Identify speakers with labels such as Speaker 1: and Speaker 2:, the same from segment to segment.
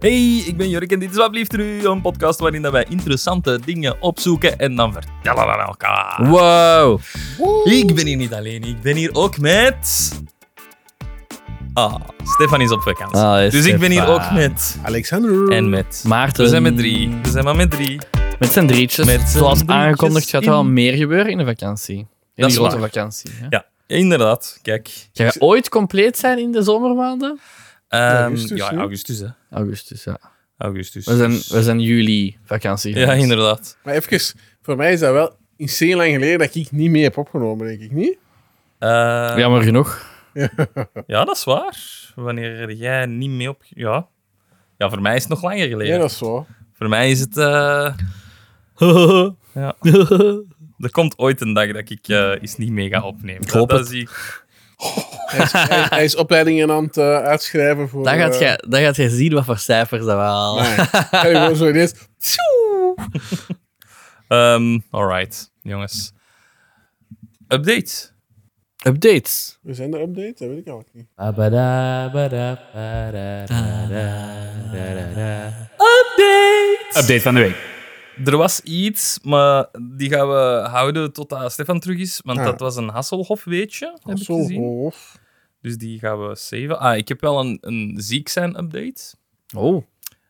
Speaker 1: Hey, ik ben Jurk en dit is Wat Blieft U, een podcast waarin dat wij interessante dingen opzoeken en dan vertellen aan elkaar.
Speaker 2: Wow.
Speaker 1: Ik ben hier niet alleen, ik ben hier ook met... Ah, Stefan is op vakantie.
Speaker 2: Ah,
Speaker 1: dus
Speaker 2: is
Speaker 1: ik ben hier
Speaker 2: Stefan.
Speaker 1: ook met...
Speaker 3: Alexander.
Speaker 1: En met...
Speaker 2: Maarten.
Speaker 1: We zijn met drie. We zijn maar met drie.
Speaker 2: Met zijn drietjes.
Speaker 1: Met z'n
Speaker 2: Zoals
Speaker 1: drietjes
Speaker 2: aangekondigd gaat er wel
Speaker 1: in-
Speaker 2: meer gebeuren in de vakantie. In
Speaker 1: Dat
Speaker 2: de
Speaker 1: is
Speaker 2: grote
Speaker 1: waar.
Speaker 2: vakantie. Hè?
Speaker 1: Ja, inderdaad. Kijk.
Speaker 2: Gaan we ooit compleet zijn in de zomermaanden?
Speaker 1: Ehm,
Speaker 3: augustus,
Speaker 1: ja,
Speaker 3: hè?
Speaker 1: augustus, hè.
Speaker 2: Augustus, ja.
Speaker 1: Augustus.
Speaker 2: We zijn, we zijn juli vakantie.
Speaker 1: Ja,
Speaker 2: geweest.
Speaker 1: inderdaad.
Speaker 3: Maar even, voor mij is dat wel insane lang geleden dat ik niet mee heb opgenomen, denk ik niet.
Speaker 1: Eh,
Speaker 2: Jammer genoeg.
Speaker 1: Ja, dat is waar. Wanneer jij niet mee op... Ja. ja, voor mij is het nog langer geleden.
Speaker 3: Ja, dat is zo.
Speaker 1: Voor mij is het... eh, ja. Er komt ooit een dag dat ik eh iets niet mee ga opnemen. Ik
Speaker 2: hoop
Speaker 1: dat,
Speaker 2: het.
Speaker 1: zie ik.
Speaker 3: Hij is, hij, hij is opleidingen aan het eh, uitschrijven voor...
Speaker 2: Dan gaat,
Speaker 3: eh,
Speaker 2: jij, dan gaat jij zien wat voor cijfers dat we halen.
Speaker 3: Nee. Ga je gewoon zo ineens...
Speaker 1: Ehm, alright, jongens. Update.
Speaker 2: Updates.
Speaker 3: We zijn er update? Dat weet ik eigenlijk niet.
Speaker 4: Update van de week.
Speaker 1: Er was iets, maar die gaan we houden totdat Stefan terug is. Want
Speaker 3: Ah.
Speaker 1: dat was een Hasselhoff, weet je. Heb ik
Speaker 3: Zo
Speaker 1: gezien.
Speaker 3: hoog.
Speaker 1: Dus die gaan we saven. Ah, ik heb wel een, een ziek zijn update.
Speaker 2: Oh.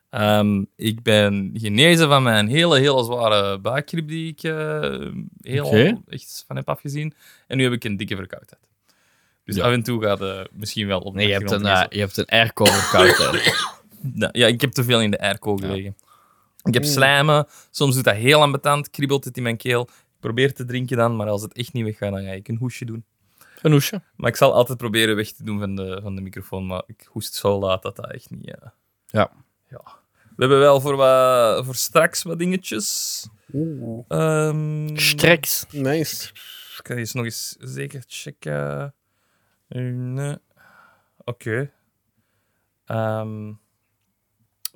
Speaker 1: Ehm, ik ben genezen van mijn hele, hele zware buikgriep die ik eh, heel
Speaker 2: Oké.
Speaker 1: echt van heb afgezien. En nu heb ik een dikke verkoudheid. Dus
Speaker 2: Ja.
Speaker 1: af en toe gaat het misschien wel op de
Speaker 2: Nee, je hebt een,
Speaker 1: achtergrond
Speaker 2: eh, je hebt een airco verkouden.
Speaker 1: lezen. Nou, Ja, ik heb te veel in de airco gelegen. Ik heb slijmen. Soms doet dat heel ambetant. Kriebelt het in mijn keel. Ik probeer te drinken dan, maar als het echt niet weggaat, dan ga ik een hoesje doen.
Speaker 2: Een hoesje.
Speaker 1: Maar ik zal altijd proberen weg te doen van de, van de microfoon, maar ik hoest zo laat dat dat echt niet... eh.
Speaker 2: Ja.
Speaker 1: ja. We hebben wel voor, wat, voor straks wat dingetjes.
Speaker 3: Oeh,
Speaker 1: Ehm,
Speaker 2: Streks.
Speaker 3: nice.
Speaker 1: ik kan eens nog eens zeker checken. eh, Nee. Oké. Ehm,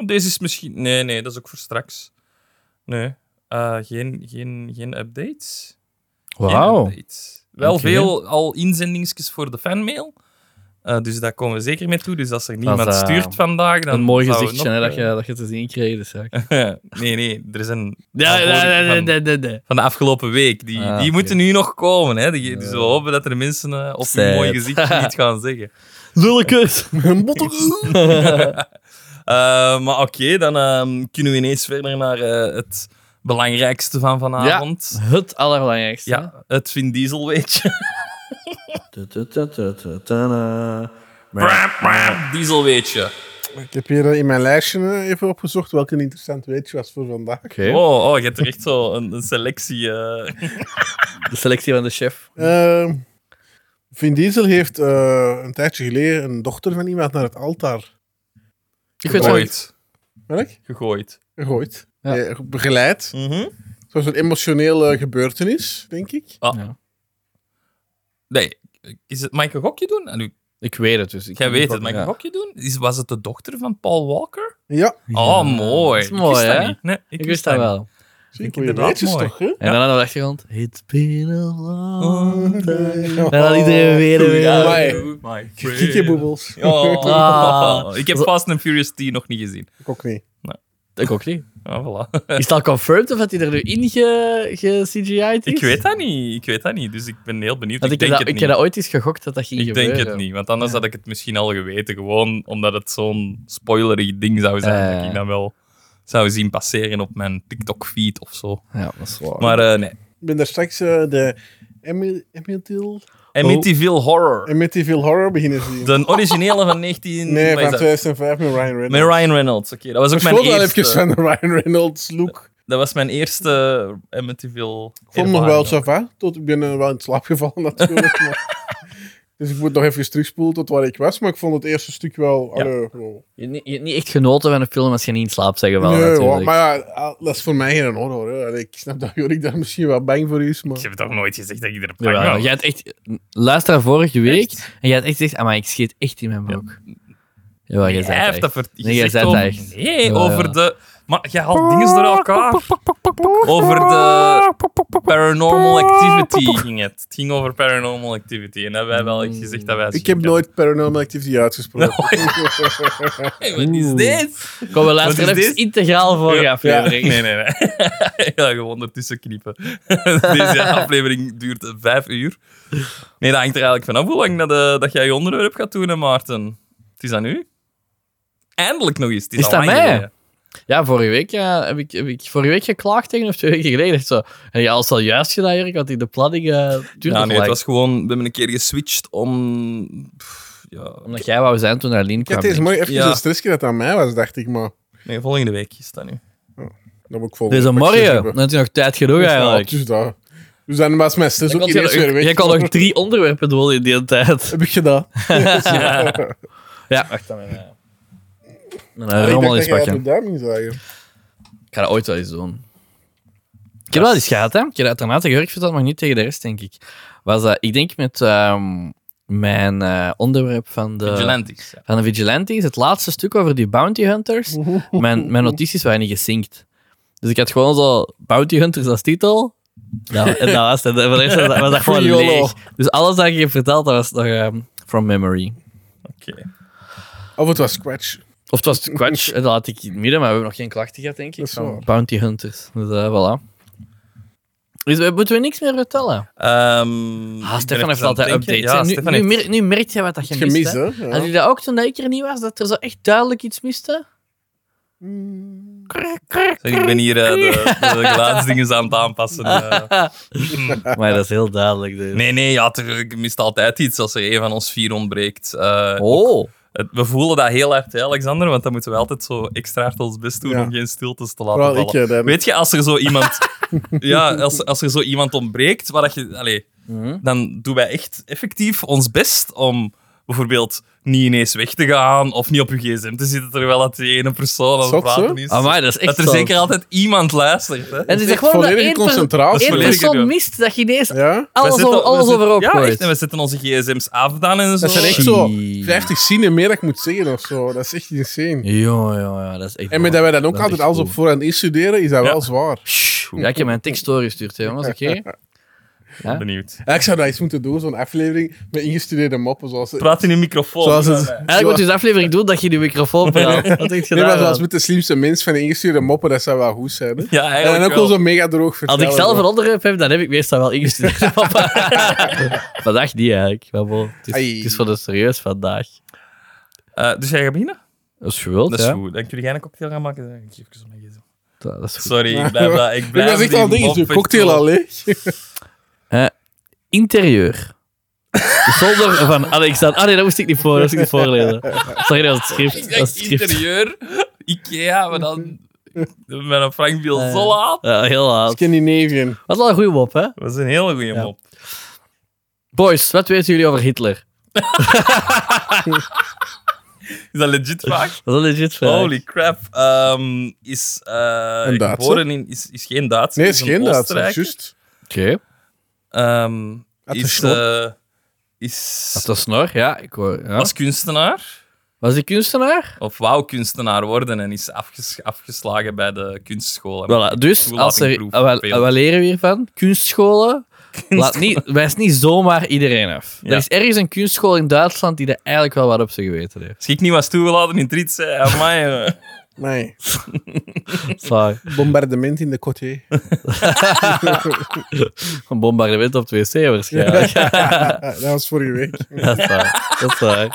Speaker 1: deze is misschien... Nee, nee, dat is ook voor straks. Nee. Eh, geen, geen, geen updates. Geen
Speaker 2: Wauw.
Speaker 1: updates. eh, Wel
Speaker 2: Oké.
Speaker 1: veel al inzendingsjes voor de fanmail. Eh, dus daar komen we zeker mee toe. Dus als er niemand
Speaker 2: eh,
Speaker 1: stuurt vandaag, dan
Speaker 2: Een mooi
Speaker 1: zouden we
Speaker 2: gezichtje hè,
Speaker 1: nog,
Speaker 2: dat, je, dat je te zien kreeg. Dus, ja.
Speaker 1: eh, nee, nee, er is een...
Speaker 2: Ja,
Speaker 1: een
Speaker 2: ja, ja,
Speaker 1: vorige
Speaker 2: ja,
Speaker 1: van-
Speaker 2: ja, ja, ja.
Speaker 1: van de afgelopen week. Die,
Speaker 2: Ah,
Speaker 1: die
Speaker 2: oké.
Speaker 1: moeten nu nog komen. Hè? Die, dus we hopen dat er mensen eh, op hun
Speaker 2: Sad.
Speaker 1: mooi gezichtje niet gaan zeggen.
Speaker 2: Lulkes.
Speaker 3: Een botter.
Speaker 1: Eh, maar oké, dan ehm, kunnen we ineens verder naar eh, het belangrijkste van vanavond. Ja.
Speaker 2: Het allerbelangrijkste.
Speaker 1: het Vin Diesel weetje. Diesel weetje.
Speaker 3: Ik heb hier eh, in mijn lijstje eh, even opgezocht welke interessant weetje was voor vandaag.
Speaker 1: Oh, oh, je hebt er echt zo een, een selectie. eh.
Speaker 2: De selectie van de chef.
Speaker 3: Ehm, Vin Diesel heeft eh, een tijdje geleden een dochter van iemand naar het altaar
Speaker 2: Ik weet het
Speaker 1: gegooid.
Speaker 3: welk?
Speaker 1: Gegooid.
Speaker 3: gegooid.
Speaker 2: Ja.
Speaker 3: Eh, begeleid.
Speaker 1: Mhm.
Speaker 3: Het was een emotionele gebeurtenis, denk ik.
Speaker 1: Nee, is het, mag ik een gokje doen? En u,
Speaker 2: Ik weet het dus. Ik
Speaker 1: jij weet het, mag ik
Speaker 2: ja.
Speaker 1: een gokje doen? Is, was het de dochter van Paul Walker?
Speaker 3: Ja,
Speaker 1: Oh, mooi.
Speaker 2: Dat is mooi,
Speaker 1: ik wist dat
Speaker 2: hè?
Speaker 1: niet. Nee, ik,
Speaker 2: Ik wist dat
Speaker 1: niet.
Speaker 2: wel.
Speaker 3: zie
Speaker 1: ik
Speaker 3: ik goeie
Speaker 1: inderdaad
Speaker 3: weetjes
Speaker 1: mooi.
Speaker 3: toch, hè?
Speaker 2: En dan aan de achtergrond. It's been a long time.
Speaker 3: Oh.
Speaker 2: En dan iedereen weer en weer.
Speaker 3: Ja,
Speaker 2: Ja,
Speaker 3: maar-
Speaker 1: My
Speaker 3: Kiekeboebels.
Speaker 1: Oh.
Speaker 2: Ah.
Speaker 1: Ik heb Fast and Furious 10 nog niet gezien.
Speaker 3: Ik ook niet.
Speaker 2: ik ook niet.
Speaker 1: Ah, voilà.
Speaker 2: Is het al confirmed of dat hij er nu in ge, ge CGI'd is?
Speaker 1: Ik weet dat niet. Ik weet dat niet. Dus ik ben heel benieuwd.
Speaker 2: Want
Speaker 1: Ik,
Speaker 2: ik,
Speaker 1: denk het
Speaker 2: heb dat, ik
Speaker 1: niet.
Speaker 2: heb dat ooit eens gegokt dat dat ging
Speaker 1: ik
Speaker 2: gebeuren.
Speaker 1: denk het niet. Want anders had ik het misschien al geweten. Gewoon omdat het zo'n spoilerig ding zou zijn.
Speaker 2: Eh.
Speaker 1: Dat ik dan wel zou zien passeren op mijn TikTok-feed of zo.
Speaker 2: Ja, dat is waar.
Speaker 1: Maar eh, nee.
Speaker 3: Ik ben daar straks eh, de Emil- Amityville
Speaker 2: Oh.
Speaker 1: Amityville Horror.
Speaker 3: Amityville Horror beginnen zien.
Speaker 1: De originele van 19...
Speaker 3: Nee,
Speaker 1: wat
Speaker 3: van
Speaker 1: is dat?
Speaker 3: 2005 met Ryan Reynolds.
Speaker 1: Met Ryan Reynolds. Oké, dat was ook
Speaker 3: Ik
Speaker 1: mijn
Speaker 3: vond wel
Speaker 1: eerste...
Speaker 3: even van de Ryan Reynolds look.
Speaker 1: Dat was mijn eerste eh, Amityville.
Speaker 3: Ik vond hem nog wel Sava, tot ik ben eh, wel in slaap gevallen natuurlijk. maar- Dus ik moet nog even terugspoelen tot waar ik was, maar ik vond het eerste stuk wel...
Speaker 1: Ja.
Speaker 3: allee, wow.
Speaker 2: Je, hebt niet- je hebt niet echt genoten van een film als je niet in slaap zeggen wel.
Speaker 3: nee, hoor,
Speaker 2: natuurlijk.
Speaker 3: maar ja, ah, dat is voor mij geen horror. Hè. Allee, Ik snap dat Jorik daar misschien wel bang voor is, maar...
Speaker 1: Ik heb toch nooit gezegd dat ik er
Speaker 2: Jawel,
Speaker 1: bang
Speaker 2: jij had echt... Luister naar vorige week en jij had echt gezegd, maar ik schiet echt in mijn broek. Ja, jij zei
Speaker 1: Hij
Speaker 2: het
Speaker 1: heeft dat
Speaker 2: echt.
Speaker 1: ver-
Speaker 2: Nee, jij
Speaker 1: gezegd
Speaker 2: zei het
Speaker 1: over-
Speaker 2: echt.
Speaker 1: Nee,
Speaker 2: Ja,
Speaker 1: over
Speaker 2: ja.
Speaker 1: de... Maar jij haalt dingen door elkaar. Over de paranormal activity ging het. Het ging over paranormal activity. En hebben wij wel echt gezegd dat wij...
Speaker 3: Ik heb nooit Paranormal Activity uitgesproken.
Speaker 2: Oh,
Speaker 1: Hey, wat is dit?
Speaker 2: Kom, we luisteren
Speaker 1: Wat is dit?
Speaker 2: even integraal vorige
Speaker 1: Ja.
Speaker 2: aflevering.
Speaker 1: Nee, nee, nee. ja, gewoon ertussen knippen. Deze aflevering duurt vijf uur. Nee, dat hangt er eigenlijk vanaf hoe lang dat, eh, dat jij je onderwerp gaat doen, hè, Maarten. Het is aan u. Eindelijk nog eens. Het is,
Speaker 2: Is
Speaker 1: al
Speaker 2: dat
Speaker 1: lang
Speaker 2: mij?
Speaker 1: geleden.
Speaker 2: Ja, vorige week, ja, heb, ik, heb ik vorige week geklaagd tegen of twee weken geleden. Echt zo. En ja, als dat juist gedaan, Jurk, want in de planning eh duurde
Speaker 1: Ja,
Speaker 2: het
Speaker 1: nee,
Speaker 2: lang.
Speaker 1: het was gewoon... We hebben een keer geswitcht om... pff, Ja,
Speaker 2: Omdat jij wou zijn toen Aline
Speaker 3: Ik had
Speaker 2: kwam.
Speaker 3: deze
Speaker 2: denk ik.
Speaker 3: morgen even
Speaker 1: Ja.
Speaker 3: een stressje dat aan mij was, dacht ik, maar
Speaker 1: nee, volgende week is dat nu.
Speaker 3: dat moet ik volgende
Speaker 2: Deze
Speaker 3: week precies
Speaker 2: morgen,
Speaker 3: hebben.
Speaker 2: dan had je nog tijd genoeg
Speaker 3: Ja,
Speaker 2: eigenlijk.
Speaker 3: dus daar. Dus dan was mijn stress
Speaker 2: Dan
Speaker 3: ook
Speaker 2: kon je
Speaker 3: ineens weer
Speaker 2: nog-
Speaker 3: weg.
Speaker 2: Jij kan nog drie onderwerpen doen in die tijd.
Speaker 3: Heb ik gedaan.
Speaker 2: Ja, wacht dan eh. even. Mijn eh,
Speaker 3: Ik dacht
Speaker 2: rommel
Speaker 3: dat
Speaker 2: eens
Speaker 3: jij uit
Speaker 2: pakken.
Speaker 3: mijn duim ging zagen.
Speaker 2: Ik ga dat ooit wel eens doen. Ik heb dat eens gehad, hè. Ik heb dat uiteraard tegen Jurk verteld, maar niet tegen de rest, denk ik. Was dat, ik denk met ehm, mijn eh, onderwerp van de...
Speaker 1: Vigilantes.
Speaker 2: Van de Vigilantes, het laatste stuk over die Bounty Hunters. Mijn, mijn notities waren niet gesynct. Dus ik had gewoon zo Bounty Hunters als titel. Nou, en dat was het. En voor de rest was dat- was dat gewoon
Speaker 3: Free YOLO.
Speaker 2: leeg. Dus alles dat ik heb verteld, dat was nog ehm, from memory.
Speaker 1: Oké.
Speaker 3: Of het was Scratch.
Speaker 2: Of het was Quatsch, dat had ik in het midden, maar we hebben nog geen klachten gehad, denk ik.
Speaker 3: Dat is
Speaker 2: van
Speaker 3: waar.
Speaker 2: Bounty Hunters. Dus eh, voilà. Dus we, moeten we niks meer vertellen?
Speaker 1: Ehm,
Speaker 2: Ah,
Speaker 1: ik ben
Speaker 2: Stefan heeft
Speaker 1: even aan het
Speaker 2: altijd
Speaker 1: denken.
Speaker 2: updates.
Speaker 1: Ja,
Speaker 2: hè. nu,
Speaker 1: Stefan
Speaker 2: nu,
Speaker 1: heeft-
Speaker 2: mer- nu merk je wat dat je mist,
Speaker 3: Gemist,
Speaker 2: hè?
Speaker 3: hè?
Speaker 2: Had je dat ook toen ik er niet was, dat er zo echt duidelijk iets miste?
Speaker 1: Sorry, ik ben hier eh, de, de geluidsdingen aan het aanpassen. eh.
Speaker 2: Maar dat is heel duidelijk. Dus.
Speaker 1: Nee, nee, ja, er ik mist altijd iets als er een van ons vier ontbreekt. Eh,
Speaker 2: Oh.
Speaker 1: het- we voelen dat heel hard, hè, Alexander, want dan moeten we altijd zo extra hard ons best doen
Speaker 3: Ja.
Speaker 1: om geen stiltes te laten
Speaker 3: Vooral
Speaker 1: vallen.
Speaker 3: ik, eh, hè, dan.
Speaker 1: Weet je, als er zo iemand, ja, als, als er zo iemand ontbreekt, waar dat je, allee,
Speaker 3: Mhm.
Speaker 1: dan doen wij echt effectief ons best om bijvoorbeeld niet ineens weg te gaan of niet op je gsm te zitten terwijl dat die ene persoon aan het
Speaker 3: Zot,
Speaker 1: praten
Speaker 3: hè?
Speaker 1: is.
Speaker 2: Amai, Ah, dat is echt
Speaker 1: dat er
Speaker 2: zo.
Speaker 1: zeker altijd iemand luistert. Hè.
Speaker 2: En het is echt gewoon dat
Speaker 3: Volledige
Speaker 2: één, perso-
Speaker 1: Dat is
Speaker 2: één
Speaker 3: concentratie.
Speaker 1: volledig-
Speaker 2: persoon
Speaker 1: ja.
Speaker 2: mist dat je ineens
Speaker 3: Ja?
Speaker 1: Wij
Speaker 2: alles,
Speaker 1: zetten-
Speaker 2: over,
Speaker 1: wij
Speaker 2: alles
Speaker 1: zetten-
Speaker 2: overhoop
Speaker 1: Ja, echt.
Speaker 2: gooit.
Speaker 1: En we zetten onze gsm's af dan en zo.
Speaker 3: Dat zijn echt zo 50 zinnen meer dat ik moet zeggen of zo. Dat is echt insane.
Speaker 2: Ja, ja, ja, dat is echt...
Speaker 3: En met dat wij dan ook
Speaker 2: is
Speaker 3: altijd
Speaker 2: echt
Speaker 3: alles
Speaker 2: cool.
Speaker 3: op voorhand instuderen, is dat
Speaker 1: Ja.
Speaker 3: wel zwaar.
Speaker 2: Sjoe. Ja, ik heb mijn tekst doorgestuurd, hè, jongens, oké?
Speaker 1: Benieuwd.
Speaker 3: Ja, ik zou dat eens moeten doen, zo'n aflevering met ingestudeerde moppen. Zoals,
Speaker 1: Praat in een microfoon.
Speaker 3: zoals het,
Speaker 2: Eigenlijk moet je dus aflevering doen dat je die microfoon praat. Dat heb je
Speaker 3: Nee, maar
Speaker 2: gedaan.
Speaker 3: zoals
Speaker 2: man.
Speaker 3: met de slimste mens van de ingestuurde moppen, dat zou wel goed zijn. hè?
Speaker 1: Ja,
Speaker 3: En dan
Speaker 1: eigenlijk
Speaker 3: ook
Speaker 1: wel.
Speaker 3: wel zo mega droog vertellen.
Speaker 2: Als ik zelf een
Speaker 3: zo.
Speaker 2: onderwerp heb, dan heb ik meestal wel ingestudeerd. vandaag niet eigenlijk, maar bon, het, is,
Speaker 3: Ai.
Speaker 2: het is voor de serieus vandaag.
Speaker 1: Eh, dus jij gaat beginnen?
Speaker 2: Dat is geweld,
Speaker 1: Dat is
Speaker 2: ja.
Speaker 1: goed. Dan kun jij een cocktail gaan maken. Dan geef ik zo mijn gsm.
Speaker 2: Dat is goed.
Speaker 1: Sorry, ik blijf dat. Ik
Speaker 3: Ik
Speaker 1: blijf
Speaker 3: was echt
Speaker 1: die
Speaker 3: al dingen,
Speaker 1: mop
Speaker 3: je cocktail
Speaker 1: vertellen.
Speaker 3: al leeg.
Speaker 2: Interieur. De zolder van Alexander. Ah nee, dat moest ik niet, voor, dat moest ik niet voorlezen. Sorry, dat was
Speaker 1: Ik
Speaker 2: het schrift. Dat
Speaker 1: denk
Speaker 2: was het schrift.
Speaker 1: interieur, Ikea, maar dan met een Frank Bilzola.
Speaker 2: Ja, heel laat.
Speaker 3: Scandinavian.
Speaker 2: Wat wel een goede mop, hè?
Speaker 1: Dat is een hele goede
Speaker 2: Ja.
Speaker 1: mop.
Speaker 2: Boys, wat weten jullie over Hitler?
Speaker 1: Is dat legit vaak?
Speaker 2: Dat is een legit vraag.
Speaker 1: Holy crap. Ehm, is, eh,
Speaker 3: Een Duitser?
Speaker 1: geboren in, is, is geen Duits.
Speaker 3: Nee, het is geen Duits.
Speaker 1: Oostenrijk.
Speaker 3: Juist.
Speaker 2: Oké.
Speaker 1: Ehm,
Speaker 3: Had een
Speaker 1: is,
Speaker 3: snor.
Speaker 1: eh, is
Speaker 2: Dat is een snor, ja. Ik hoor, ja.
Speaker 1: als kunstenaar,
Speaker 2: Was hij kunstenaar?
Speaker 1: of wou kunstenaar worden en is afges- afgeslagen bij de kunstschool.
Speaker 2: Voilà, dus
Speaker 1: Hoe
Speaker 2: als
Speaker 1: laat ik
Speaker 2: er,
Speaker 1: proef?
Speaker 2: ah, wel-
Speaker 1: Veel.
Speaker 2: ah, wat leren we hiervan? Kunstscholen. Laat niet, wijs niet zomaar iedereen af.
Speaker 1: Ja.
Speaker 2: Er is ergens een kunstschool in Duitsland die er eigenlijk wel wat op zich geweten heeft.
Speaker 1: Als ik niet was toegelaten in Triet, zei amai, eh.
Speaker 3: Nee.
Speaker 2: Sorry.
Speaker 3: Bombardement in de Coté.
Speaker 2: Een bombardement op het wc waarschijnlijk.
Speaker 3: dat was vorige week.
Speaker 2: Dat is waar. Dat is waar.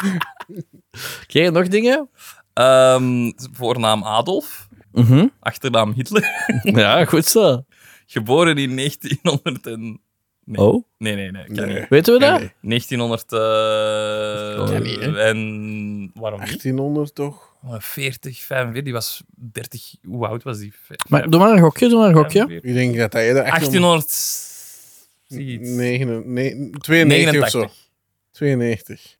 Speaker 2: Oké, nog dingen?
Speaker 1: Ehm, voornaam Adolf,
Speaker 2: Mhm.
Speaker 1: achternaam Hitler.
Speaker 2: Ja, goed zo.
Speaker 1: Geboren in 1900 en... Nee.
Speaker 2: Oh,
Speaker 1: Nee, nee, nee. Kan
Speaker 3: Nee.
Speaker 1: niet.
Speaker 2: weten we dat?
Speaker 3: Nee,
Speaker 1: 1900 eh,
Speaker 3: kan niet, hè.
Speaker 1: en... Waarom niet?
Speaker 3: 1800 toch?
Speaker 1: 40, 45, Oh, die was 30... Hoe oud was die?
Speaker 2: Maar doe maar een gokje, doe maar een gokje.
Speaker 1: 45.
Speaker 3: Ik denk dat hij er
Speaker 1: 1800... iets.
Speaker 3: 1899 92 of zo. 92.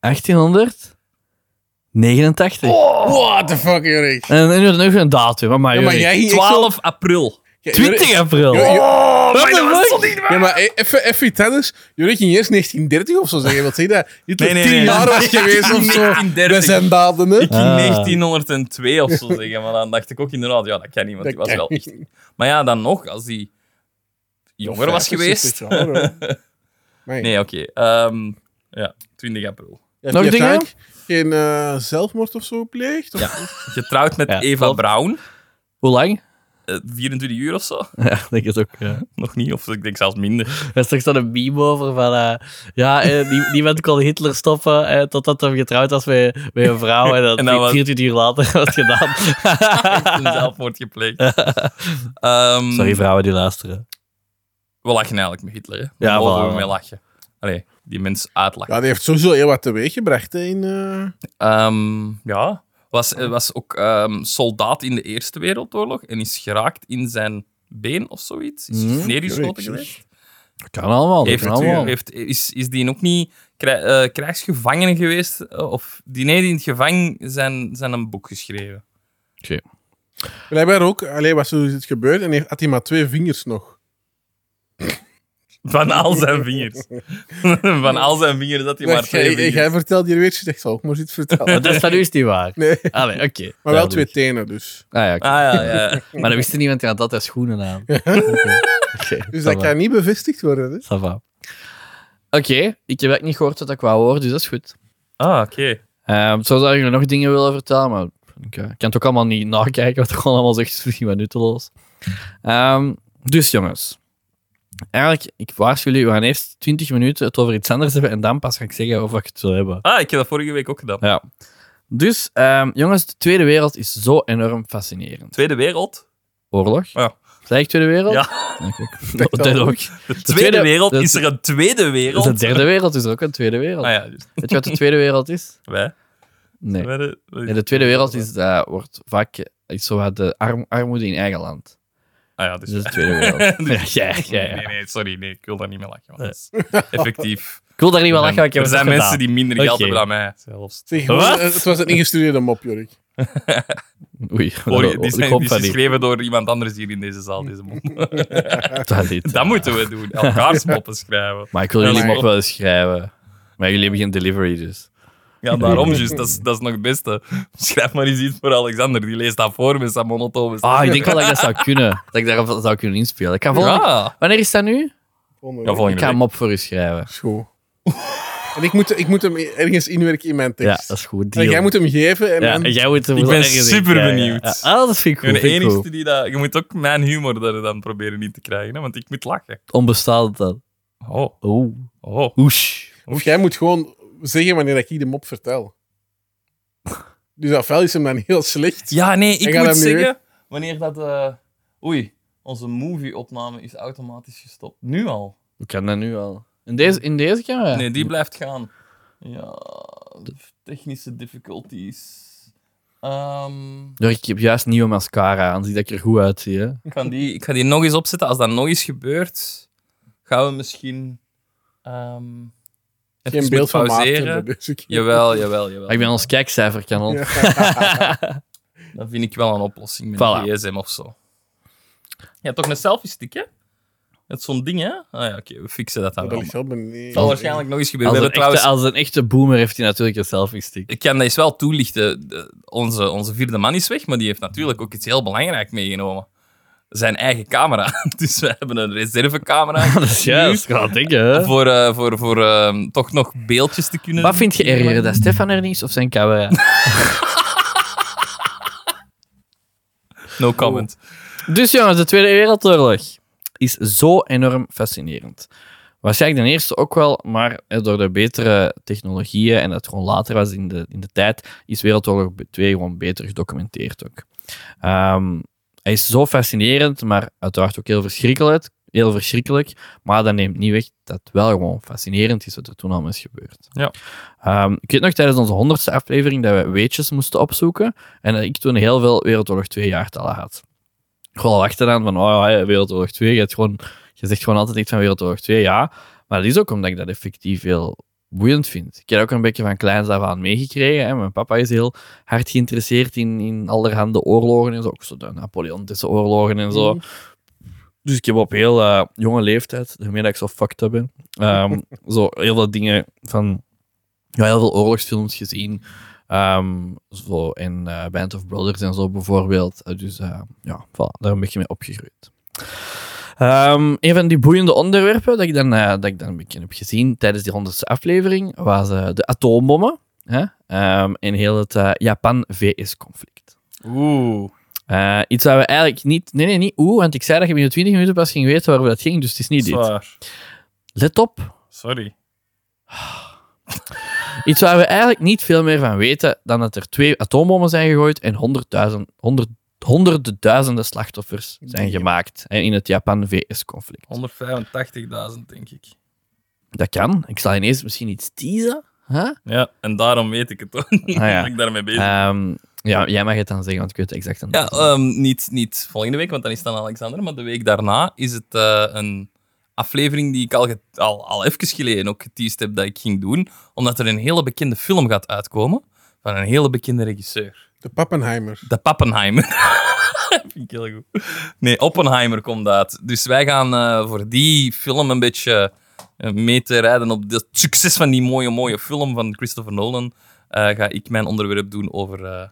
Speaker 2: 1889.
Speaker 1: Oh.
Speaker 3: What the fuck, Erik?
Speaker 2: En nu nog een datum, maar
Speaker 3: Ja, maar jij ging echt zo-
Speaker 1: 12 april.
Speaker 3: Jij-
Speaker 2: 20 april.
Speaker 3: Jo- jo-
Speaker 1: Oh my god, dat is toch niet waar?
Speaker 3: Ja, maar e- even, even tennis. Jullie ging eerst 1930 of zo zeggen. Wat zeg je dat? Je
Speaker 1: Nee,
Speaker 3: nee,
Speaker 1: nee,
Speaker 3: tien
Speaker 1: nee.
Speaker 3: jaar was geweest of zo.
Speaker 1: 1930.
Speaker 3: We zijn daden, hè?
Speaker 1: Ik ging
Speaker 4: Ah.
Speaker 1: 1902 of zo zeggen, maar dan dacht ik ook inderdaad, ja, dat kan niet, want die was wel echt... Maar ja, dan nog, als die jonger was
Speaker 3: 65
Speaker 1: geweest...
Speaker 3: jaar, hoor. Nee.
Speaker 1: Nee, oké. Ehm, ja, 20 april.
Speaker 3: Heb
Speaker 2: Nog
Speaker 3: je
Speaker 2: dingen?
Speaker 3: vaak Geen eh, zelfmoord of zo gepleegd? Of-
Speaker 1: Ja. Getrouwd met
Speaker 2: Ja,
Speaker 1: Eva
Speaker 2: klopt.
Speaker 1: Braun,
Speaker 2: Hoe lang?
Speaker 1: eh, 24 uur of zo.
Speaker 2: Ja, ik denk het ook. Ja.
Speaker 1: Nog niet, of ik denk zelfs minder.
Speaker 2: Er is toch zo'n meme over van... eh, ja, eh, die, niemand kon Hitler stoppen eh, totdat hij getrouwd was met, met een vrouw. En dat,
Speaker 1: En dat was-
Speaker 2: 24 uur later was het gedaan.
Speaker 1: Een zelfmoord gepleegd. Ehm,
Speaker 2: Sorry, vrouwen die luisteren.
Speaker 1: We lachen eigenlijk met Hitler, hè.
Speaker 2: Ja,
Speaker 1: Daar mogen
Speaker 2: voilà.
Speaker 1: we mee lachen. Allee, die mens uitlachen.
Speaker 3: Ja, die heeft sowieso heel wat teweeg gebracht hè, in... eh,
Speaker 1: Ehm, ja. Was, eh, was ook ehm, soldaat in de Eerste Wereldoorlog en is geraakt in zijn been of zoiets. Is
Speaker 2: Hmm. nou,
Speaker 1: neergeschoten
Speaker 3: Jezus.
Speaker 1: geweest.
Speaker 2: Kan allemaal,
Speaker 1: Heeft,
Speaker 2: kan allemaal.
Speaker 1: heeft, is, is die ook niet krij- eh, krijgsgevangene geweest? eh, Of die nee, die in het gevang zijn, zijn een boek geschreven.
Speaker 3: Blijkbaar ook. Alleen was er iets gebeurd en heeft- had hij maar twee vingers nog.
Speaker 1: Van al zijn vingers. Van al zijn vingers had hij maar
Speaker 3: Nee,
Speaker 1: twee
Speaker 3: jij,
Speaker 1: vingers.
Speaker 3: jij vertelt hier weer, je zegt al, ik moest iets vertellen.
Speaker 2: Maar dat is van u is niet waar.
Speaker 3: Nee,
Speaker 2: Allee, oké.
Speaker 3: maar wel
Speaker 2: Duidelijk.
Speaker 3: twee tenen dus.
Speaker 2: Ah, ja, oké.
Speaker 1: Ah ja, ja.
Speaker 2: Maar dan wist er niemand die had altijd schoenen aan. Oké, Oké,
Speaker 3: Dus
Speaker 2: ça
Speaker 3: dat
Speaker 2: va.
Speaker 3: kan niet bevestigd worden. Hè?
Speaker 2: Ça va. Oké, ik heb eigenlijk niet gehoord wat ik wou horen, dus dat is goed.
Speaker 1: Ah, oké.
Speaker 2: Ehm zo zou ik nog dingen willen vertellen, maar ik eh, kan het ook allemaal niet nakijken, wat ik gewoon allemaal zeg, is misschien wat nutteloos. Ehm, dus jongens, eigenlijk, ik waarschuw jullie, we gaan eerst 20 minuten het over iets anders hebben en dan pas ga ik zeggen over wat ik het wil hebben.
Speaker 1: Ah, ik heb dat vorige week ook gedaan.
Speaker 2: Ja. Dus ehm, jongens, de Tweede Wereld is zo enorm fascinerend.
Speaker 1: Tweede Wereld.
Speaker 2: Oorlog?
Speaker 1: Ja.
Speaker 2: Zei ik Tweede Wereld?
Speaker 1: Ja,
Speaker 2: Oké.
Speaker 3: denk dat
Speaker 2: Dat
Speaker 3: ook.
Speaker 2: ook.
Speaker 1: de Tweede,
Speaker 2: tweede-
Speaker 1: Wereld.
Speaker 2: de-
Speaker 1: is er een Tweede Wereld?
Speaker 2: De Derde Wereld is er ook een Tweede Wereld.
Speaker 1: Ah ja, dus
Speaker 2: Weet je wat de Tweede Wereld is?
Speaker 1: wij.
Speaker 2: Nee.
Speaker 1: Wij de- wij-
Speaker 2: Nee, de Tweede Wereld is, eh, wordt vaak eh, is zo wat de arm, armoede in eigen land.
Speaker 1: Ah ja, dus...
Speaker 2: Dat is de Tweede Wereld. ja, ja, ja, ja.
Speaker 1: Nee, nee, sorry, nee, ik wil daar niet meer lachen. want dat is effectief.
Speaker 2: Ik wil daar niet wel lachen,
Speaker 1: Er
Speaker 2: want ik heb
Speaker 1: zijn
Speaker 2: het
Speaker 1: mensen
Speaker 2: gedaan.
Speaker 1: die minder geld
Speaker 2: Oké.
Speaker 1: hebben dan mij. Zelfs.
Speaker 3: Zeg, gewoon,
Speaker 1: Wat?
Speaker 3: eh, Het was een ingestudeerde mop, Jorik.
Speaker 2: Oei,
Speaker 1: Sorry, die,
Speaker 2: ik
Speaker 1: zijn,
Speaker 2: hoop
Speaker 1: die
Speaker 2: van
Speaker 1: is
Speaker 2: niet.
Speaker 1: geschreven door iemand anders hier in deze zaal, deze mop.
Speaker 2: Dat niet.
Speaker 1: Dat moeten we doen, elkaars moppen schrijven.
Speaker 2: Maar ik wil jullie
Speaker 3: Maar-
Speaker 2: nog wel eens schrijven. Maar jullie hebben geen delivery, dus.
Speaker 1: Ja, daarom, juist, dat is, dat is nog het beste. Schrijf maar eens iets voor Alexander, die leest dat voor met zijn monotone stem.
Speaker 2: Ah, ik denk wel dat ik dat zou kunnen. Dat ik daarop zou kunnen inspelen. Ik ga volgende...
Speaker 1: Ja,
Speaker 2: Wanneer is dat nu?
Speaker 3: Volgende
Speaker 1: ja
Speaker 3: week.
Speaker 2: Ik
Speaker 1: volgende
Speaker 2: ga
Speaker 1: week.
Speaker 2: hem op voor u schrijven.
Speaker 3: Schoon. En ik moet, ik moet hem ergens inwerken in mijn
Speaker 2: Ja,
Speaker 3: tekst.
Speaker 2: dat is goed.
Speaker 3: en
Speaker 2: deal.
Speaker 3: jij moet hem geven. En
Speaker 2: Ja,
Speaker 3: dan-
Speaker 2: en jij moet
Speaker 1: Ik ben super benieuwd.
Speaker 2: Ah, dat vind
Speaker 1: Ik
Speaker 2: ik
Speaker 1: ben
Speaker 2: goed.
Speaker 1: de
Speaker 2: Vind ik
Speaker 1: enigste
Speaker 2: goed.
Speaker 1: die dat... Je moet ook mijn humor er dan proberen in te krijgen, hè, want ik moet lachen.
Speaker 2: Onbestaand dan.
Speaker 1: Oh,
Speaker 2: Oeh.
Speaker 1: oh.
Speaker 2: Oesh.
Speaker 3: Of jij moet gewoon zeggen wanneer ik de mop vertel. Dus afwel is hem dan heel slecht.
Speaker 1: Ja, nee,
Speaker 3: En
Speaker 1: ik
Speaker 3: ga
Speaker 1: moet
Speaker 3: dat nu
Speaker 1: zeggen, wanneer dat... eh, Oei, onze movie-opname is automatisch gestopt. Nu al?
Speaker 2: Ik kan dat nu al. In deze, in deze camera?
Speaker 1: Nee, die blijft gaan. Ja, technische difficulties. Ehm,
Speaker 2: Ja, ik heb juist nieuwe mascara aan, zie dat ik er goed uitzie. Hè?
Speaker 1: ik, kan die, ik ga die nog eens opzetten. Als dat nog eens gebeurt, gaan we misschien... ehm
Speaker 3: Geen
Speaker 1: even
Speaker 3: beeld van
Speaker 1: pauzeren.
Speaker 3: Maarten. Dus ik...
Speaker 1: Jawel, jawel, jawel.
Speaker 2: Maar Ah, ik ben ons kijkcijferkanaal.
Speaker 3: Ja.
Speaker 1: Dat vind ik wel een oplossing met
Speaker 2: Voilà.
Speaker 1: een gsm of zo. Je hebt toch een selfie-stick, hè? Dat is zo'n ding, hè? Ah ja, oké, we fixen dat dan
Speaker 3: Dat
Speaker 1: wel.
Speaker 3: ligt
Speaker 1: Het
Speaker 3: wel beneden.
Speaker 1: zal waarschijnlijk nog eens gebeuren.
Speaker 2: Als,
Speaker 1: We
Speaker 2: een
Speaker 1: hebben trouwens...
Speaker 2: echte, als een echte boomer heeft hij natuurlijk een selfie stick.
Speaker 1: Ik kan dat eens wel toelichten. De- onze, onze vierde man is weg, maar die heeft natuurlijk ook iets heel belangrijks meegenomen. Zijn eigen camera. Dus we hebben een reservecamera
Speaker 2: Dat is juist, ik ga dat denken. Hè?
Speaker 1: voor, eh, voor, voor eh, toch nog beeldjes te kunnen...
Speaker 2: Wat vind je erger, dat Stefan er niet is of zijn camera?
Speaker 1: No comment.
Speaker 2: Dus jongens, de Tweede Wereldoorlog is zo enorm fascinerend. Waarschijnlijk de eerste ook wel, maar eh, door de betere technologieën en dat het gewoon later was in de, in de tijd, is Wereldoorlog 2 gewoon beter gedocumenteerd ook. Ehm, hij is zo fascinerend, maar uiteraard ook heel verschrikkelijk, heel verschrikkelijk. Maar dat neemt niet weg dat het wel gewoon fascinerend is wat er toen allemaal is gebeurd.
Speaker 1: Ja.
Speaker 2: Ehm, ik weet nog tijdens onze honderdste aflevering dat we weetjes moesten opzoeken en dat ik toen heel veel Wereldoorlog 2 jaartallen had gewoon al achteraan van, oh ja, Wereldoorlog 2. Je, hebt gewoon, je zegt gewoon altijd iets van Wereldoorlog 2, ja. Maar dat is ook omdat ik dat effectief heel boeiend vind. Ik heb dat ook een beetje van kleins af aan meegekregen. Hè. Mijn papa is heel hard geïnteresseerd in, in allerhande oorlogen en zo. Ook zo de Napoleontische oorlogen en zo. Dus ik heb op heel eh, jonge leeftijd, daarmee dat ik zo fucked up ben, ehm, zo heel veel dingen van... Ja, heel veel oorlogsfilms gezien. ehm, zo in eh, Band of Brothers en zo bijvoorbeeld. Eh, dus eh, ja, voilà, daar een beetje mee opgegroeid. Ehm, een van die boeiende onderwerpen dat ik dan, eh, dat ik dan een beetje heb gezien tijdens die 100ste aflevering was eh, de atoombommen. Hè? Ehm, en heel het eh, Japan-VS-conflict.
Speaker 1: Oeh.
Speaker 2: Eh, iets waar we eigenlijk niet. Nee, nee, niet oeh, want ik zei dat je binnen 20 minuten pas ging weten waarover dat ging, dus het is niet dit.
Speaker 1: Zwaar.
Speaker 2: Let op.
Speaker 1: Sorry.
Speaker 2: Iets waar we eigenlijk niet veel meer van weten dan dat er twee atoombommen zijn gegooid en honderdduizend, honderd, honderden duizenden slachtoffers zijn gemaakt hè, in het Japan-VS-conflict.
Speaker 1: 185.000, denk ik.
Speaker 2: Dat kan. Ik zal ineens misschien iets teasen. Huh?
Speaker 1: Ja, en daarom weet ik het ook niet.
Speaker 2: Ah, ja.
Speaker 1: dat ik daarmee bezig ben.
Speaker 2: Ehm, ja, jij mag het dan zeggen, want ik weet het exact.
Speaker 1: Ja, ehm, niet, niet volgende week, want dan is het aan Alexander. Maar de week daarna is het eh, een aflevering die ik al, ge- al, al even geleden ook geteased heb dat ik ging doen. Omdat er een hele bekende film gaat uitkomen van een hele bekende regisseur.
Speaker 3: De Pappenheimer.
Speaker 1: De Pappenheimer. Vind ik heel goed. Nee, Oppenheimer komt uit. Dus wij gaan eh, voor die film een beetje eh, mee te rijden op het succes van die mooie, mooie film van Christopher Nolan. eh, ga ik mijn onderwerp doen over, eh,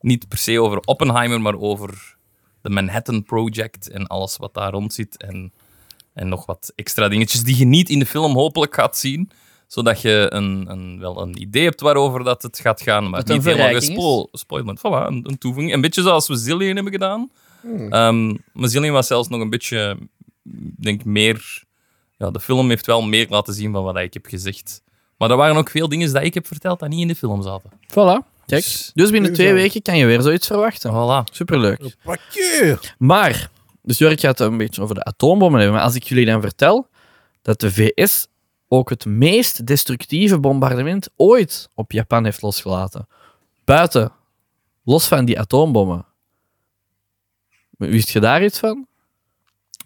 Speaker 1: niet per se over Oppenheimer, maar over de Manhattan Project en alles wat daar rond zit. En, en nog wat extra dingetjes die je niet in de film hopelijk gaat zien zodat je een, een, wel een idee hebt waarover dat het gaat gaan, maar
Speaker 2: Dat het
Speaker 1: niet
Speaker 2: een
Speaker 1: helemaal
Speaker 2: verrijking is.
Speaker 1: gespo- spoilend. Voilà, een, een toevoeging. Een beetje zoals we Zillion hebben gedaan. Ehm, maar Zillion was zelfs nog een beetje, ik denk meer... Ja, de film heeft wel meer laten zien van wat ik heb gezegd. Maar er waren ook veel dingen die ik heb verteld dat niet in de film zaten.
Speaker 2: Voilà. Kijk. Dus binnen twee
Speaker 3: Zo.
Speaker 2: weken kan je weer zoiets verwachten.
Speaker 1: Voilà.
Speaker 2: Superleuk.
Speaker 3: Pak je!
Speaker 2: dus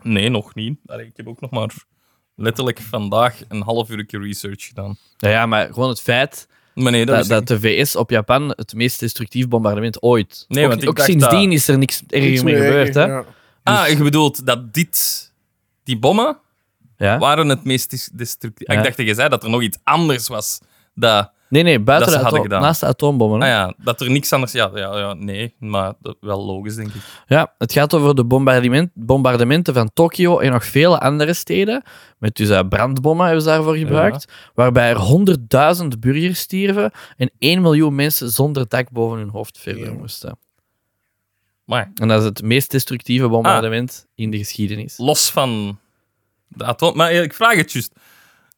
Speaker 1: Nee, nog niet. Allee, ik heb ook nog maar letterlijk vandaag een half uurtje research gedaan.
Speaker 2: Nou ja, maar gewoon het feit
Speaker 1: Maar nee, dat,
Speaker 2: dat,
Speaker 1: is
Speaker 2: dat de VS op Japan het meest destructief bombardement ooit.
Speaker 1: Nee,
Speaker 2: ook
Speaker 1: want ik
Speaker 2: ook
Speaker 1: dacht
Speaker 2: sindsdien
Speaker 1: dat-
Speaker 2: is er niks erger
Speaker 3: Iets
Speaker 2: mee
Speaker 3: meer
Speaker 2: gebeurd. Hè?
Speaker 3: eigen,
Speaker 2: Ja.
Speaker 3: ja.
Speaker 1: Ah, je bedoelt dat dit... Die bommen waren het meest dis- destructief. Ah,
Speaker 2: Ja.
Speaker 1: Ik dacht dat je zei dat er nog iets anders was. Dat,
Speaker 2: Nee, nee, buiten
Speaker 1: Dat ze
Speaker 2: de
Speaker 1: hadden
Speaker 2: ato-
Speaker 1: gedaan.
Speaker 2: naast de atoombommen. hè.
Speaker 1: ah ja, dat er niks anders... Ja, ja, ja nee, maar dat- wel logisch, denk ik.
Speaker 2: Ja, het gaat over de bombardement, bombardementen van Tokio en nog vele andere steden. Met dus eh, brandbommen hebben ze daarvoor gebruikt. Waarbij er 100.000 burgers stierven en 1 miljoen mensen zonder dak boven hun hoofd verder
Speaker 3: Ja.
Speaker 2: moesten.
Speaker 1: Maar
Speaker 2: En dat is het meest destructieve bombardement
Speaker 1: Ah.
Speaker 2: in de geschiedenis.
Speaker 1: los van de atoom... Maar ik vraag het juist.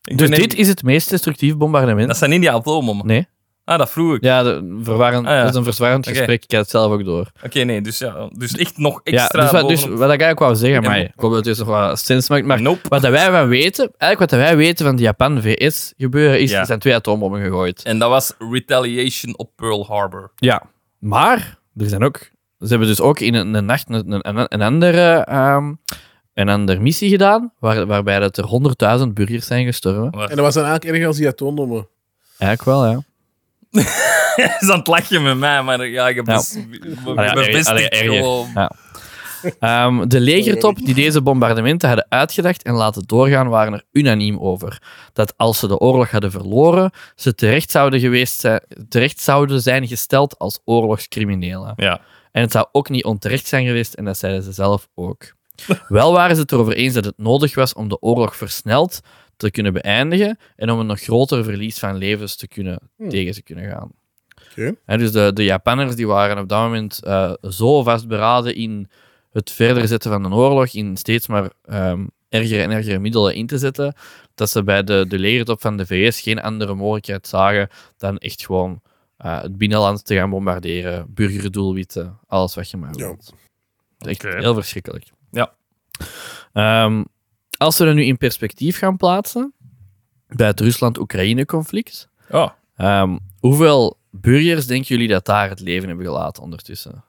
Speaker 1: Ik
Speaker 2: Dus
Speaker 1: ben
Speaker 2: dit
Speaker 1: echt-
Speaker 2: is het meest destructieve bombardement.
Speaker 1: Dat zijn niet die atoombommen.
Speaker 2: Nee.
Speaker 1: Ah, dat vroeg ik.
Speaker 2: Ja, de, verwarrend,
Speaker 1: Ah, ja.
Speaker 2: dat is een verzwarrend
Speaker 1: Oké.
Speaker 2: gesprek. Ik had het zelf ook door.
Speaker 1: Oké, nee, dus, ja, dus echt nog
Speaker 2: Ja,
Speaker 1: extra
Speaker 2: dus, wat, dus
Speaker 1: bovenop.
Speaker 2: wat ik eigenlijk wou zeggen,
Speaker 1: Ja,
Speaker 2: maar
Speaker 1: maar-
Speaker 2: ik hoop dat het dus nog wat sens maakt. Maar
Speaker 1: Nope.
Speaker 2: wat dat wij van weten, eigenlijk wat dat wij weten van de Japan-VS gebeuren, is
Speaker 1: Ja.
Speaker 2: er zijn twee atoombommen gegooid.
Speaker 1: En dat was retaliation op Pearl Harbor.
Speaker 2: Ja. Maar er zijn ook, ze hebben dus ook in een, een nacht een, een, een andere, ehm, een andere missie gedaan, waar, waarbij dat er 100.000 burgers zijn gestorven.
Speaker 1: Maar-
Speaker 3: En dat was dan eigenlijk erg als die atoombommen.
Speaker 2: Eigenlijk wel, ja.
Speaker 1: Hij is aan het lachen met mij, maar ja, ik heb
Speaker 2: Ja.
Speaker 1: bes- be-
Speaker 2: Allee, erger-
Speaker 1: bevestigd
Speaker 2: allee, erger.
Speaker 1: gewoon.
Speaker 2: Ja. Ehm, de legertop die deze bombardementen hadden uitgedacht en laten doorgaan, waren er unaniem over. Dat als ze de oorlog hadden verloren, ze terecht zouden, geweest zijn, terecht zouden zijn gesteld als oorlogscriminelen.
Speaker 1: Ja.
Speaker 2: En het zou ook niet onterecht zijn geweest, en dat zeiden ze zelf ook. Wel waren ze het erover eens dat het nodig was om de oorlog versneld te kunnen beëindigen en om een nog groter verlies van levens te kunnen, tegen te kunnen gaan.
Speaker 3: Oké.
Speaker 2: Hè, dus de, de Japanners die waren op dat moment eh, zo vastberaden in het verder zetten van een oorlog, in steeds maar ehm ergere en ergere middelen in te zetten, dat ze bij de, de legertop van de VS geen andere mogelijkheid zagen dan echt gewoon eh, het binnenland te gaan bombarderen, burgerdoelwitten, alles wat je maar
Speaker 3: Ja.
Speaker 2: wilt. Echt
Speaker 1: Oké.
Speaker 2: heel verschrikkelijk.
Speaker 1: Ja.
Speaker 2: Ehm, als we dat nu in perspectief gaan plaatsen, bij het Rusland-Oekraïne-conflict,
Speaker 1: Oh,
Speaker 2: Ehm, hoeveel burgers denken jullie dat daar het leven hebben gelaten ondertussen?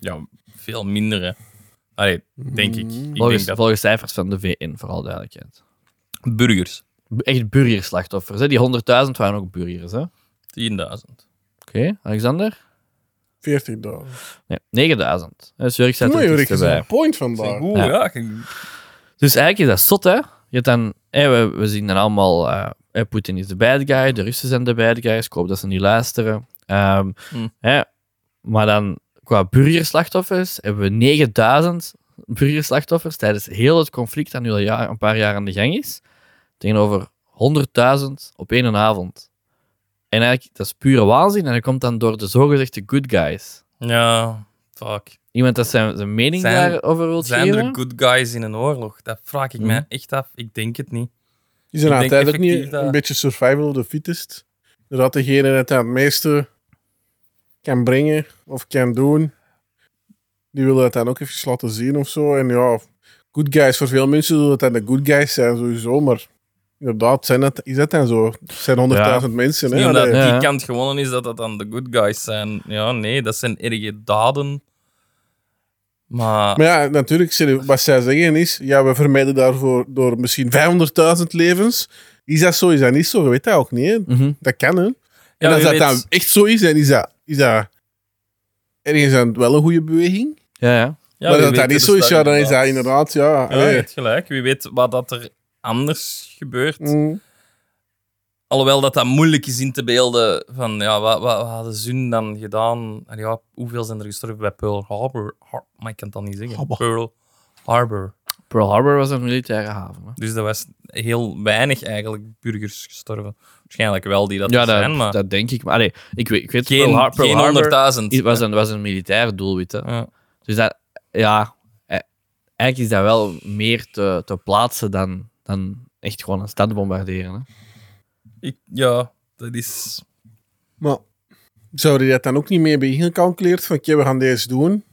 Speaker 1: ja, veel minder, hè. Allee, denk ik. Ik
Speaker 2: Volgens,
Speaker 1: denk dat...
Speaker 2: volgens cijfers van de VN, vooral duidelijkheid.
Speaker 1: Burgers.
Speaker 2: B- Echt burgerslachtoffers. Hè? Die 100.000 waren ook burgers. hè? Oké,
Speaker 1: 10.000.
Speaker 2: Alexander?
Speaker 3: 40 dagen.
Speaker 2: Nee, 9000. Dus Jurk staat
Speaker 3: Mooi,
Speaker 2: er
Speaker 3: Jurk,
Speaker 2: iets
Speaker 3: je bent
Speaker 2: bij.
Speaker 3: een point
Speaker 1: Zeg,
Speaker 3: vandaag.
Speaker 1: oeh,
Speaker 2: Ja.
Speaker 1: ja. ik-
Speaker 2: Dus eigenlijk is dat zot, hè? Je hebt dan, hé, we, we zien dan allemaal, eh eh, Poetin is de bad guy, de Russen zijn de bad guys, ik hoop dat ze niet luisteren. Ehm,
Speaker 1: Hm.
Speaker 2: hè, maar dan, qua burgerslachtoffers, hebben we 9000 burgerslachtoffers tijdens heel het conflict dat nu al jaar, een paar jaar aan de gang is, tegenover 100.000 op één avond. En eigenlijk, dat is pure waanzin en dat komt dan door de zogezegde good guys.
Speaker 1: ja, fuck.
Speaker 2: Iemand dat zijn, zijn mening
Speaker 1: Zijn-
Speaker 2: daarover wil
Speaker 1: Zijn
Speaker 2: geven.
Speaker 1: er good guys in een oorlog? Dat vraag ik
Speaker 2: Mhm.
Speaker 1: mij echt af. Ik denk het niet.
Speaker 3: Is er
Speaker 1: Ik denk
Speaker 3: altijd ook niet
Speaker 1: effectief dat-
Speaker 3: een beetje survival of the fittest? Dat degene dat het meeste kan brengen of kan doen, die willen het dan ook even laten zien of zo. En ja, good guys, voor veel mensen zullen het dan de good guys zijn sowieso, maar inderdaad, zijn dat, is dat dan zo? Het zijn 100.000 mensen.
Speaker 1: Het is
Speaker 3: Hè?
Speaker 1: niet
Speaker 3: Allee.
Speaker 1: omdat
Speaker 2: Ja.
Speaker 1: die kant gewonnen is dat dat dan de good guys zijn. Ja, nee, dat zijn erge daden. Maar,
Speaker 3: Maar ja, natuurlijk, ze- wat zij zeggen is, ja, we vermijden daarvoor door misschien 500.000 levens. Is dat zo? Is dat niet zo? Je weet dat ook niet, hè?
Speaker 2: Mhm.
Speaker 3: Dat kan, hè?
Speaker 1: ja,
Speaker 3: en als
Speaker 1: wie
Speaker 3: dat
Speaker 1: weet-
Speaker 3: dan echt zo is, en is dat, is dat ergens aan het wel een goede beweging.
Speaker 2: Ja, ja.
Speaker 1: ja,
Speaker 3: maar
Speaker 1: wie
Speaker 3: dat
Speaker 1: weet
Speaker 3: dat niet
Speaker 1: is
Speaker 3: zo is, ja, dan is dat inderdaad, ja.
Speaker 1: Ja, je
Speaker 3: hey.
Speaker 1: hebt gelijk. Wie weet wat dat er anders gebeurt.
Speaker 3: Mm.
Speaker 1: Alhoewel dat dat moeilijk is in te beelden van ja, wat, wat, wat hadden ze hun dan gedaan? En ja, hoeveel zijn er gestorven bij Pearl Harbor? Har- maar ik kan het dan niet zeggen.
Speaker 3: Harbor.
Speaker 1: Pearl Harbor.
Speaker 2: Pearl Harbor was een militaire haven. Hè?
Speaker 1: Dus dat was heel weinig eigenlijk burgers gestorven. Waarschijnlijk wel die dat
Speaker 2: Ja,
Speaker 1: er
Speaker 2: dat,
Speaker 1: zijn, maar
Speaker 2: dat denk ik. Maar allee, ik weet, ik weet
Speaker 1: geen,
Speaker 2: Pearl, Har- Pearl
Speaker 1: geen
Speaker 2: Harbor
Speaker 1: 100.000.
Speaker 2: i- was een, was een militair doelwit. Hè?
Speaker 1: Ja.
Speaker 2: Dus dat, ja, e- eigenlijk is dat wel meer te, te plaatsen dan, dan echt gewoon een stad bombarderen. Hè?
Speaker 1: Ik, ja, dat is...
Speaker 3: Maar zou je dat dan ook niet meer bij ingecalculeerd? Van, oké, we gaan deze doen.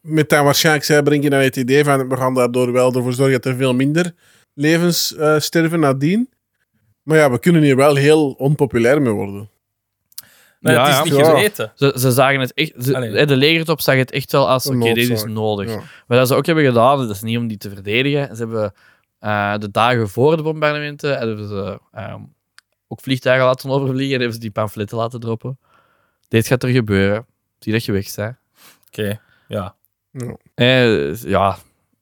Speaker 3: Met dan waarschijnlijk zij brengen dan het idee van, we gaan daardoor wel ervoor zorgen dat er veel minder levens eh, sterven nadien. Maar ja, we kunnen hier wel heel onpopulair mee worden.
Speaker 1: Nee,
Speaker 2: Ja,
Speaker 1: het is
Speaker 2: ja.
Speaker 1: niet
Speaker 3: Ja.
Speaker 1: geweten.
Speaker 2: Ze, ze zagen het echt, ze-
Speaker 1: Allee.
Speaker 2: hè, de legertop zag het echt wel als:
Speaker 3: Een
Speaker 2: oké, dit is
Speaker 3: noodzaak.
Speaker 2: nodig.
Speaker 3: Ja.
Speaker 2: Wat dat ze ook hebben gedaan, dat is niet om die te verdedigen. Ze hebben eh, de dagen voor de bombardementen hebben ze, ehm, ook vliegtuigen laten overvliegen en hebben ze die pamfletten laten droppen. Dit gaat er gebeuren. Zie dat je weg bent.
Speaker 1: Oké, ja.
Speaker 2: Eh, ja,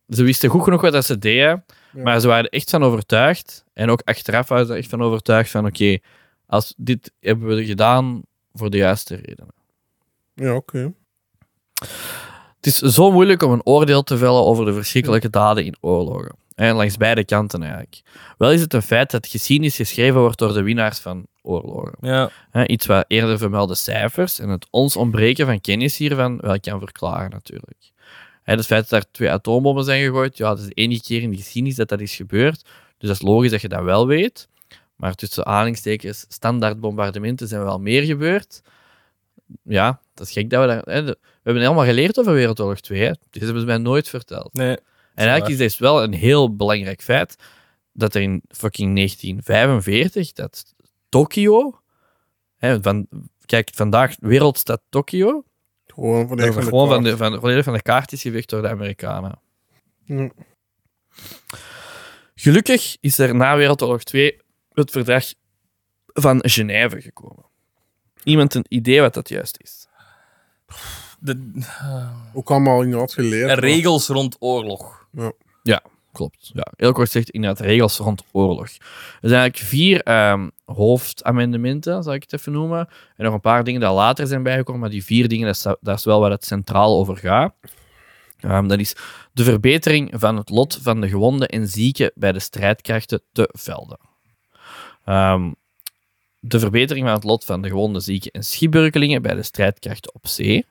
Speaker 2: ze wisten goed genoeg wat dat ze deden,
Speaker 3: Ja.
Speaker 2: maar ze waren er echt van overtuigd. En ook achteraf waren ze er echt van overtuigd van oké, als dit hebben we gedaan voor de juiste redenen.
Speaker 3: Ja, oké.
Speaker 2: Het is zo moeilijk om een oordeel te vellen over de verschrikkelijke daden in oorlogen. En langs beide kanten eigenlijk. Wel is het een feit dat geschiedenis geschreven wordt door de winnaars van oorlogen.
Speaker 1: Ja.
Speaker 2: Hè, iets wat eerder vermelde cijfers en het ons ontbreken van kennis hiervan wel kan verklaren natuurlijk. Hè, het feit dat er twee atoombommen zijn gegooid, ja, dat is de enige keer in de geschiedenis dat dat is gebeurd. Dus dat is logisch dat je dat wel weet. Maar tussen aanhalingstekens, standaard bombardementen zijn wel meer gebeurd. Ja, dat is gek dat we daar... Hè, de- we hebben helemaal geleerd over Wereldoorlog 2. Hè. Dit hebben ze mij nooit verteld.
Speaker 1: Nee.
Speaker 2: En eigenlijk is dit wel een heel belangrijk feit dat er in fucking 1945 dat Tokio, hè, van, kijk vandaag wereldstad Tokio,
Speaker 3: Gewoon van de
Speaker 2: dat
Speaker 3: van de
Speaker 2: gewoon van
Speaker 3: kwaad.
Speaker 2: de, van, volledig van de kaart is gewicht door de Amerikanen.
Speaker 3: Ja.
Speaker 2: Gelukkig is er na Wereldoorlog 2 het verdrag van Genève gekomen. Iemand een idee wat dat juist is?
Speaker 1: De,
Speaker 3: Ook allemaal inderdaad geleerd. maar-
Speaker 1: regels rond oorlog.
Speaker 2: Klopt. Ja, heel kort gezegd, inderdaad, regels rond oorlog. Er zijn eigenlijk vier ehm, hoofdamendementen, zal ik het even noemen. En nog een paar dingen die later zijn bijgekomen, maar die vier dingen, dat is, dat is wel waar het centraal over gaat. Ehm, dat is de verbetering van het lot van de gewonden en zieken bij de strijdkrachten te velden. Ehm, de verbetering van het lot van de gewonden, zieken en schipbreukelingen bij de strijdkrachten op zee.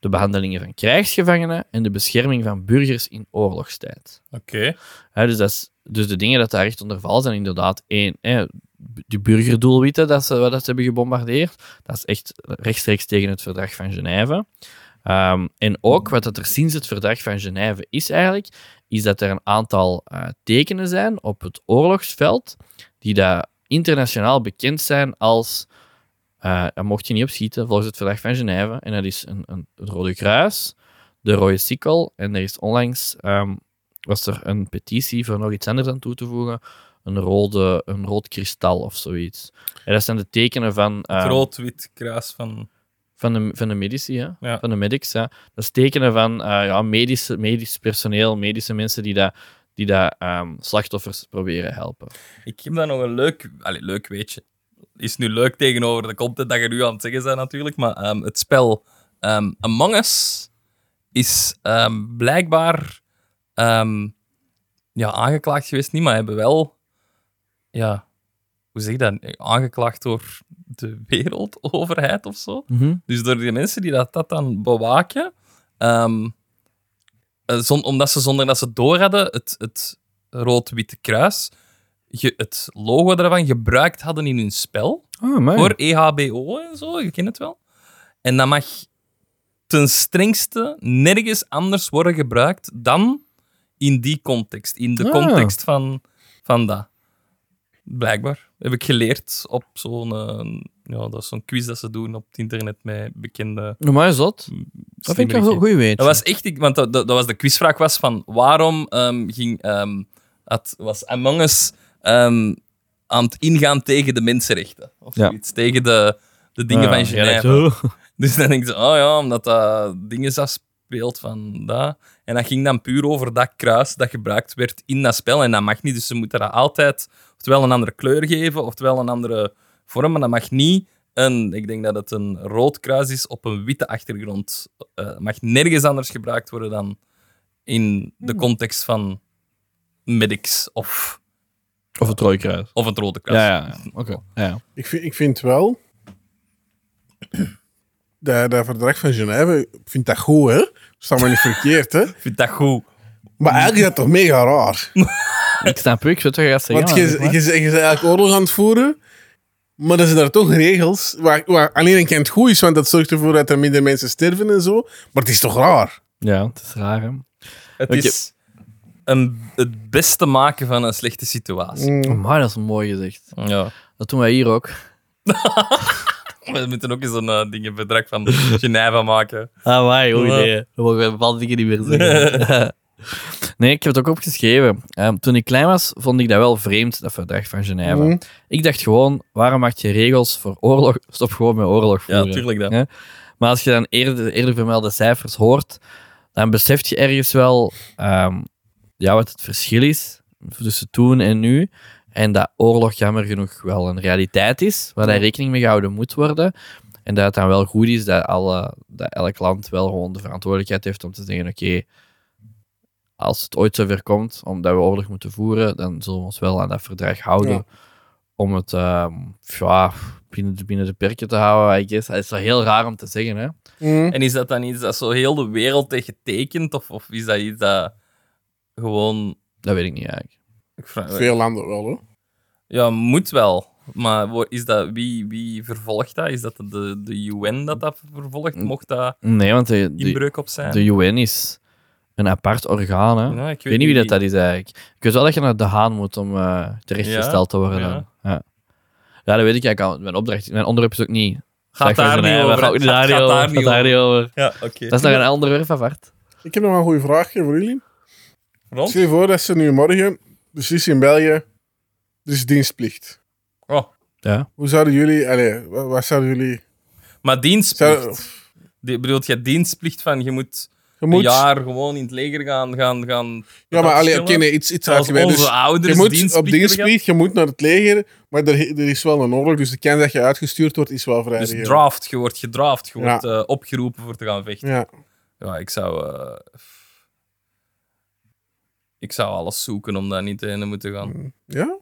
Speaker 2: De behandelingen van krijgsgevangenen en de bescherming van burgers in oorlogstijd.
Speaker 1: Oké.
Speaker 2: Hè, dus, dat is, dus de dingen dat daar echt onder vallen zijn inderdaad één. Hè, b- die burgerdoelwitten dat ze, wat dat ze hebben gebombardeerd, dat is echt rechtstreeks tegen het verdrag van Genève. Ehm, en ook wat dat er sinds het verdrag van Genève is eigenlijk, is dat er een aantal eh, tekenen zijn op het oorlogsveld die daar internationaal bekend zijn als eh daar mocht je niet op schieten volgens het verdrag van Genève. En dat is een, een, het Rode Kruis, de Rode Sikkel en er is onlangs ehm, was er een petitie voor nog iets anders aan toe te voegen. Een, rode, een rood kristal of zoiets. En dat zijn de tekenen van, ehm,
Speaker 1: Groot wit kruis van...
Speaker 2: Van de, van de medici, hè?
Speaker 1: Ja.
Speaker 2: van de medics. Hè? Dat is tekenen van eh, ja, medische, medisch personeel, medische mensen die dat, die dat ehm, slachtoffers proberen helpen.
Speaker 1: Ik heb daar nog een leuk, allee, leuk weetje. Is nu leuk tegenover de content dat je nu aan het zeggen bent, natuurlijk. Maar ehm, het spel ehm, Among Us is ehm, blijkbaar ehm, ja, aangeklaagd geweest. Niet, maar hebben wel, ja, hoe zeg je dat? Aangeklaagd door de wereldoverheid of zo.
Speaker 2: Mhm.
Speaker 1: Dus door die mensen die dat, dat dan bewaken, ehm, eh, zon- omdat ze zonder dat ze het door hadden, het, het rood-witte kruis, ge- het logo daarvan gebruikt hadden in hun spel.
Speaker 2: Oh, maar.
Speaker 1: Voor E EHBO en zo, je kent het wel. En dat mag ten strengste nergens anders worden gebruikt dan in die context. In de
Speaker 2: Ah.
Speaker 1: context van, van dat. Blijkbaar. Heb ik geleerd op zo'n eh, ja, dat is zo'n quiz dat ze doen op het internet met bekende...
Speaker 2: Maar is dat? Dat vind ik wel een goeie weet.
Speaker 1: Mm, Dat was echt, ik- want dat, dat, dat was de quizvraag was van waarom ehm, ging, ehm, had, was Among Us ehm, aan het ingaan tegen de mensenrechten? Of
Speaker 2: Ja.
Speaker 1: zoiets, tegen de, de dingen van Genève. dus dan denk je, oh ja, omdat dat dingen afspeelt van dat. En dat ging dan puur over dat kruis dat gebruikt werd in dat spel. En dat mag niet, dus ze moeten dat altijd oftewel een andere kleur geven, oftewel een andere vorm. Maar dat mag niet een, ik denk dat het een rood kruis is op een witte achtergrond. Eh, mag nergens anders gebruikt worden dan in de context van medics of,
Speaker 2: Of een trooikruis.
Speaker 1: of het rode kruis.
Speaker 2: Ja, ja, ja. oké. Ja, ja.
Speaker 3: Ik vind, ik vind wel. Dat, dat verdrag van Genève, ik vind dat goed, hè? Staat maar niet verkeerd, hè?
Speaker 1: Ik vind dat goed.
Speaker 3: Maar eigenlijk is dat toch mega raar?
Speaker 2: Ik snap u, ik weet wat je gaat zeggen.
Speaker 3: Want je,
Speaker 2: maar
Speaker 3: je,
Speaker 2: zeg maar.
Speaker 3: je, bent eigenlijk oorlog aan het voeren, maar er zijn daar toch regels waar, waar alleen een kent goed is, want dat zorgt ervoor dat er minder mensen sterven en zo. Maar het is toch raar?
Speaker 2: Ja, het is raar, hè.
Speaker 1: Mm. Het
Speaker 2: Oké.
Speaker 1: is een, het beste maken van een slechte situatie.
Speaker 2: Maar dat is mooi gezegd.
Speaker 1: Ja.
Speaker 2: Dat doen wij hier ook.
Speaker 1: We moeten ook eens een eh, ding, een verdrag van Genève maken.
Speaker 2: Ah, wij, hoe
Speaker 1: Ja.
Speaker 2: idee. We mogen bepaalde dingen niet meer zeggen. nee, ik heb het ook opgeschreven. Ehm, toen ik klein was, vond ik dat wel vreemd, dat verdrag van Genève.
Speaker 3: Mhm.
Speaker 2: Ik dacht gewoon, waarom maak je regels voor oorlog? Stop gewoon met oorlog
Speaker 1: Ja,
Speaker 2: voeren.
Speaker 1: natuurlijk dat.
Speaker 2: Ja. Maar als je dan eerder, eerder vermelde cijfers hoort, dan besef je ergens wel ehm, ja, wat het verschil is tussen toen en nu. En dat oorlog jammer genoeg wel een realiteit is, waar daar rekening mee gehouden moet worden. En dat het dan wel goed is dat, alle, dat elk land wel gewoon de verantwoordelijkheid heeft om te zeggen: oké, als het ooit zover komt, omdat we oorlog moeten voeren, dan zullen we ons wel aan dat verdrag houden.
Speaker 3: Ja.
Speaker 2: Om het ehm, ja, binnen, de, binnen de perken te houden, I guess. Dat is wel heel raar om te zeggen, hè?
Speaker 3: Mm.
Speaker 1: En is dat dan iets dat zo heel de wereld tegen tekent? Of, of is dat iets dat gewoon...
Speaker 2: Dat weet ik niet eigenlijk.
Speaker 1: Ik vraag,
Speaker 3: Veel landen wel, hè?
Speaker 1: ja, moet wel. Maar wo- is dat, wie, wie vervolgt dat? Is dat de, de UN dat dat vervolgt?
Speaker 2: Mm.
Speaker 1: Mocht dat
Speaker 2: Nee, want de, de,
Speaker 1: inbreuk op zijn?
Speaker 2: de UN is een apart orgaan, hè?
Speaker 1: Ja,
Speaker 2: ik weet, niet wie dat, dat is eigenlijk. Ik weet wel dat je naar de Haan moet om eh, terechtgesteld te worden.
Speaker 1: ja.
Speaker 2: Ja. Ja. dat weet ik eigenlijk al. Mijn, opdracht, mijn onderwerp is ook niet.
Speaker 1: Gaat daar niet over.
Speaker 2: Gaat
Speaker 1: Gaat- gaat daar niet
Speaker 2: Gaat daar
Speaker 1: over.
Speaker 2: niet over.
Speaker 1: Ja, oké.
Speaker 2: Dat is nog een ander werf apart.
Speaker 3: Ik heb nog een goede vraagje voor jullie.
Speaker 1: Rond?
Speaker 3: Stel je voor dat ze nu morgen, precies in België, er is dienstplicht.
Speaker 1: Oh.
Speaker 2: Ja.
Speaker 3: Hoe zouden jullie, allee, wa- wat, zouden jullie.
Speaker 1: Maar
Speaker 3: Zou,
Speaker 1: dienstplicht. Die, bedoelt je dienstplicht van je moet,
Speaker 3: je moet,
Speaker 1: een jaar gewoon in het leger gaan... gaan, gaan
Speaker 3: ja, maar allee,
Speaker 1: afschillen?
Speaker 3: oké, nee, iets, iets
Speaker 1: Zelfs
Speaker 3: uitgebreid.
Speaker 1: onze
Speaker 3: Dus
Speaker 1: ouders
Speaker 3: je moet op
Speaker 1: dienstplicht hebben
Speaker 3: dienstplicht, je moet naar het leger, maar er, er is wel een oorlog, dus de kans dat je uitgestuurd wordt is wel vrij
Speaker 1: gehad.
Speaker 3: reëel.
Speaker 1: Dus draft, je wordt gedraft, je
Speaker 3: Ja.
Speaker 1: wordt eh, opgeroepen voor te gaan vechten.
Speaker 3: Ja.
Speaker 1: Ja, ik zou... eh, ik zou alles zoeken om daar niet heen te moeten gaan.
Speaker 3: Mm. ja?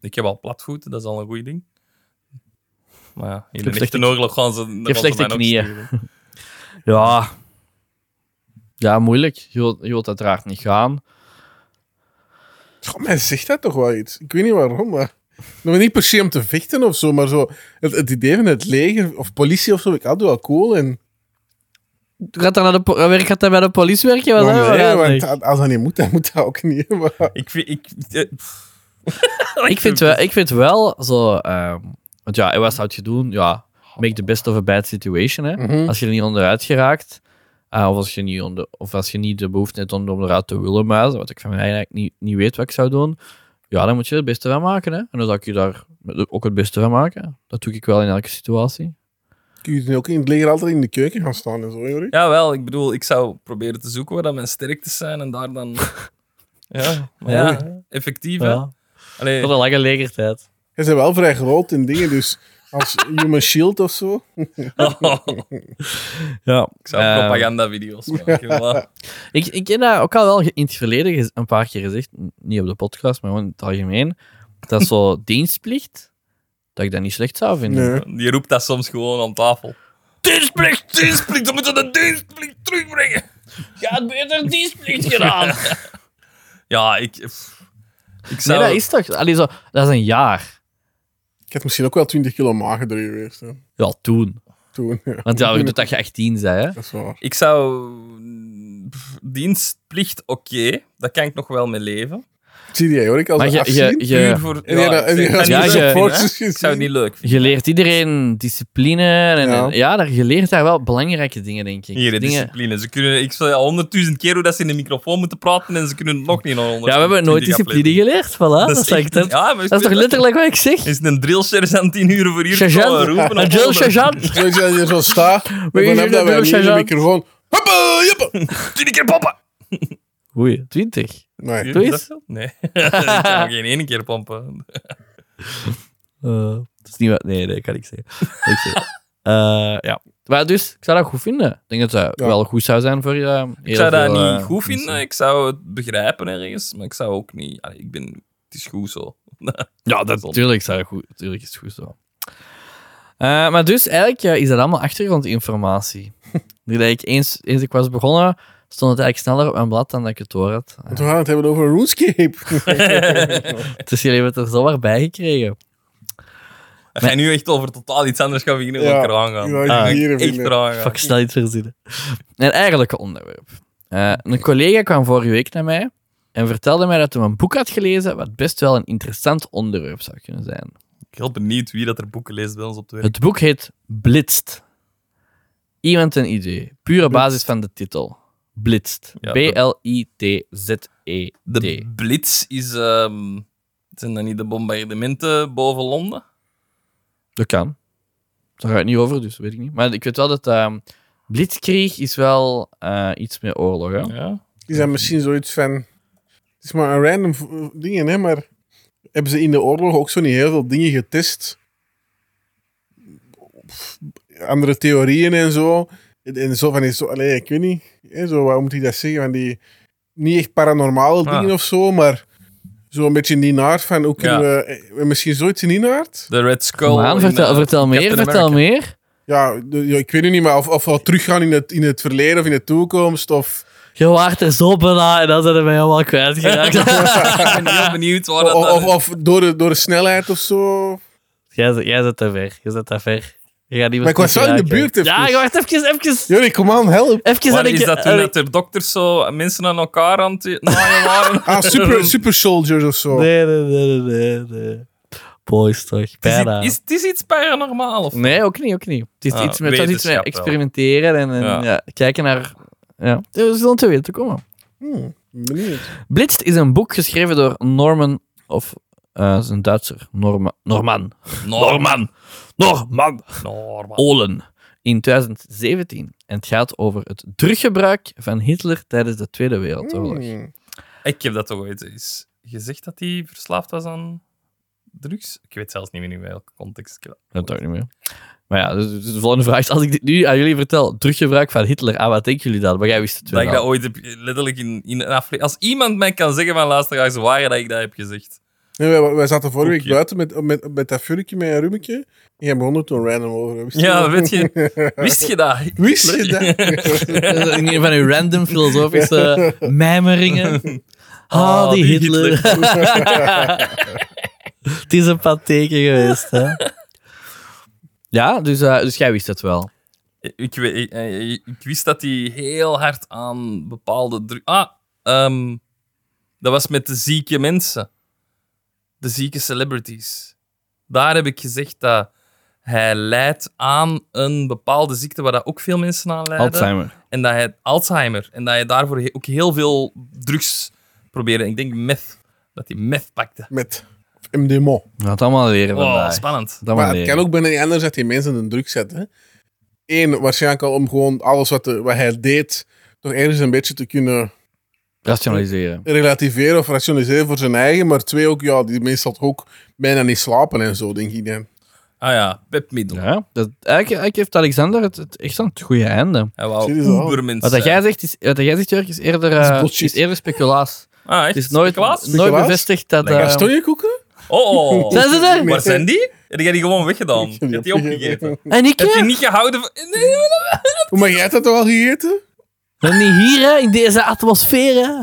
Speaker 1: Ik heb al platvoeten, dat is al een goed ding. Maar ja, in
Speaker 2: heb
Speaker 1: de
Speaker 2: slechte
Speaker 1: echte oorlog gaan ze... Ik
Speaker 2: slechte knieën. Ja. Ja, moeilijk. Je wilt, je wilt uiteraard niet gaan.
Speaker 3: Goh, mij zegt dat toch wel iets. Ik weet niet waarom, maar... Nou, niet per se om te vechten of zo, maar zo... Het, het idee van het leger of politie of zo, ik had wel cool. En,
Speaker 2: Gaat dat, naar de, po- eh, werk- gaat dat bij de politie werken? Wat
Speaker 3: Maar
Speaker 2: hebben we
Speaker 3: nee,
Speaker 2: gedaan, zeg?
Speaker 3: want als dat niet moet, dan moet dat ook niet. Maar,
Speaker 1: Ik vind... Ik, eh, pff.
Speaker 2: ik, vind wel, ik vind wel zo... ehm, want ja, en wat zou je doen? Ja, make the best of a bad situation. Hè?
Speaker 3: Mhm.
Speaker 2: Als je er niet onderuit geraakt, ah, of, als je niet onder, of als je niet de behoefte hebt om er onderuit te willen muizen, wat ik van mij eigenlijk niet, niet weet wat ik zou doen, ja, dan moet je er het beste van maken. Hè? En dan zou ik je daar ook het beste van maken. Dat doe ik wel in elke situatie.
Speaker 3: Kun je ook in het leger altijd in de keuken gaan staan en zo, Jorik?
Speaker 1: Jawel, ik bedoel, ik zou proberen te zoeken waar dat mijn sterktes zijn en daar dan... Ja, maar ja, effectief, hè.
Speaker 2: Ja.
Speaker 1: Allee,
Speaker 2: Wat een lange legertijd.
Speaker 3: Hij zijn wel vrij groot in dingen, dus als Human Shield of zo.
Speaker 2: Ja.
Speaker 1: ik zou
Speaker 2: Eh,
Speaker 1: propagandavideo's maken. voilà.
Speaker 2: Ik, ik ken dat ook al wel ge- in het verleden gez- een paar keer gezegd. N- Niet op de podcast, maar gewoon in het algemeen. Dat is zo dienstplicht. Dat ik dat niet slecht zou vinden.
Speaker 3: Nee.
Speaker 1: Die roept dat soms gewoon aan tafel. Dienstplicht, dienstplicht, we moeten de dienstplicht terugbrengen.
Speaker 2: Je had beter dienstplicht gedaan.
Speaker 1: Ja, ik... pff, ik
Speaker 2: Nee,
Speaker 1: zou...
Speaker 2: dat is toch... Allee, zo, dat is een jaar.
Speaker 3: Ik had misschien ook wel 20 kilo magerder geweest. Hè.
Speaker 2: Ja, toen.
Speaker 3: Toen. Ja.
Speaker 2: Want ja, we doen dat je 18 zei, hè.
Speaker 3: Dat is waar.
Speaker 1: Ik zou... pff, dienstplicht, oké. Daar kan ik nog wel mee leven.
Speaker 3: Zie jij, Jorik, als
Speaker 2: Maar
Speaker 3: een
Speaker 2: je, je,
Speaker 3: afzien?
Speaker 1: Puur
Speaker 2: je,
Speaker 1: voor...
Speaker 3: En die-
Speaker 1: ik
Speaker 3: en die-
Speaker 1: zou- ik zou
Speaker 2: ja,
Speaker 1: het niet
Speaker 2: je-
Speaker 1: leuk vinden,
Speaker 3: Forces
Speaker 1: hè. Ik zou het niet leuk vinden.
Speaker 2: je leert iedereen discipline. En,
Speaker 3: Ja.
Speaker 2: en- ja, daar, je leert daar wel belangrijke dingen, denk ik.
Speaker 1: Hier, de
Speaker 2: dingen,
Speaker 1: discipline. Ze kunnen, ik zei al honderdduizend keer hoe dat ze in de microfoon moeten praten en ze kunnen het nog niet naar
Speaker 2: ja, we hebben nooit discipline geleerd. Voilà, dat, is
Speaker 1: echt-
Speaker 2: echt- dat,
Speaker 1: ja, maar ik
Speaker 2: dat is
Speaker 1: weet
Speaker 2: toch letterlijk wat ik zeg?
Speaker 1: Is het een drillsergeant die een uur voor uur
Speaker 2: Sergeant.
Speaker 1: kan roepen?
Speaker 2: Een drill sergeant.
Speaker 3: Zo dat je hier zo staat.
Speaker 2: Weet je
Speaker 3: dan
Speaker 2: wie
Speaker 3: hebben
Speaker 2: dat
Speaker 3: wij
Speaker 2: wil,
Speaker 3: niet de
Speaker 2: sergeant?
Speaker 3: microfoon. Hoppa, joppa.
Speaker 1: Tien keer papa!
Speaker 2: Oei, 20.
Speaker 3: Nee.
Speaker 2: Doe
Speaker 1: Is
Speaker 2: eens.
Speaker 1: dat zo? Nee. ik kan nog geen ene keer pompen.
Speaker 2: Eh, dat is niet wat... Nee, dat kan ik zeggen. Ik zeg- Eh, ja. Maar dus, ik zou dat goed vinden. Ik denk dat dat
Speaker 3: Ja.
Speaker 2: wel goed zou zijn voor eh, je.
Speaker 1: Ik zou dat
Speaker 2: eh,
Speaker 1: niet goed vinden. Ik zou het begrijpen ergens, maar ik zou ook niet... Allee, ik ben... Het is goed zo.
Speaker 2: Ja, dat, tuurlijk, zou dat goed, tuurlijk is het goed zo. Eh, maar dus, eigenlijk ja, is dat allemaal achtergrondinformatie. Die dat ik eens, eens ik was begonnen, stond het eigenlijk sneller op mijn blad dan dat ik het door had.
Speaker 3: Want we gaan het hebben over RuneScape.
Speaker 2: Dus jullie hebben het er zomaar bij gekregen.
Speaker 1: Als jij nu echt over totaal iets anders gaat beginnen, wil
Speaker 3: Ja.
Speaker 1: ik eraan gaan.
Speaker 3: Ja, ik
Speaker 1: Ah,
Speaker 3: hier
Speaker 1: echt
Speaker 3: beginnen.
Speaker 1: eraan gaan.
Speaker 2: Fuck, snel iets verzinnen. Een eigenlijk onderwerp. Eh, een collega kwam vorige week naar mij en vertelde mij dat hij een boek had gelezen wat best wel een interessant onderwerp zou kunnen zijn.
Speaker 1: Ik ben heel benieuwd wie dat er boeken leest bij ons op het werk.
Speaker 2: Het boek heet Blitst. Iemand een idee. Pure basis van de titel. Blitst.
Speaker 1: Ja,
Speaker 2: B-L-I-T-Z-E-D.
Speaker 1: De Blitz is... ehm, zijn dat niet de bombardementen boven Londen?
Speaker 2: Dat kan. Daar ga ik niet over, dus weet ik niet. Maar ik weet wel dat ehm, Blitzkrieg is wel eh, iets meer oorlog. Hè?
Speaker 1: Ja.
Speaker 3: Die zijn misschien zoiets van. Het is maar een random v- dingen, hè, maar hebben ze in de oorlog ook zo niet heel veel dingen getest? Pff, Andere theorieën en zo. En- En zo van, zo, allee, ik weet niet. Hè, zo, wat moet ik dat zeggen? Van die, niet echt paranormale
Speaker 1: Ah.
Speaker 3: dingen of zo, maar zo een beetje in die naart van hoe kunnen
Speaker 1: Ja.
Speaker 3: we. eh, Misschien zoiets in die naart?
Speaker 1: De Red Skull.
Speaker 2: Kom aan,
Speaker 1: in,
Speaker 2: vertel,
Speaker 1: eh,
Speaker 2: vertel meer,
Speaker 1: Captain
Speaker 2: vertel
Speaker 1: America.
Speaker 2: meer.
Speaker 3: Ja, de- ja, ik weet het niet, maar of, of we teruggaan in het, in het verleden of in de toekomst. Of,
Speaker 2: Je waart er zo bijna en dan zijn we mij helemaal kwijtgeraakt.
Speaker 1: ik ben heel benieuwd waar Oh, dat...
Speaker 3: of, of, of door, de, door de snelheid of zo.
Speaker 2: jij, zit- jij zit te ver, jij zit te ver. Je gaat niet
Speaker 3: Maar ik was wel in de buurt. even.
Speaker 2: Ja, wacht even, even.
Speaker 3: Jullie, kom aan, help.
Speaker 2: Even
Speaker 1: Waar
Speaker 2: ik...
Speaker 1: is dat toen dat er dokters zo mensen aan elkaar aan het naaien waren?
Speaker 3: Ah, super, super Soldiers of zo.
Speaker 2: Nee, nee, nee, nee, nee, nee. Boys toch,
Speaker 1: Het is,
Speaker 2: bijna.
Speaker 1: iets- is, het is iets paranormaal of
Speaker 2: Nee, ook niet, ook niet. Het is
Speaker 1: Ah,
Speaker 2: iets met, het is iets
Speaker 1: wetenschap
Speaker 2: met
Speaker 1: wel.
Speaker 2: experimenteren en, en,
Speaker 1: Ja.
Speaker 2: ja, kijken naar... Ja, we zullen te weten komen.
Speaker 3: Hmm, benieuwd.
Speaker 2: Blitst is een boek geschreven door Norman, of eh, is een Duitser, Norma, Norman. Norman. Norman
Speaker 1: Norman.
Speaker 2: Olen in 2017. En het gaat over het druggebruik van Hitler tijdens de Tweede Wereldoorlog.
Speaker 3: Hmm.
Speaker 1: Ik heb dat toch ooit eens gezegd dat hij verslaafd was aan drugs? Ik weet zelfs niet meer in welke context. ik dat-
Speaker 2: Dat weet ik niet meer. Maar ja, dus, dus de volgende vraag is: als ik dit nu aan jullie vertel, druggebruik van Hitler, aan wat denken jullie dan? Maar jij wist het
Speaker 1: Dat
Speaker 2: wel.
Speaker 1: ik dat ooit heb, letterlijk in, in een aflevering... Als iemand mij kan zeggen van luisteraars waar dat ik dat heb gezegd.
Speaker 3: Nee, wij, wij zaten vorige week
Speaker 1: Koekje.
Speaker 3: buiten met, met, met dat furkje met een rummetje. En jij begon er toen random over. Wist
Speaker 1: Ja, weet je... Wist je dat?
Speaker 3: Wist je dat?
Speaker 2: Dat is een van uw random filosofische mijmeringen. Ah, die Hitler. het is een patheken geweest, hè? Ja, dus, eh, dus jij wist het wel.
Speaker 1: Ik, we- ik, eh, ik wist dat hij heel hard aan bepaalde druk. Ah, ehm, dat was met de zieke mensen. De zieke celebrities. Daar heb ik gezegd dat hij lijdt aan een bepaalde ziekte waar dat ook veel mensen aan lijden.
Speaker 2: Alzheimer.
Speaker 1: En dat hij Alzheimer. En dat hij daarvoor he- ook heel veel drugs probeerde. Ik denk meth. Dat hij meth pakte.
Speaker 3: Met MDMO.
Speaker 2: We gaan het allemaal leren
Speaker 1: Oh,
Speaker 2: vandaag.
Speaker 1: spannend.
Speaker 2: Dat
Speaker 3: Maar het kan ook bijna niet anders dat die mensen een druk zetten. één, waarschijnlijk al om gewoon alles wat, de- wat hij deed, toch ergens een beetje te kunnen
Speaker 2: Rationaliseren.
Speaker 3: relativeren of rationaliseren voor zijn eigen. Maar twee, ook, ja, die meestal toch ook bijna niet slapen en zo, denk ik dan.
Speaker 1: Ah ja, pepmiddel.
Speaker 2: Ja, dat, eigenlijk, eigenlijk heeft Alexander het, het echt aan het goede einde.
Speaker 1: Hij wou
Speaker 3: Zie je zo?
Speaker 1: ubermens
Speaker 2: Wat dat
Speaker 1: zijn.
Speaker 2: jij zegt, is, eh, wat dat jij zegt Jurk, is eerder,
Speaker 3: is
Speaker 2: eh, is
Speaker 3: bullshit.
Speaker 2: eerder speculaas.
Speaker 1: Ah, echt?
Speaker 2: Het is nooit,
Speaker 1: Klaas?
Speaker 2: nooit
Speaker 3: Speculaas?
Speaker 2: bevestigd dat...
Speaker 1: Lekker.
Speaker 2: eh,
Speaker 3: Ja, stonjekoeken?
Speaker 1: Oh,
Speaker 2: Zijn ze er?
Speaker 1: waar zijn die? Heb jij die gewoon weggedaan? Heb je die opgegeten?
Speaker 2: en ik,
Speaker 1: Heb
Speaker 2: hè?
Speaker 1: je niet gehouden van... Nee, nee,
Speaker 3: Hoe mag jij dat toch al gegeten?
Speaker 2: Dan niet hier, hè? In deze atmosfeer, hè?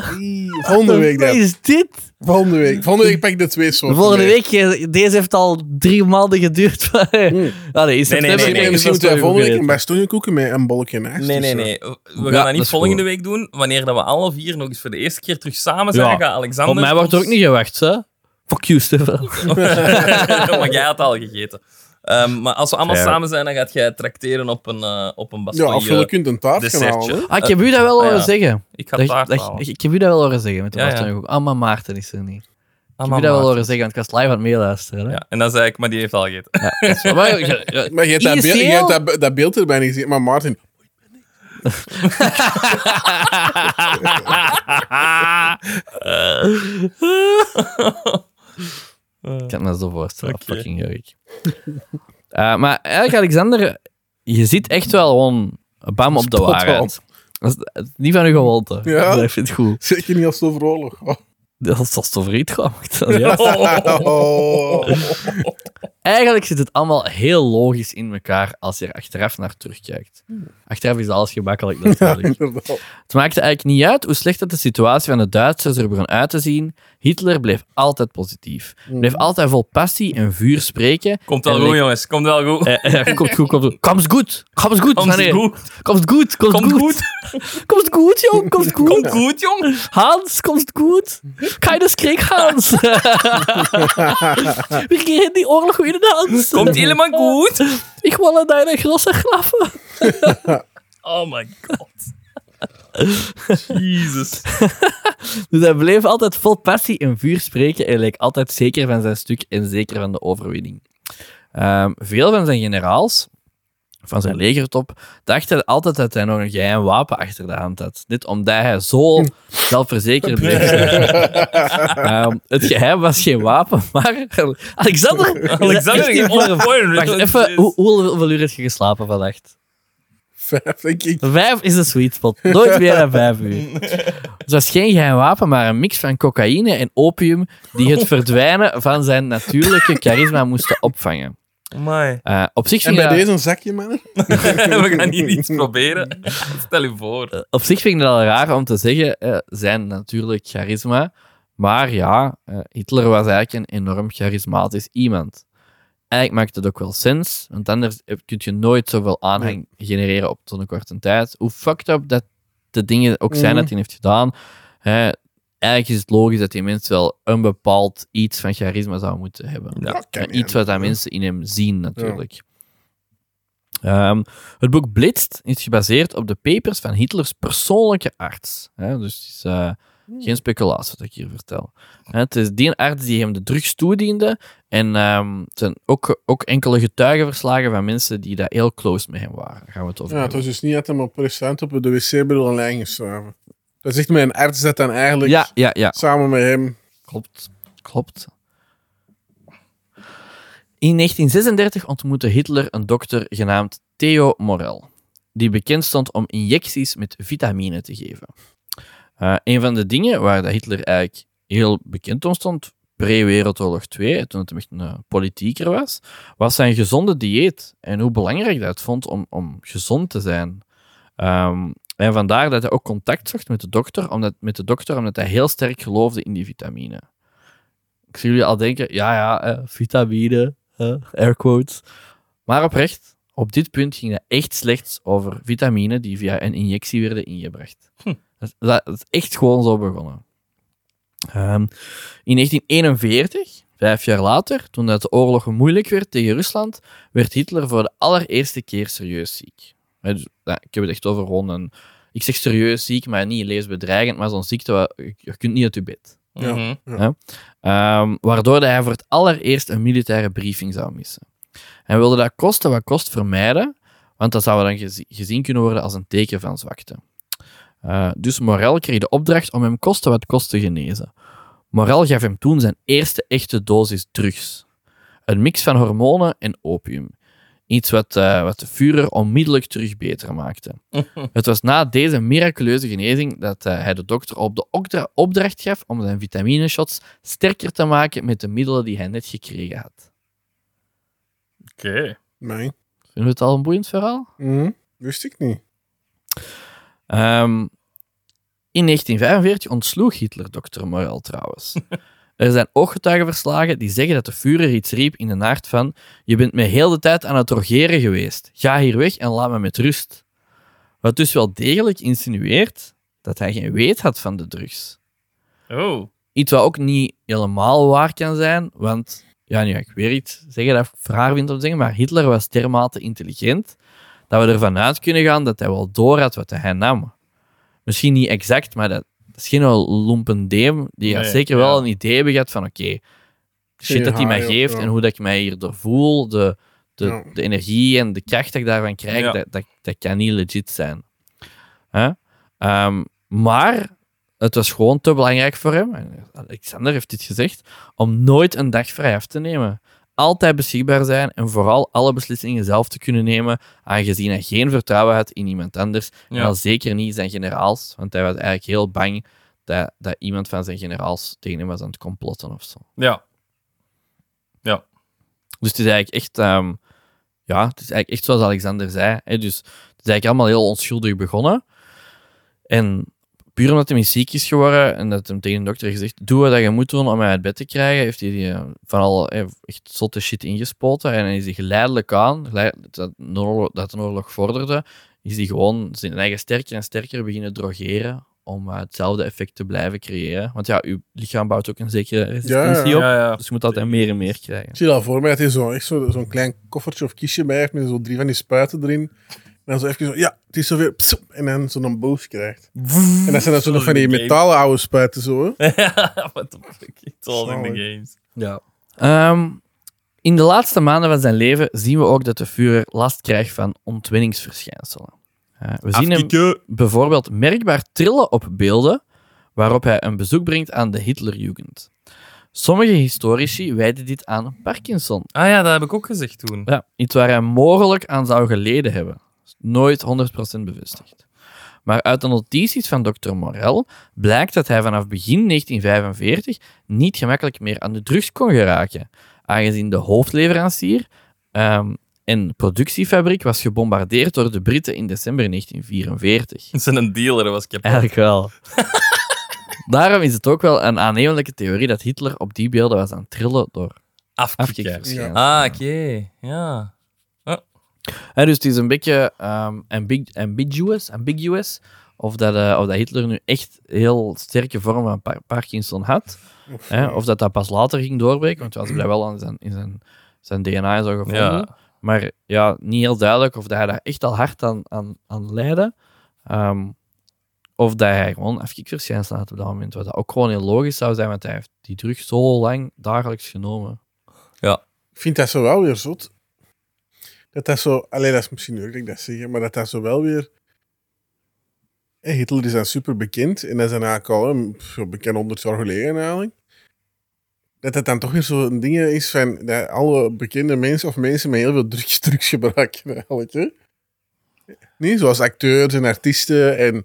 Speaker 3: Volgende week
Speaker 2: Wat
Speaker 3: dan.
Speaker 2: is dit?
Speaker 3: Volgende week. Volgende week pak ik de twee
Speaker 2: De
Speaker 3: soorten.
Speaker 2: volgende
Speaker 3: mee.
Speaker 2: week, eh, deze heeft al drie maanden geduurd.
Speaker 3: Mm.
Speaker 2: Allee,
Speaker 1: Nee,
Speaker 2: in
Speaker 1: nee,
Speaker 2: september
Speaker 1: nee, nee.
Speaker 2: is
Speaker 3: misschien moeten
Speaker 2: dat
Speaker 3: wij
Speaker 2: weer
Speaker 3: volgende week
Speaker 2: opgegeten.
Speaker 3: bij stonjekoeken met een bolletje naast.
Speaker 1: nee, nee.
Speaker 3: Dus,
Speaker 1: nee.
Speaker 3: eh,
Speaker 1: We gaan
Speaker 2: Ja,
Speaker 1: dat
Speaker 2: dat
Speaker 1: niet
Speaker 2: is
Speaker 1: volgende
Speaker 2: goed.
Speaker 1: week doen. Wanneer dat we alle vier nog eens voor de eerste keer terug samen zijn,
Speaker 2: Ja.
Speaker 1: gaan Alexander...
Speaker 2: Op mij wordt er ook niet gewacht, hè? Fuck you, Stefan.
Speaker 1: maar jij had al gegeten. Ehm, maar als we allemaal
Speaker 2: Ja.
Speaker 1: samen zijn, dan gaat jij tracteren op een, eh op een
Speaker 3: Ja, of je
Speaker 1: bastonje
Speaker 3: kunt een taart gaan
Speaker 1: dessertje.
Speaker 3: halen. hè.
Speaker 2: Ah, ik heb u dat wel
Speaker 1: Ah, ja.
Speaker 2: horen zeggen.
Speaker 1: Ik ga
Speaker 2: Dat,
Speaker 1: taart
Speaker 2: dat-
Speaker 1: halen.
Speaker 2: ik, ik heb u dat wel horen zeggen met de
Speaker 1: Ja, ja.
Speaker 2: ja, ook. Ah, maar Maarten is er niet. Ik heb
Speaker 1: Ah,
Speaker 2: u dat wel
Speaker 1: mama.
Speaker 2: horen zeggen, want ik was live aan het meeluisteren. Hè?
Speaker 1: Ja, en dan zei ik, maar die heeft al gegeten.
Speaker 2: Dat is wel- maar ja, ja,
Speaker 3: Maar je hebt, dat, beeld,
Speaker 2: ISDL?
Speaker 3: je hebt dat, be- dat beeld erbij niet gezien. Maar Martin,
Speaker 2: Ik kan me dat zo voorstellen.
Speaker 1: Oké.
Speaker 2: Fucking Jurk. Eh, maar eigenlijk, Alexander, je zit echt wel gewoon bam op de
Speaker 3: Spot
Speaker 2: waarheid. Dat is dat is niet van uw gewoonte.
Speaker 3: Ja.
Speaker 2: Dat vind ik goed.
Speaker 3: zeker niet als Oh. het over oorlog gaat.
Speaker 2: Dat is als favoriet gemaakt. Ja.
Speaker 3: Oh.
Speaker 2: Eigenlijk zit het allemaal heel logisch in elkaar als je er achteraf naar terugkijkt. Achteraf is alles gemakkelijk natuurlijk.
Speaker 3: Inderdaad.
Speaker 2: Het maakte eigenlijk niet uit hoe slecht dat de situatie van de Duitsers er begon uit te zien. Hitler bleef altijd positief. Bleef altijd vol passie en vuur spreken.
Speaker 1: Komt wel
Speaker 2: En
Speaker 1: goed,
Speaker 2: leek-
Speaker 1: jongens. Komt wel goed.
Speaker 2: Eh, eh, komt goed, komt goed. Komt goed, komt goed.
Speaker 1: Komt
Speaker 2: meneer.
Speaker 1: goed.
Speaker 2: Komt goed, komt
Speaker 1: Komt
Speaker 2: goed.
Speaker 1: goed.
Speaker 2: Komt goed, jong, komt goed.
Speaker 1: Komt goed, jong.
Speaker 2: Hans, komt goed. Keines Krieg, Hans. We krijgen die oorlog weer in Hans.
Speaker 1: Komt helemaal goed.
Speaker 2: Ik wil een hele grote graffen.
Speaker 1: Oh my god. Jezus.
Speaker 2: Dus hij bleef altijd vol passie en vuur spreken en leek altijd zeker van zijn stuk en zeker van de overwinning. Ehm, veel van zijn generaals, van zijn legertop, dachten altijd dat hij nog een geheim wapen achter de hand had. Dit omdat hij zo zelfverzekerd bleef. Ehm, het geheim was geen wapen, maar... Alexander!
Speaker 1: Alexander,
Speaker 2: Echt in
Speaker 1: je
Speaker 2: vorm.
Speaker 1: opvorm.
Speaker 2: Wacht even, hoe, hoe, hoeveel uur heb je geslapen vannacht?
Speaker 3: Vijf, denk ik.
Speaker 2: Vijf is de sweet spot. Nooit meer dan vijf uur. Dus dat is geen geheim wapen, maar een mix van cocaïne en opium die het verdwijnen van zijn natuurlijke charisma moesten opvangen.
Speaker 1: Amai.
Speaker 2: Eh, op zich
Speaker 3: En
Speaker 2: vind ik
Speaker 3: bij
Speaker 2: dat-
Speaker 3: deze een zakje, man.
Speaker 1: We gaan hier iets proberen. Stel je voor.
Speaker 2: Eh, op zich vind ik dat al raar om te zeggen, eh, zijn natuurlijk charisma. Maar ja, eh, Hitler was eigenlijk een enorm charismatisch iemand. Eigenlijk maakt het ook wel sens, want anders heb- kun je nooit zoveel aanhang genereren op zo'n korte tijd. Hoe fucked up dat de dingen ook zijn
Speaker 3: Mhm.
Speaker 2: dat hij heeft gedaan. hè, eigenlijk is het logisch dat die mensen wel een bepaald iets van charisma zou moeten hebben.
Speaker 1: Ja.
Speaker 3: Kan
Speaker 2: En
Speaker 3: niet
Speaker 2: iets wat dat
Speaker 3: anders,
Speaker 2: mensen in hem zien, natuurlijk. Ehm, het boek Blitst is gebaseerd op de papers van Hitlers persoonlijke arts. Hè? Dus het is eh, geen speculatie wat ik hier vertel. Hè, het is die arts die hem de drugs toediende. En ehm, het zijn ook, ook enkele getuigenverslagen van mensen die daar heel close mee hem waren. Daar gaan we het
Speaker 3: hè.
Speaker 2: over
Speaker 3: Ja, het
Speaker 2: hebben.
Speaker 3: was dus niet dat hem op restaurant op de wc-bril een lijn geschuiven. Dat zegt mijn arts dat dan eigenlijk
Speaker 2: ja, ja, ja.
Speaker 3: samen met hem.
Speaker 2: Klopt. Klopt. In 1936 ontmoette Hitler een dokter genaamd Theo Morel, die bekend stond om injecties met vitamine te geven. Eh, een van de dingen waar dat Hitler eigenlijk heel bekend om stond, pre-Wereldoorlog 2, toen het hem echt een eh, politieker was, was zijn gezonde dieet en hoe belangrijk dat het vond om, om gezond te zijn. Ehm, en vandaar dat hij ook contact zocht met de dokter, omdat, met de dokter, omdat hij heel sterk geloofde in die vitamine. Ik zie jullie al denken, ja, ja, eh, vitamine, eh, air quotes. Maar oprecht, op dit punt ging het echt slechts over vitamine die via een injectie werden ingebracht. Dat, dat is echt gewoon zo begonnen. Ehm, in 1941, vijf jaar later, toen dat de oorlog moeilijk werd tegen Rusland, werd Hitler voor de allereerste keer serieus ziek. Hè, dus, ja, Ik heb het echt over gewoon een... Ik zeg serieus ziek, maar niet levensbedreigend, maar zo'n ziekte, waar- je- je kunt niet uit je bed.
Speaker 3: Ja.
Speaker 1: Mhm.
Speaker 2: Ehm, waardoor dat hij voor het allereerst een militaire briefing zou missen. Hij wilde dat kosten wat kost vermijden, Want dat zou dan gezi- gezien kunnen worden als een teken van zwakte. Eh, dus Morel kreeg de opdracht om hem koste wat kost te genezen. Morel gaf hem toen zijn eerste echte dosis drugs. Een mix van hormonen en opium. Iets wat, eh, wat de Führer onmiddellijk terug beter maakte. Het was na deze miraculeuze genezing dat eh, hij de dokter op de opdra- opdracht gaf om zijn vitamineshots sterker te maken met de middelen die hij net gekregen had.
Speaker 1: Oké.
Speaker 3: Nee.
Speaker 2: Vinden we het al een boeiend verhaal?
Speaker 3: Mhm. Wist ik niet.
Speaker 2: Ehm, in 1945 ontsloeg Hitler dokter Morel trouwens. Er zijn ooggetuigenverslagen die zeggen dat de Führer iets riep in de nacht van je bent me heel de tijd aan het rogeren geweest. Ga hier weg en laat me met rust. Wat dus wel degelijk insinueert dat hij geen weet had van de drugs.
Speaker 1: Oh.
Speaker 2: Iets wat ook niet helemaal waar kan zijn, want ja, nu ga ik weer iets zeggen dat ik raar vind om te zeggen, maar Hitler was dermate intelligent dat we ervan uit kunnen gaan dat hij wel door had wat hij nam. Misschien niet exact, maar dat, dat is geen lumpendeem. Die had
Speaker 1: Nee,
Speaker 2: zeker wel
Speaker 1: ja.
Speaker 2: een idee hebben gehad van oké, de shit
Speaker 3: Je
Speaker 2: dat hij mij
Speaker 3: haai ook,
Speaker 2: geeft
Speaker 3: ja.
Speaker 2: en hoe dat ik mij hierdoor voel, de, de,
Speaker 3: Ja.
Speaker 2: de energie en de kracht dat ik daarvan krijg,
Speaker 1: Ja.
Speaker 2: dat, dat, dat kan niet legit zijn. Hè? Ehm, maar het was gewoon te belangrijk voor hem, en Alexander heeft dit gezegd, om nooit een dag vrij af te nemen. Altijd beschikbaar zijn en vooral alle beslissingen zelf te kunnen nemen, aangezien hij geen vertrouwen had in iemand anders. En
Speaker 1: Ja.
Speaker 2: al zeker niet zijn generaals, want hij was eigenlijk heel bang dat, dat iemand van zijn generaals tegen hem was aan het complotten of zo.
Speaker 1: Ja.
Speaker 2: Dus het is eigenlijk echt, ehm, ja, het is eigenlijk echt zoals Alexander zei. Hè? Dus het is eigenlijk allemaal heel onschuldig begonnen. En puur omdat hij ziek is geworden en dat hem tegen de dokter heeft gezegd: Doe wat je moet doen om mij uit bed te krijgen, heeft hij die, eh, van al eh, echt zotte shit ingespoten. En dan is hij geleidelijk aan, geleid- dat, een oorlog- dat een oorlog vorderde, is hij gewoon zijn eigen sterker en sterker beginnen drogeren. Om eh, hetzelfde effect te blijven creëren. Want ja, uw lichaam bouwt ook een zekere resistentie op.
Speaker 1: Ja, ja.
Speaker 2: Dus je moet altijd meer en meer krijgen.
Speaker 3: Ik zie dat voor mij. Het is zo, echt zo- zo'n klein koffertje of kistje bij heeft met zo drie van die spuiten erin. En dan zo even zo, ja, het is zover. psoep, en dan zo'n boost krijgt. En dat zijn dan zo nog van die metalen oude spuiten zo. hè.
Speaker 1: What the fuck? It's all in the games.
Speaker 2: Ja. Ehm, in de laatste maanden van zijn leven zien we ook dat de Führer last krijgt van ontwenningsverschijnselen. Eh, we zien hem
Speaker 1: Afkikken.
Speaker 2: bijvoorbeeld merkbaar trillen op beelden waarop hij een bezoek brengt aan de Hitlerjugend. Sommige historici wijden dit aan Parkinson.
Speaker 1: Ah ja, dat heb ik ook gezegd toen.
Speaker 2: Ja, iets waar hij mogelijk aan zou geleden hebben. Is Nooit 100% bevestigd. Maar uit de notities van dokter Morel blijkt dat hij vanaf begin 1945 niet gemakkelijk meer aan de drugs kon geraken, aangezien de hoofdleverancier ehm, en productiefabriek was gebombardeerd door de Britten in december 1944.
Speaker 1: Zijn een dealer was ik. heb-
Speaker 2: Eigenlijk wel. Daarom is het ook wel een aannemelijke theorie dat Hitler op die beelden was aan het trillen door
Speaker 1: Afkikken.
Speaker 2: afkikverschijnselen.
Speaker 1: Ah, oké. Ja.
Speaker 2: Hè, dus het is een beetje ehm, ambig- ambiguous, ambiguous of, dat, eh, of dat Hitler nu echt heel sterke vorm van Par- Parkinson had. hè, of dat dat pas later ging doorbreken, want we hadden dat wel aan zijn, in zijn, zijn DNA zo gevonden.
Speaker 1: Ja.
Speaker 2: Maar ja, niet heel duidelijk of dat hij daar echt al hard aan, aan, aan leidde. Ehm, of dat hij gewoon afkikverschijnselen had op dat moment. Wat dat ook gewoon heel logisch zou zijn, want hij heeft die drug zo lang dagelijks genomen.
Speaker 3: Ik vind dat zo wel weer zot. Dat dat zo, alleen dat is misschien leuk dat ik dat zeg, maar dat dat zo wel weer. Hey, Hitler is dan super bekend en dat is dan eigenlijk al hè, pff, zo bekend 100 jaar geleden eigenlijk. Dat dat dan toch weer zo'n ding is van dat alle bekende mensen of mensen met heel veel drugs, drugs gebruiken eigenlijk. Hè? Nee, zoals acteurs en artiesten en,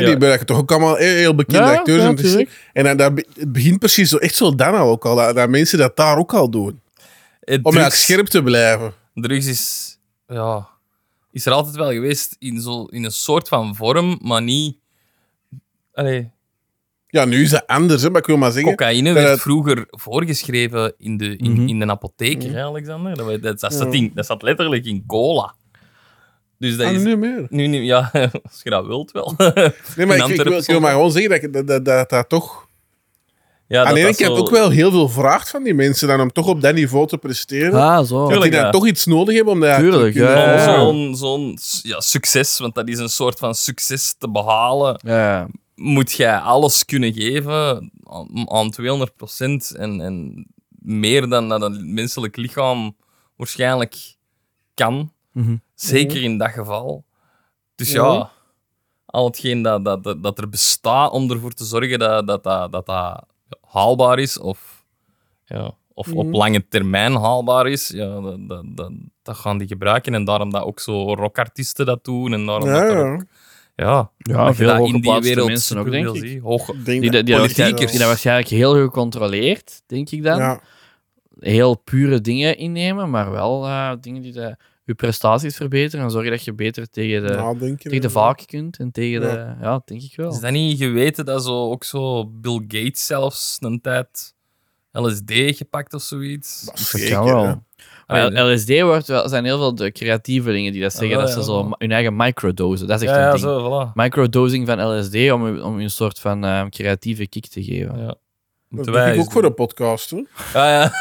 Speaker 1: Ja.
Speaker 3: die gebruiken toch ook allemaal heel, heel bekende acteurs en artiesten. En dan, dat, be- het begint precies zo, echt zo dan al ook al, dat, dat mensen dat daar ook al doen.
Speaker 1: Eh,
Speaker 3: Om eigenlijk
Speaker 1: drugs-
Speaker 3: scherp te blijven.
Speaker 1: Drugs is... Ja... Is er altijd wel geweest in, zo, in een soort van vorm, maar niet... Allee,
Speaker 3: Ja, nu is dat anders, hè, maar ik wil maar zeggen...
Speaker 1: cocaïne
Speaker 3: dat
Speaker 1: werd
Speaker 3: het-
Speaker 1: vroeger voorgeschreven in de, in,
Speaker 2: Mhm.
Speaker 1: in de apotheek, hè, Alexander? Dat, we- dat, dat, zat
Speaker 3: Ja.
Speaker 1: in- dat zat letterlijk in cola. Dus dat
Speaker 3: Ah,
Speaker 1: is...
Speaker 3: nu meer.
Speaker 1: Nu, nu, ja, als je dat wilt wel.
Speaker 3: Nee, maar
Speaker 1: In
Speaker 3: ik, ik, wil,
Speaker 1: Antwerpen
Speaker 3: ik wil maar gewoon zeggen dat ik- dat dat, dat, dat toch...
Speaker 1: ja,
Speaker 3: Aan de ene
Speaker 1: dat
Speaker 3: kant
Speaker 1: zo-
Speaker 3: ook wel heel veel vraagt van die mensen dan om toch op dat niveau te presteren.
Speaker 2: Ah, zo.
Speaker 3: dat die
Speaker 1: tuurlijk,
Speaker 3: dan
Speaker 1: ja.
Speaker 3: toch iets nodig hebben om dat
Speaker 2: Tuurlijk,
Speaker 3: te kunnen...
Speaker 2: ja, ja,
Speaker 1: Van
Speaker 2: ja.
Speaker 1: Zo'n zo'n, ja, succes, want dat is een soort van succes te behalen.
Speaker 2: Ja, ja.
Speaker 1: Moet jij alles kunnen geven aan, aan 200 procent en, en meer dan dat een menselijk lichaam waarschijnlijk kan.
Speaker 2: Mhm.
Speaker 1: Zeker in dat geval. Dus
Speaker 3: Ja.
Speaker 1: ja, al hetgeen dat, dat, dat, dat er bestaat om ervoor te zorgen dat dat, dat, dat, dat haalbaar is, of, ja, of op
Speaker 3: Mhm.
Speaker 1: lange termijn haalbaar is, ja, dat, dat, dat, dat gaan die gebruiken. En daarom dat ook zo rockartiesten dat doen. En daarom
Speaker 3: Ja,
Speaker 1: dat er
Speaker 3: ja.
Speaker 1: ook- ja,
Speaker 2: Ja,
Speaker 1: dat je
Speaker 2: veel
Speaker 1: dat in die
Speaker 2: hooggeplaatste
Speaker 1: wereld
Speaker 2: mensen ook,
Speaker 1: super
Speaker 2: denk
Speaker 1: veel
Speaker 2: ik.
Speaker 1: ziet. Hoog,
Speaker 3: Ik denk
Speaker 2: Die, dat- die, dat
Speaker 1: Politiekers.
Speaker 2: waarschijnlijk- die dat waarschijnlijk heel goed controleert, denk ik dan.
Speaker 3: Ja,
Speaker 2: Heel pure dingen innemen, maar wel eh, dingen die de, je prestaties verbeteren en zorgen dat je beter tegen de,
Speaker 3: nadenken.
Speaker 2: tegen de vaak kunt en tegen
Speaker 3: Ja.
Speaker 2: de... Ja, denk ik wel.
Speaker 1: Is dat niet geweten dat zo, ook zo Bill Gates zelfs een tijd LSD gepakt of zoiets?
Speaker 3: Dat
Speaker 2: Dat Ah,
Speaker 3: zeker,
Speaker 2: kan
Speaker 3: hè.
Speaker 2: wel. Maar
Speaker 1: Allee,
Speaker 2: LSD wordt wel, zijn heel veel de creatieve dingen die dat zeggen.
Speaker 1: wel,
Speaker 2: dat ze
Speaker 1: ja,
Speaker 2: zo
Speaker 1: wel.
Speaker 2: hun eigen microdosen, dat is echt
Speaker 1: ja,
Speaker 2: een
Speaker 1: ja,
Speaker 2: ding.
Speaker 1: zo, voilà.
Speaker 2: Microdosing van LSD om, u- om u een soort van eh, creatieve kick te geven.
Speaker 1: Ja.
Speaker 3: Dat
Speaker 1: Moeten
Speaker 3: doe
Speaker 1: wij
Speaker 3: ik
Speaker 1: eens
Speaker 3: ook voor
Speaker 1: doen.
Speaker 3: de podcast, hoor.
Speaker 1: Ja, ja.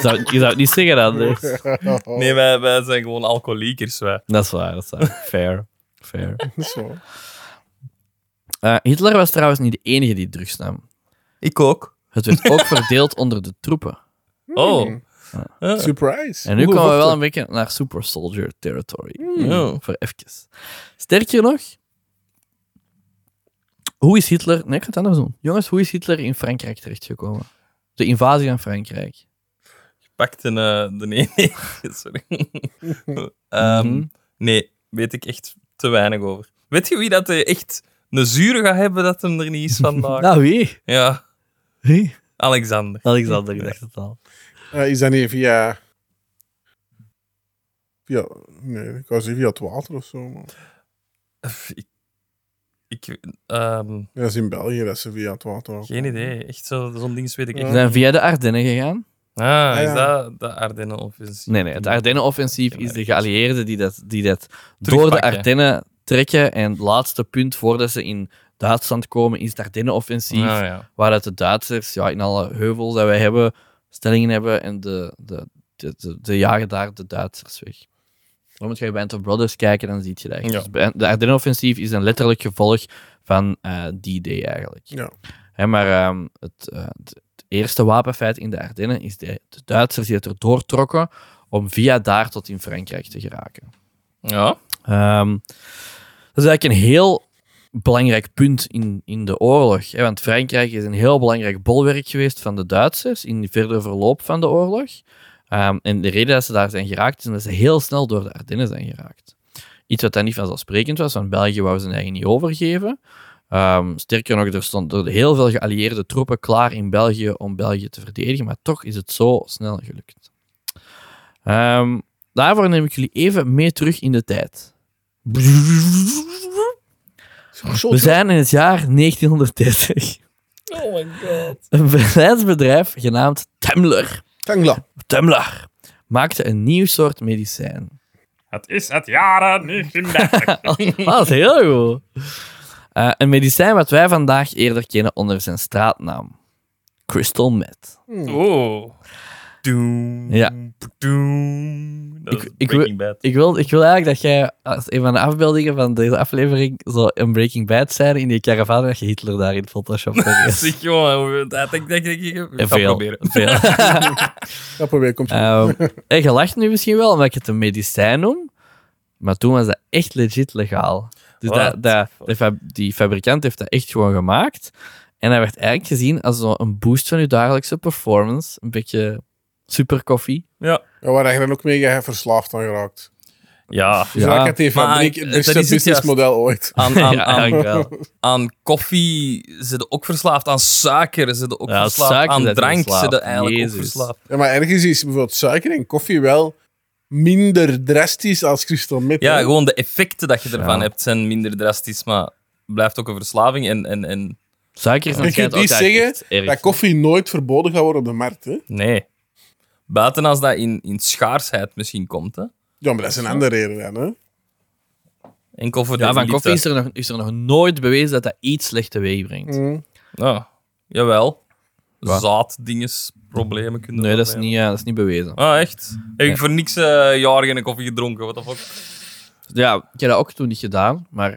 Speaker 2: Zou, je zou het niet zeggen dat. hè?
Speaker 1: Nee, wij, wij zijn gewoon alcoholiekers, wij.
Speaker 2: Dat is waar, dat is waar. Fair. Fair.
Speaker 3: Zo.
Speaker 2: Eh, Hitler was trouwens niet de enige die drugs nam.
Speaker 1: Ik ook.
Speaker 2: Het werd ook verdeeld onder de troepen.
Speaker 1: Oh.
Speaker 3: Hmm.
Speaker 1: Ja.
Speaker 3: Surprise.
Speaker 2: En nu
Speaker 3: Oeh,
Speaker 2: komen we
Speaker 3: wacht,
Speaker 2: wel een beetje naar super soldier territory. Oh.
Speaker 1: Ja.
Speaker 2: Voor even. Sterker nog... Hoe is Hitler... Nee, ik ga het anders doen. Jongens, hoe is Hitler in Frankrijk terechtgekomen? De invasie van Frankrijk.
Speaker 1: Gepakt in eh, de nee, nee. Sorry. Ehm,
Speaker 2: Mhm.
Speaker 1: Nee, weet ik echt te weinig over. Weet je wie dat eh, echt een zure gaat hebben dat hem er niet is vandaag?
Speaker 2: Nou, wie?
Speaker 1: Ja,
Speaker 2: Wie?
Speaker 1: Alexander.
Speaker 2: Alexander, ik dacht het al.
Speaker 3: Eh, is dat niet via... via... Nee, ik wou zeggen via het water of zo. Maar...
Speaker 1: Ik, ik, ehm,
Speaker 3: Ja, dat is in België, dat ze via het water ook.
Speaker 1: geen idee. Echt zo- zo'n ding weet ik
Speaker 2: Ze
Speaker 1: echt
Speaker 2: zijn via de Ardennen gegaan.
Speaker 1: Ah, is
Speaker 3: ja.
Speaker 1: dat de Ardennen-offensief?
Speaker 2: Nee, nee, het Ardennenoffensief is de geallieerden die dat, die dat door de
Speaker 1: Terugpakken.
Speaker 2: Ardennen trekken. En het laatste punt voordat ze in Duitsland komen is het Ardennenoffensief.
Speaker 1: Ah, ja.
Speaker 2: waaruit de Duitsers ja, in alle heuvels dat wij hebben, stellingen hebben en de, de, de, de, de jagen daar de Duitsers weg. Dan moet je bij Band of Brothers kijken, dan zie je dat. echt.
Speaker 1: Ja.
Speaker 2: Dus bij- de Ardennenoffensief is een letterlijk gevolg van eh, die day eigenlijk.
Speaker 3: Ja.
Speaker 2: Hè, maar ehm, het, eh, het- het eerste wapenfeit in de Ardennen is de, de Duitsers die het erdoor trokken om via daar tot in Frankrijk te geraken.
Speaker 1: Ja.
Speaker 2: Ehm, dat is eigenlijk een heel belangrijk punt in, in de oorlog. Hè? Want Frankrijk is een heel belangrijk bolwerk geweest van de Duitsers in de verdere verloop van de oorlog. Ehm, en de reden dat ze daar zijn geraakt is dat ze heel snel door de Ardennen zijn geraakt. Iets wat dan niet vanzelfsprekend was, want België wou zijn eigen niet overgeven. Ehm, sterker nog, er stonden heel veel geallieerde troepen klaar in België om België te verdedigen, maar toch is het zo snel gelukt. Ehm, daarvoor neem ik jullie even mee terug in de tijd. We zijn in het jaar 1930.
Speaker 1: Oh my god.
Speaker 2: Een bedrijfsbedrijf genaamd Temler,
Speaker 3: Tangla.
Speaker 2: Temler maakte een nieuw soort medicijn.
Speaker 1: Het is het jaren 1930.
Speaker 2: Dat is Oh, heel goed. Eh, een medicijn wat wij vandaag eerder kennen onder zijn straatnaam. Crystal meth.
Speaker 3: Hmm,
Speaker 1: oh. Doem.
Speaker 2: Ja.
Speaker 1: Doem. Dat
Speaker 2: Ik-
Speaker 1: is
Speaker 2: ik
Speaker 1: Breaking Bad.
Speaker 2: Ik wil, ik wil eigenlijk dat jij als een van de afbeeldingen van deze aflevering zo een Breaking Bad scène in die caravan dat je Hitler daar in Photoshop hebt.
Speaker 1: Zeg jongen, hoe- dat ik denk ik ik ga
Speaker 2: En
Speaker 1: het
Speaker 2: veel.
Speaker 1: proberen.
Speaker 2: veel.
Speaker 3: Dat probeer komt
Speaker 2: Ehm, en je lacht nu misschien wel omdat ik het een medicijn noem, maar toen was dat echt legit legaal. Dus
Speaker 1: What
Speaker 2: dat, dat,
Speaker 1: the
Speaker 2: de fab- die fabrikant heeft dat echt gewoon gemaakt. En dat werd eigenlijk gezien als zo een boost van je dagelijkse performance. Een beetje superkoffie.
Speaker 3: Ja, waar je dan ook mega verslaafd aan geraakt.
Speaker 1: Eh. Ja.
Speaker 3: Dus
Speaker 2: Ja,
Speaker 3: ja, ik die
Speaker 1: maar
Speaker 3: fabriek het
Speaker 1: dat
Speaker 3: beste
Speaker 1: is het
Speaker 3: businessmodel ooit.
Speaker 1: Aan, aan,
Speaker 2: ja,
Speaker 1: aan,
Speaker 2: eigenlijk wel.
Speaker 1: aan koffie zitten ook verslaafd. Aan suiker zitten ook
Speaker 2: Ja,
Speaker 1: verslaafd.
Speaker 2: suiker
Speaker 1: aan
Speaker 2: zijn
Speaker 1: drank
Speaker 2: verslaafd.
Speaker 1: zitten eigenlijk
Speaker 2: Jezus.
Speaker 1: ook verslaafd.
Speaker 3: Ja, maar ergens is bijvoorbeeld suiker en koffie wel minder drastisch als crystal meth.
Speaker 1: Ja,
Speaker 3: hè.
Speaker 1: gewoon de effecten dat je ervan
Speaker 2: Ja.
Speaker 1: hebt zijn minder drastisch, maar blijft ook een verslaving. En, en, en
Speaker 2: Suiker is
Speaker 3: Je kunt
Speaker 2: natuurlijk
Speaker 3: niet
Speaker 2: ook
Speaker 3: zeggen
Speaker 2: echt erg.
Speaker 3: Dat koffie nooit verboden gaat worden op de markt. Hè?
Speaker 1: nee. Buiten als dat in, in schaarsheid misschien komt. Hè.
Speaker 3: Ja, maar dat is een andere reden dan. Hè?
Speaker 1: Enkel voor
Speaker 2: Ja,
Speaker 1: de
Speaker 2: van
Speaker 1: verliefde.
Speaker 2: koffie is er, nog, is er nog nooit bewezen dat dat iets slecht teweeg
Speaker 3: Mm.
Speaker 2: brengt.
Speaker 1: Ja, jawel.
Speaker 2: Wat?
Speaker 1: Zaaddinges, problemen kunnen
Speaker 2: Nee, dat is,
Speaker 1: opnemen.
Speaker 2: niet, eh, dat is niet bewezen.
Speaker 1: Ah, echt? Heb ik
Speaker 2: Nee.
Speaker 1: voor niks eh jaren geen koffie gedronken? Wat de fuck?
Speaker 2: Ja, ik heb dat ook toen niet gedaan, maar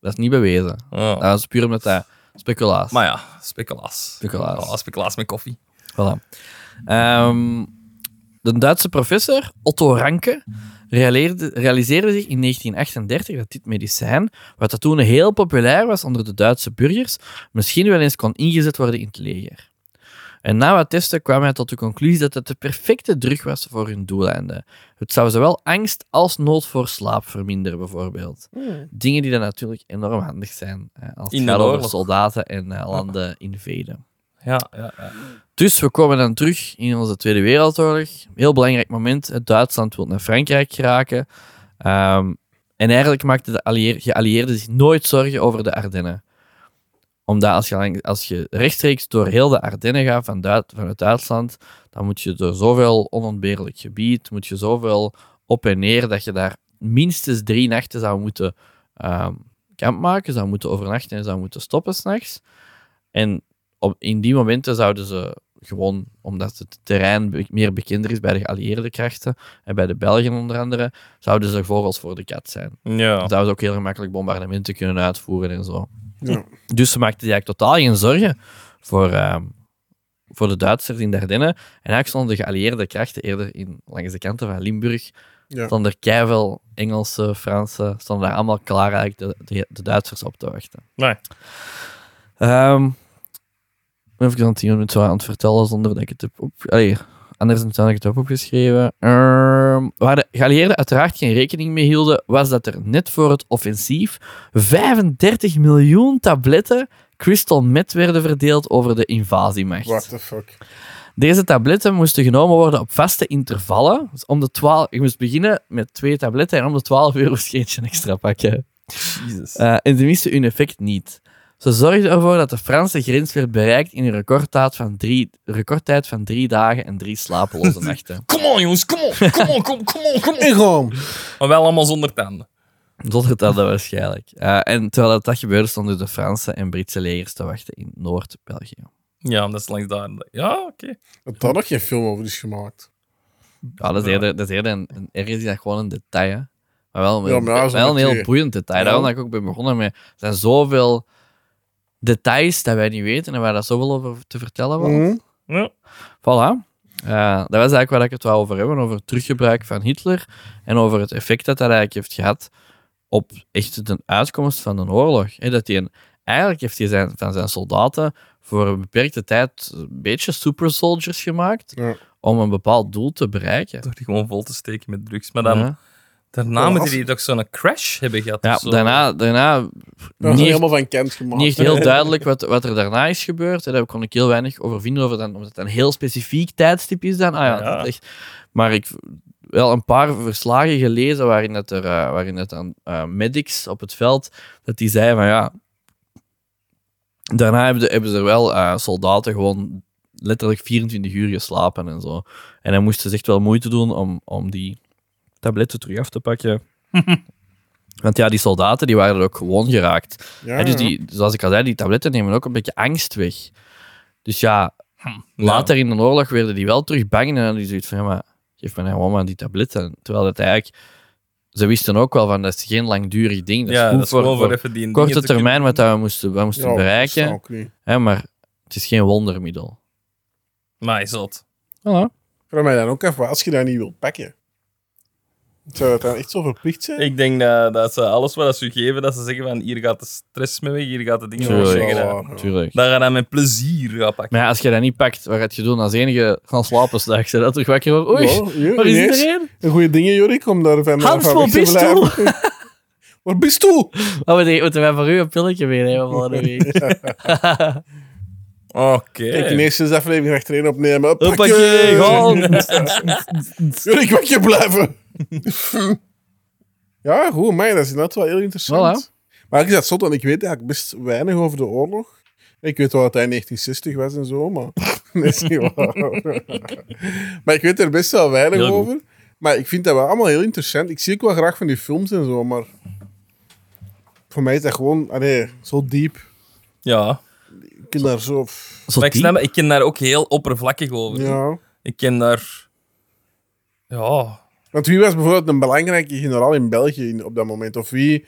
Speaker 2: dat is niet bewezen.
Speaker 1: Ah.
Speaker 2: Dat is puur omdat dat speculaas.
Speaker 1: Maar ja, speculaas.
Speaker 2: Speculaas.
Speaker 1: Ah, speculaas met koffie.
Speaker 2: Voilà. Ehm, de Duitse professor Otto Ranke realeerde- realiseerde zich in 1938 dat dit medicijn, wat dat toen heel populair was onder de Duitse burgers, misschien wel eens kon ingezet worden in het leger. En na wat testen kwam hij tot de conclusie dat het de perfecte drug was voor hun doeleinden. Het zou zowel angst als nood voor slaap verminderen, bijvoorbeeld. Dingen die dan natuurlijk enorm handig zijn eh, als
Speaker 1: In
Speaker 2: het
Speaker 1: de
Speaker 2: gaat over
Speaker 1: oorlog.
Speaker 2: soldaten en eh, landen inveden.
Speaker 1: Ja, ja, ja.
Speaker 2: Dus we komen dan terug in onze Tweede Wereldoorlog. Heel belangrijk moment. Het Duitsland wil naar Frankrijk geraken. Ehm, en eigenlijk maakten de allieer- geallieerden zich nooit zorgen over de Ardennen. Omdat als je, lang- als je rechtstreeks door heel de Ardennen gaat van Duit- vanuit Duitsland, dan moet je door zoveel onontbeerlijk gebied, moet je zoveel op en neer, dat je daar minstens drie nachten zou moeten ehm, kamp maken, zou moeten overnachten en zou moeten stoppen s'nachts. En op, in die momenten zouden ze gewoon, omdat het terrein be- meer bekender is bij de geallieerde krachten en bij de Belgen onder andere, zouden ze vogels voor de kat zijn.
Speaker 1: ja.
Speaker 2: Dan zouden ze ook heel gemakkelijk bombardementen kunnen uitvoeren en zo.
Speaker 3: Ja.
Speaker 2: Dus ze maakten zich eigenlijk totaal geen zorgen voor, ehm, voor de Duitsers in de Ardennen. En eigenlijk stonden de geallieerde krachten eerder in, langs de kanten van Limburg.
Speaker 3: Ja.
Speaker 2: Stonden er keivel Engelse, Fransen, stonden daar allemaal klaar eigenlijk de, de, de Duitsers op te wachten.
Speaker 1: Nee.
Speaker 2: Ehm, even ik aan het iemand zo aan het vertellen zonder dat ik het heb op... Allee, anders dan dat ik het heb opgeschreven. Ehm, waar de geallieerden uiteraard geen rekening mee hielden, was dat er net voor het offensief 35 miljoen tabletten crystal meth werden verdeeld over de invasiemacht.
Speaker 3: What the fuck.
Speaker 2: Deze tabletten moesten genomen worden op vaste intervallen. Dus om de 12, je moest beginnen met twee tabletten en om de 12 uur moest je eentje extra pakken.
Speaker 1: Jezus.
Speaker 2: Eh, en ze misten hun effect niet. Ze zorgden ervoor dat de Franse grens werd bereikt in een recordtijd van drie, recordtijd van drie dagen en drie slapeloze nachten.
Speaker 1: Come on, jongens, come on, come on, come on, come on, come on.
Speaker 3: Ingaan.
Speaker 1: Maar wel allemaal zonder tanden.
Speaker 2: Zonder dat waarschijnlijk. Eh, en terwijl dat, dat gebeurde, stonden de Franse en Britse legers te wachten in Noord-België.
Speaker 1: Ja, dat is langs daar. Ja, oké.
Speaker 3: Dat daar nog geen film over is gemaakt.
Speaker 2: Ja, dat is
Speaker 1: Ja.
Speaker 2: eerder, dat is eerder een, een, ergens is dat gewoon een detail. hè. Maar wel,
Speaker 3: Ja, maar ja, zo'n
Speaker 2: wel een heel
Speaker 3: beetje-
Speaker 2: boeiend detail.
Speaker 3: Ja.
Speaker 2: Daarom dat ik ook ben begonnen met. Er zijn zoveel details dat wij niet weten en waar dat zoveel over te vertellen was.
Speaker 3: Mhm.
Speaker 1: Ja.
Speaker 2: Voilà. Eh, dat was eigenlijk waar ik het wou over hebben, over het teruggebruik van Hitler en over het effect dat dat eigenlijk heeft gehad op echt de uitkomst van een oorlog. Hè, dat hij een, eigenlijk heeft hij zijn, van zijn soldaten voor een beperkte tijd een beetje super soldiers gemaakt
Speaker 3: Ja.
Speaker 2: om een bepaald doel te bereiken.
Speaker 1: Door die gewoon vol te steken met drugs. Maar dan,
Speaker 2: Ja.
Speaker 1: daarna
Speaker 3: Ja,
Speaker 1: moeten
Speaker 3: als-
Speaker 1: die toch zo'n crash hebben gehad.
Speaker 2: Ja,
Speaker 1: of zo.
Speaker 2: daarna, daarna
Speaker 3: Daar is
Speaker 2: niet, echt,
Speaker 3: helemaal van kent gemaakt.
Speaker 2: niet echt heel duidelijk wat, wat er daarna is gebeurd. Hè. Daar kon ik heel weinig over vinden, over dan, omdat het een heel specifiek tijdstip is dan. Ah, ja,
Speaker 1: Ja.
Speaker 2: dat is echt, maar ik wel een paar verslagen gelezen waarin dat er, eh, waarin dat dan eh, medics op het veld, dat die zeiden van ja, daarna hebben, de- hebben ze er wel eh, soldaten gewoon letterlijk 24 uur geslapen en zo. En dan moesten ze echt wel moeite doen om, om die tabletten terug af te pakken. Want ja, die soldaten die waren er ook gewoon geraakt.
Speaker 3: Ja,
Speaker 2: Hè, dus
Speaker 3: ja.
Speaker 2: die, zoals ik al zei, die tabletten nemen ook een beetje angst weg. Dus ja, later in de oorlog werden die wel terug bang. En dan hadden die zoiets van, ja, maar geef me nou gewoon maar die tabletten. Terwijl dat eigenlijk... Ze wisten ook wel van, dat is geen langdurig ding. Dat is
Speaker 1: Ja,
Speaker 2: goed
Speaker 1: dat is
Speaker 2: voor,
Speaker 1: gewoon
Speaker 2: voor
Speaker 1: voor even die
Speaker 2: korte
Speaker 1: dingen te
Speaker 2: termijn wat dat we moesten, we moesten
Speaker 3: Ja,
Speaker 2: bereiken.
Speaker 3: dat snap ik niet.
Speaker 2: Hè, maar het is geen wondermiddel.
Speaker 1: kunnen- Maar is dat?
Speaker 2: Voilà.
Speaker 3: Vraag mij dan ook even, als je dat niet wilt pakken, zou dat dan echt zo verplicht zijn?
Speaker 1: Ik denk dat, dat ze alles wat ze geven, dat ze zeggen van hier gaat de stress mee weg, hier gaat de dingen
Speaker 3: Ja, dat is
Speaker 1: mee weg.
Speaker 2: Tuurlijk.
Speaker 3: wel
Speaker 1: Dat-
Speaker 3: waar, ja.
Speaker 2: Tuurlijk.
Speaker 1: Dat gaan dan met plezier gaan pakken.
Speaker 2: Maar ja, als je dat niet pakt, wat gaat je doen als enige gaan slapen straks? hè? Dat terug wakker wordt. Oei,
Speaker 3: Ja, ja,
Speaker 2: waar is
Speaker 3: ineens.
Speaker 2: iedereen?
Speaker 3: Een goede dingen, Jorik, om daar van
Speaker 2: Hans,
Speaker 3: van
Speaker 2: waar
Speaker 3: weg te
Speaker 2: bist du?
Speaker 3: blijven. Waar bist du?
Speaker 2: Oh, we denken, moeten wij voor u een pilletje meenemen volgende week?
Speaker 1: Oké.
Speaker 3: Kijk, in eerste is aflevering achtereen opnemen.
Speaker 1: Hoppakee,
Speaker 3: Pakken! Jorik, wat je blijven! ja, goed, maar dat is inderdaad wel heel interessant. Maar ik zat zot, want ik weet eigenlijk best weinig over de oorlog. Ik weet wel dat hij in 1960 was en zo, maar... Nee, is niet waar. maar ik weet er best wel weinig
Speaker 1: Heel goed.
Speaker 3: over. Maar ik vind dat wel allemaal heel interessant. Ik zie ook wel graag van die films en zo, maar... Voor mij is dat gewoon... Allee, zo diep.
Speaker 1: Ja.
Speaker 3: Ik kan daar zo... pff,
Speaker 2: Zo
Speaker 1: Maar ik,
Speaker 2: diep.
Speaker 1: snap, het, ik ken daar ook heel oppervlakkig over.
Speaker 3: Ja...
Speaker 1: Ik ken daar... Ja.
Speaker 3: Want wie was bijvoorbeeld een belangrijke generaal in België in- op dat moment? Of wie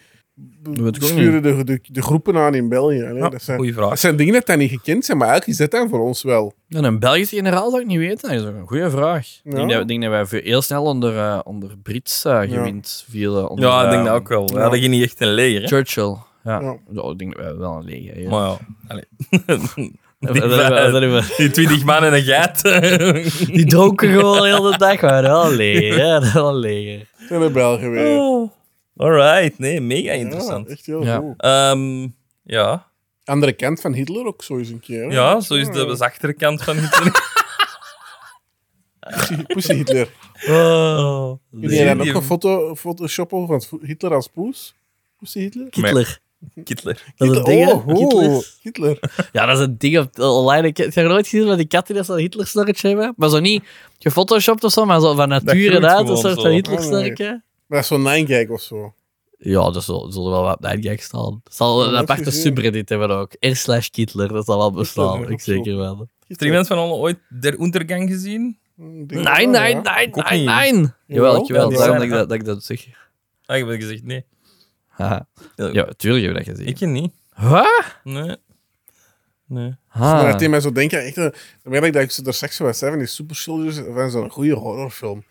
Speaker 2: weet ik ook Ah,
Speaker 3: sturen de, de, de groepen aan in België. Hè.
Speaker 1: Ja,
Speaker 3: dat, zijn,
Speaker 1: goeie vraag.
Speaker 3: dat zijn dingen dat daar niet gekend zijn, maar eigenlijk is dat dan voor ons wel.
Speaker 2: En een Belgische generaal zou ik niet weten. Dat is ook een goede vraag. Ik denk
Speaker 3: Ja.
Speaker 2: dat, ik denk dat wij veel- heel snel onder, eh, onder Brits eh, gewind vielen. Onder,
Speaker 1: Ja, ik denk
Speaker 2: eh,
Speaker 1: dat ook wel. We
Speaker 3: ja.
Speaker 1: hadden hier niet echt een leger, hè?
Speaker 2: Churchill. Ja.
Speaker 3: Ja.
Speaker 2: Ja, ik denk dat wij wel een leger hebben.
Speaker 1: Maar ja, allee.
Speaker 2: Dat-
Speaker 1: die,
Speaker 2: dat- dat- dat-
Speaker 1: vijf-
Speaker 2: dat- dat-
Speaker 1: die twintig man en een geit.
Speaker 2: Die dronken gewoon heel de dag. Maar wel een leger. Ja, wel een leger.
Speaker 3: Zijn de Belgen weer.
Speaker 1: Alright, nee, mega
Speaker 3: Ja,
Speaker 1: interessant.
Speaker 3: echt heel
Speaker 2: Ah, Ja.
Speaker 3: goed.
Speaker 1: Ehm, ja.
Speaker 3: Andere kant van Hitler ook zo eens een keer. hè.
Speaker 1: ja, zo is de zachtere kant van Hitler.
Speaker 3: Pussy- Pussy Hitler.
Speaker 2: Oh.
Speaker 3: Kun je daar ook
Speaker 1: Die-
Speaker 3: een foto, photoshoppen van Vo- Hitler als poes? Pussy Hitler?
Speaker 2: Hitler.
Speaker 1: Hitler.
Speaker 2: Dat is een ding, hè?
Speaker 3: oh, oh,
Speaker 2: Hitler.
Speaker 3: Hitler.
Speaker 2: Ja, dat is een ding op online. Ik heb nog nooit gezien dat die katten dat zo'n Hitler-snorretje hebben. Maar zo niet gefotoshopt of zo, maar zo van nature
Speaker 1: groeit
Speaker 2: uit,
Speaker 1: gewoon
Speaker 2: een soort
Speaker 1: zo.
Speaker 2: van
Speaker 3: Ah,
Speaker 2: Hitler-snorretje.
Speaker 3: Maar dat is zo'n nijnkijk of zo.
Speaker 2: Ja, dat zal- zullen wel wat nightgag staan. Er zal een
Speaker 3: dat
Speaker 2: aparte
Speaker 3: gezien.
Speaker 2: subreddit hebben ook. R slash Hitler, dat zal wel bestaan.
Speaker 3: Hitler,
Speaker 2: Ik
Speaker 3: ook
Speaker 2: zeker wel.
Speaker 1: Heeft er iemand van ons ooit Der Untergang gezien?
Speaker 2: Nee, nee, nee,
Speaker 1: Ik ook
Speaker 2: nee,
Speaker 1: niet.
Speaker 2: nee. Jawel, ik
Speaker 1: Ja,
Speaker 2: wel.
Speaker 1: die zijn
Speaker 2: Daarom dat ik
Speaker 1: er.
Speaker 2: dat, dat ik dat zeg.
Speaker 1: Ah, ik heb gezegd nee.
Speaker 2: Haha.
Speaker 1: Ja,
Speaker 2: Ja, tuurlijk heb je dat gezien.
Speaker 1: Ik niet.
Speaker 2: Huh?
Speaker 1: Nee. Nee.
Speaker 3: Maar
Speaker 2: Ah.
Speaker 3: dat deed mij zo denken, echt, eh, dan merk ik dat ik zo door seks was zijn van die Super Soldiers van zo'n goede horrorfilm.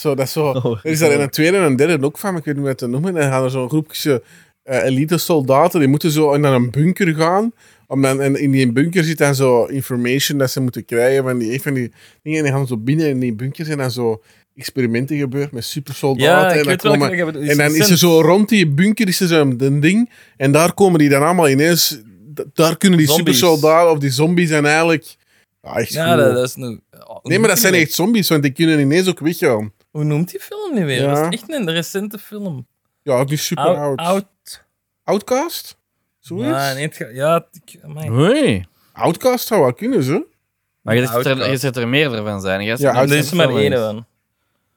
Speaker 3: Zo, dat is zo,
Speaker 2: Oh,
Speaker 3: er is daar in een tweede en een derde ook van, maar ik weet niet hoe het te noemen. En dan gaan er zo'n groepje eh, elite soldaten, die moeten zo naar een bunker gaan. Om dan, en in die bunker zit dan zo information dat ze moeten krijgen van die, een van die dingen. En die gaan zo binnen in die bunker zijn dan zo experimenten gebeurd met supersoldaten.
Speaker 1: Ja, ik
Speaker 3: en dan
Speaker 1: weet wel
Speaker 3: komen-
Speaker 1: ik heb het
Speaker 3: en dan is er zo rond die bunker is er zo'n d- ding. En daar komen die dan allemaal ineens. d- Daar kunnen die
Speaker 1: Zombies.
Speaker 3: supersoldaten of die zombies zijn eigenlijk. Ja, echt
Speaker 1: Ja,
Speaker 3: goed.
Speaker 1: dat, dat is nu... oh,
Speaker 3: Nee, maar dat zijn echt zombies, want die kunnen ineens ook weggaan.
Speaker 1: Hoe noemt die film nu weer?
Speaker 3: Ja.
Speaker 1: Dat is echt een recente film.
Speaker 3: Ja, die is super
Speaker 1: Out.
Speaker 3: oud. Outcast? Zoiets?
Speaker 1: Ja, nee, het ga- ja, ik, amai.
Speaker 2: Hoi.
Speaker 3: Outcast zou wel kunnen, ze.
Speaker 2: Maar je zegt er,
Speaker 1: Outcast.
Speaker 2: je zegt er meerdere van zijn. Je zegt
Speaker 3: Ja,
Speaker 2: er
Speaker 1: er is er maar
Speaker 2: films.
Speaker 1: één van.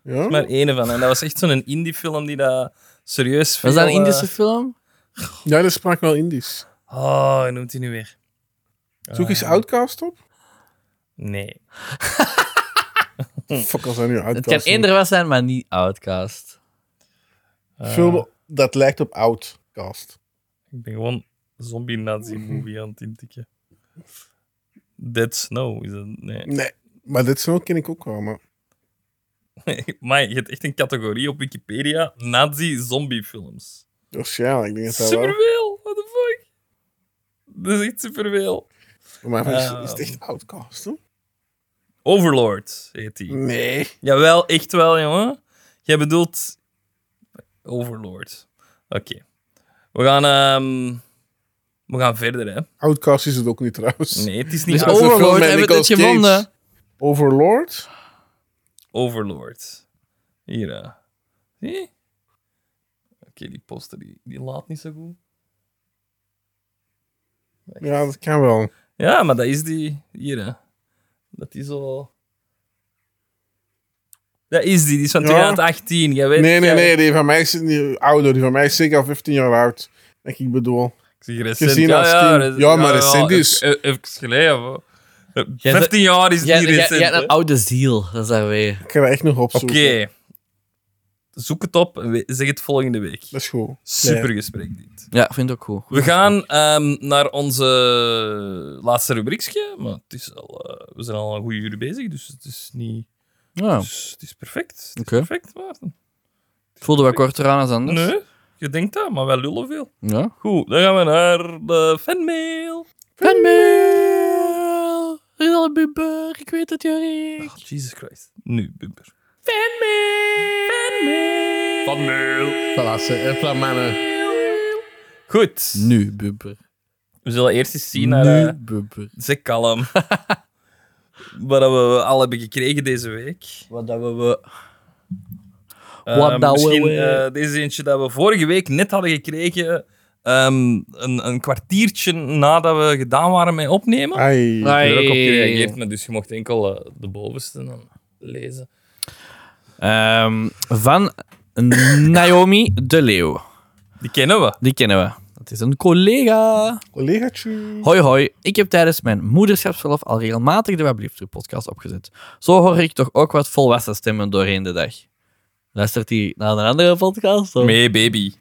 Speaker 1: Er
Speaker 3: Ja?
Speaker 1: is maar één van. En dat was echt zo'n indie-film die dat serieus
Speaker 2: Was dat een
Speaker 1: veel,
Speaker 2: Indische
Speaker 1: eh,
Speaker 2: film?
Speaker 3: ja, dat sprak wel Indisch.
Speaker 1: Oh, hoe noemt hij nu weer? Eh,
Speaker 3: Zoek eens Outcast op.
Speaker 1: Nee. Hm.
Speaker 3: Fuck, als dat nu
Speaker 2: Het
Speaker 3: Outcast
Speaker 2: kan
Speaker 3: noemt.
Speaker 2: eender was zijn, maar niet Outcast.
Speaker 3: Film dat lijkt op Outcast.
Speaker 1: Eh, Ik ben gewoon zombie-nazi-movie aan het intikken. Dead Snow is dat? Nee.
Speaker 3: Nee, maar dit zo ken ik ook wel, maar...
Speaker 1: Maar je hebt echt een categorie op Wikipedia: nazi-zombie-films.
Speaker 3: Waarschijnlijk, Dus ik denk dat dat wel...
Speaker 1: Superveel! What the fuck? Dat is echt superveel.
Speaker 3: Maar
Speaker 1: Eh,
Speaker 3: is het echt Outcast, hè?
Speaker 1: Overlord heet die.
Speaker 3: Nee.
Speaker 1: Jawel, echt wel, jongen. Jij bedoelt Overlord. Oké. We gaan... ehm, We gaan verder, hè.
Speaker 3: Outcast is het ook niet trouwens.
Speaker 1: Nee, het is niet
Speaker 2: Dus
Speaker 1: Out-
Speaker 3: is een film
Speaker 2: Overlord,
Speaker 3: met
Speaker 2: hebben we dit
Speaker 3: Nicolas Cage.
Speaker 2: gevonden?
Speaker 3: Overlord?
Speaker 1: Overlord. Hier, eh. Zie? Oké, die poster die, die laat niet zo goed.
Speaker 3: Ja, dat kan wel.
Speaker 1: Ja, maar dat is die... Hier, hè. Dat is zo... Dat is die, die is van
Speaker 3: Ja.
Speaker 1: 2018. Jij weet
Speaker 3: Nee, nee,
Speaker 1: jij-
Speaker 3: nee, die van mij is niet ouder. Die van mij is zeker al 15 jaar oud. Denk ik bedoel.
Speaker 1: Ik zeg recent.
Speaker 3: Gezien
Speaker 1: ja,
Speaker 3: als
Speaker 1: ja,
Speaker 3: tien.
Speaker 1: rec-
Speaker 3: Ja, maar recent is-
Speaker 1: Even, even geleden. hoor.
Speaker 2: Jij
Speaker 1: 15 jaar is
Speaker 2: Jij
Speaker 1: niet
Speaker 2: jij-
Speaker 1: recent.
Speaker 2: jij hebt
Speaker 1: hè.
Speaker 2: een oude ziel, dat is daar weer.
Speaker 3: Ik ga dat echt nog
Speaker 1: Oké.
Speaker 3: opzoeken.
Speaker 1: Zoek het op en we- zeg het volgende week.
Speaker 3: Dat is goed.
Speaker 1: Super gesprek dit.
Speaker 2: Ja, ik vind ik ook cool.
Speaker 1: We gaan ehm, naar onze laatste rubriekje. Maar het is al, eh, we zijn al een goede uur bezig, dus het is niet...
Speaker 2: Ja,
Speaker 1: Het, is, het is perfect. Het is
Speaker 2: Oké.
Speaker 1: perfect, Maarten.
Speaker 2: ik voelde wat korter aan als anders.
Speaker 1: Nee, je denkt dat, maar wij lullen veel.
Speaker 2: Ja.
Speaker 1: Goed, dan gaan we naar de fanmail.
Speaker 2: Fanmail! Rinal Bubber, ik weet het,
Speaker 3: Oh,
Speaker 2: Jorik.
Speaker 1: Jesus Christ. Nu, bumper. Fanmail! Fanmail!
Speaker 3: Palace, Epla, mannen.
Speaker 1: Goed.
Speaker 2: Nu, Bubber.
Speaker 1: We zullen eerst eens zien naar... eh,
Speaker 2: Nu, Bubber.
Speaker 1: Zeg kalm. Wat dat we al hebben gekregen deze week.
Speaker 2: Wat dat we... we...
Speaker 1: Ehm,
Speaker 2: Wat dat we-
Speaker 1: misschien
Speaker 2: we-
Speaker 1: eh, deze eentje dat we vorige week net hadden gekregen. ehm, een, een kwartiertje nadat we gedaan waren met opnemen. Ik
Speaker 3: Ai.
Speaker 2: Ai.
Speaker 1: heb er ook op gereageerd, maar dus je mocht enkel eh, de bovenste dan lezen.
Speaker 2: Ehm, van Naomi de Leeuw.
Speaker 1: Die kennen we.
Speaker 2: Die kennen we. Dat is een collega.
Speaker 3: Collegaatje.
Speaker 2: Hoi hoi, ik heb tijdens mijn moederschapsverlof al regelmatig de Wablieftoe podcast opgezet. Zo hoor ik toch ook wat volwassen stemmen doorheen de dag. Luistert hij naar een andere podcast? of-
Speaker 1: Mee, baby.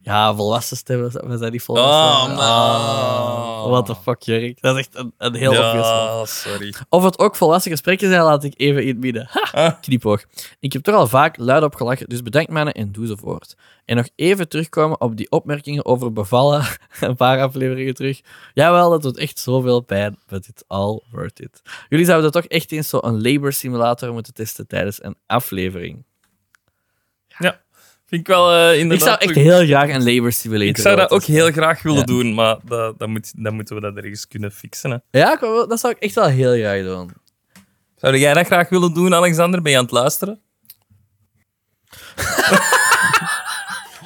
Speaker 2: Ja, volwassen stemmen. We zijn niet
Speaker 1: Ah,
Speaker 2: volwassen.
Speaker 1: man.
Speaker 2: what the fuck, Jurk. Dat is echt een, een Ah. heel obvious one.
Speaker 1: Ja, sorry.
Speaker 2: Of het ook volwassen gesprekken zijn, laat ik even in het midden. Ha,
Speaker 1: Ah.
Speaker 2: knipoog. Ik heb er al vaak luid op gelachen, dus bedankt mannen en doe ze voort. En nog even terugkomen op die opmerkingen over bevallen. Een paar afleveringen terug. Jawel, dat doet echt zoveel pijn, but it's all worth it. Jullie zouden toch echt eens zo'n labor simulator moeten testen tijdens een aflevering.
Speaker 1: Vind ik wel eh,
Speaker 2: Ik zou
Speaker 1: inderdaad...
Speaker 2: echt
Speaker 1: ook-
Speaker 2: heel graag een labor simulator
Speaker 1: ik zou dat
Speaker 2: willen
Speaker 1: ook heel graag willen
Speaker 2: Ja.
Speaker 1: doen, maar dat, dat moet, dan moeten we dat ergens kunnen fixen. Hè.
Speaker 2: testen. Ja, ik wou wel- dat zou ik echt wel heel graag doen.
Speaker 1: Zou jij dat graag willen doen, Alexander? Ben je aan het luisteren?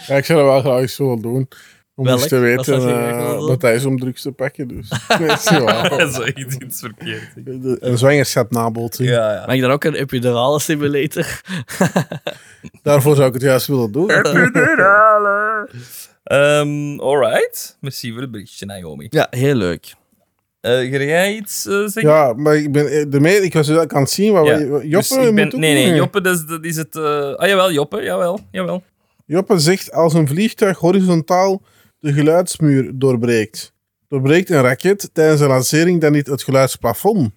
Speaker 3: Ja, ik zou dat wel graag zo willen doen. Om
Speaker 2: Welk?
Speaker 3: eens te
Speaker 2: Wat
Speaker 3: weten
Speaker 2: zou je
Speaker 3: eh,
Speaker 2: graag willen doen?
Speaker 3: dat hij is om drugs te pakken. Dus. Nee, dat is niet waar.
Speaker 1: Zoiets iets verkeerd.
Speaker 3: De- Een zwangerschap nabolting.
Speaker 1: Ja, ja.
Speaker 2: Mag ik dan ook een epidurale simulator?
Speaker 3: Daarvoor zou ik het juist willen doen.
Speaker 1: Epidurale. Ehm alright. Merci voor het berichtje, Naomi.
Speaker 2: Ja, heel leuk.
Speaker 1: Eh ga jij iets eh, zeggen?
Speaker 3: Ja, maar ik ben de mee, ik was dus ook aan het zien waar
Speaker 1: Ja.
Speaker 3: we- Joppe
Speaker 1: Dus ik ben,
Speaker 3: moet ook
Speaker 1: nee, nee,
Speaker 3: mee.
Speaker 1: Joppe, dat is, dat is het... eh, Ah, jawel, Joppe, jawel, jawel.
Speaker 3: Joppe zegt als een vliegtuig horizontaal de geluidsmuur doorbreekt. Doorbreekt een raket tijdens een lancering dan niet het geluidsplafond?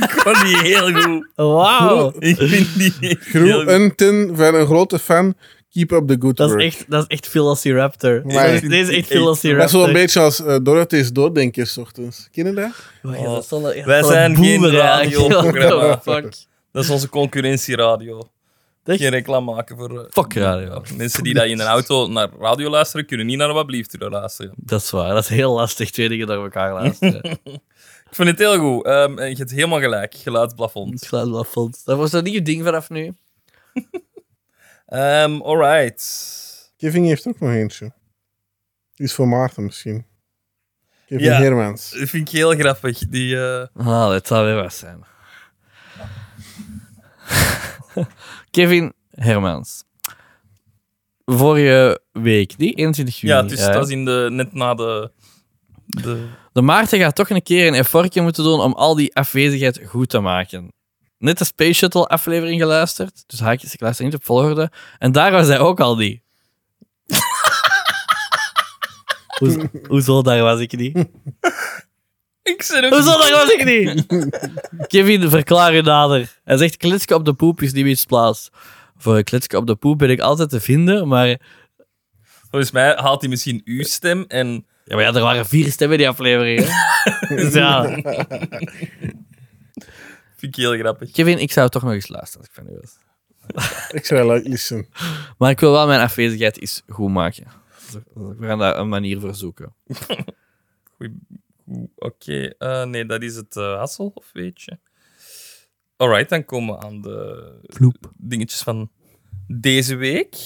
Speaker 1: Ik vond die heel goed.
Speaker 3: Oh.
Speaker 2: Wauw.
Speaker 1: Ik vind die heel goed.
Speaker 3: Groenten van een grote fan, keep up the good
Speaker 2: Dat is
Speaker 3: work.
Speaker 2: echt, dat is echt Velociraptor.
Speaker 3: Maar-
Speaker 2: Deze, deze is
Speaker 3: dat
Speaker 2: echt
Speaker 3: is wel
Speaker 2: Velociraptor.
Speaker 3: een beetje als eh, Dorothee's Doordenkers ochtends. Ken je dat?
Speaker 2: Wow, ja, dat is wel een- echt
Speaker 1: Wij
Speaker 2: wel een
Speaker 1: zijn geen
Speaker 2: boomer eigenlijk.
Speaker 1: radioprogramma.
Speaker 2: What the fuck.
Speaker 1: Dat is onze concurrentieradio.
Speaker 2: Echt?
Speaker 1: Geen reclame maken voor... eh,
Speaker 2: Fuck radio.
Speaker 1: Mensen die dat in een auto naar radio luisteren, kunnen niet naar wat blieft luisteren.
Speaker 2: Dat is waar. Dat is heel lastig. Twee dingen door elkaar luisteren.
Speaker 1: Ik vind het heel goed. Ehm, en je hebt helemaal gelijk. Geluidsplafond.
Speaker 2: Het geluidplafond. Dat was een nieuw ding vanaf nu.
Speaker 1: Ehm alright.
Speaker 3: Kevin heeft ook nog eentje. Die is voor Maarten misschien. Kevin
Speaker 1: Ja.
Speaker 3: Hermans.
Speaker 1: Dat vind ik heel grappig. Die, eh,
Speaker 2: Ah, dat zou weer wat zijn. Kevin Hermans. Vorige week, die 21 juni.
Speaker 1: ja, dus
Speaker 2: eh,
Speaker 1: dat is in de, net na de... de
Speaker 2: De Maarten gaat toch een keer een effortje moeten doen om al die afwezigheid goed te maken. Net de Space Shuttle aflevering geluisterd, dus haakjes, ik luister niet op volgorde. En daar was hij ook al niet. Hoezo, hoezo, daar was ik niet?
Speaker 1: ik zit ook...
Speaker 2: Hoezo, daar was ik niet? Kevin, verklaar je nader. Hij zegt, klitske op de poep is niet iets plaats. Voor een klitske op de poep ben ik altijd te vinden, maar...
Speaker 1: Volgens mij haalt hij misschien uw stem en...
Speaker 2: Ja, maar ja, er waren vier stemmen in die aflevering. hè. Dus ja.
Speaker 1: Vind ik heel grappig.
Speaker 2: Kevin, ik zou toch nog eens luisteren als ik van u was.
Speaker 3: Ik zou like listen.
Speaker 2: Maar ik wil wel mijn afwezigheid eens goed maken. We gaan daar een manier voor zoeken.
Speaker 1: Goeie- goed, Oké. eh, nee, dat is het eh, Hassel, of weet je? Alright, dan komen we aan de
Speaker 2: Vloep.
Speaker 1: dingetjes van deze week.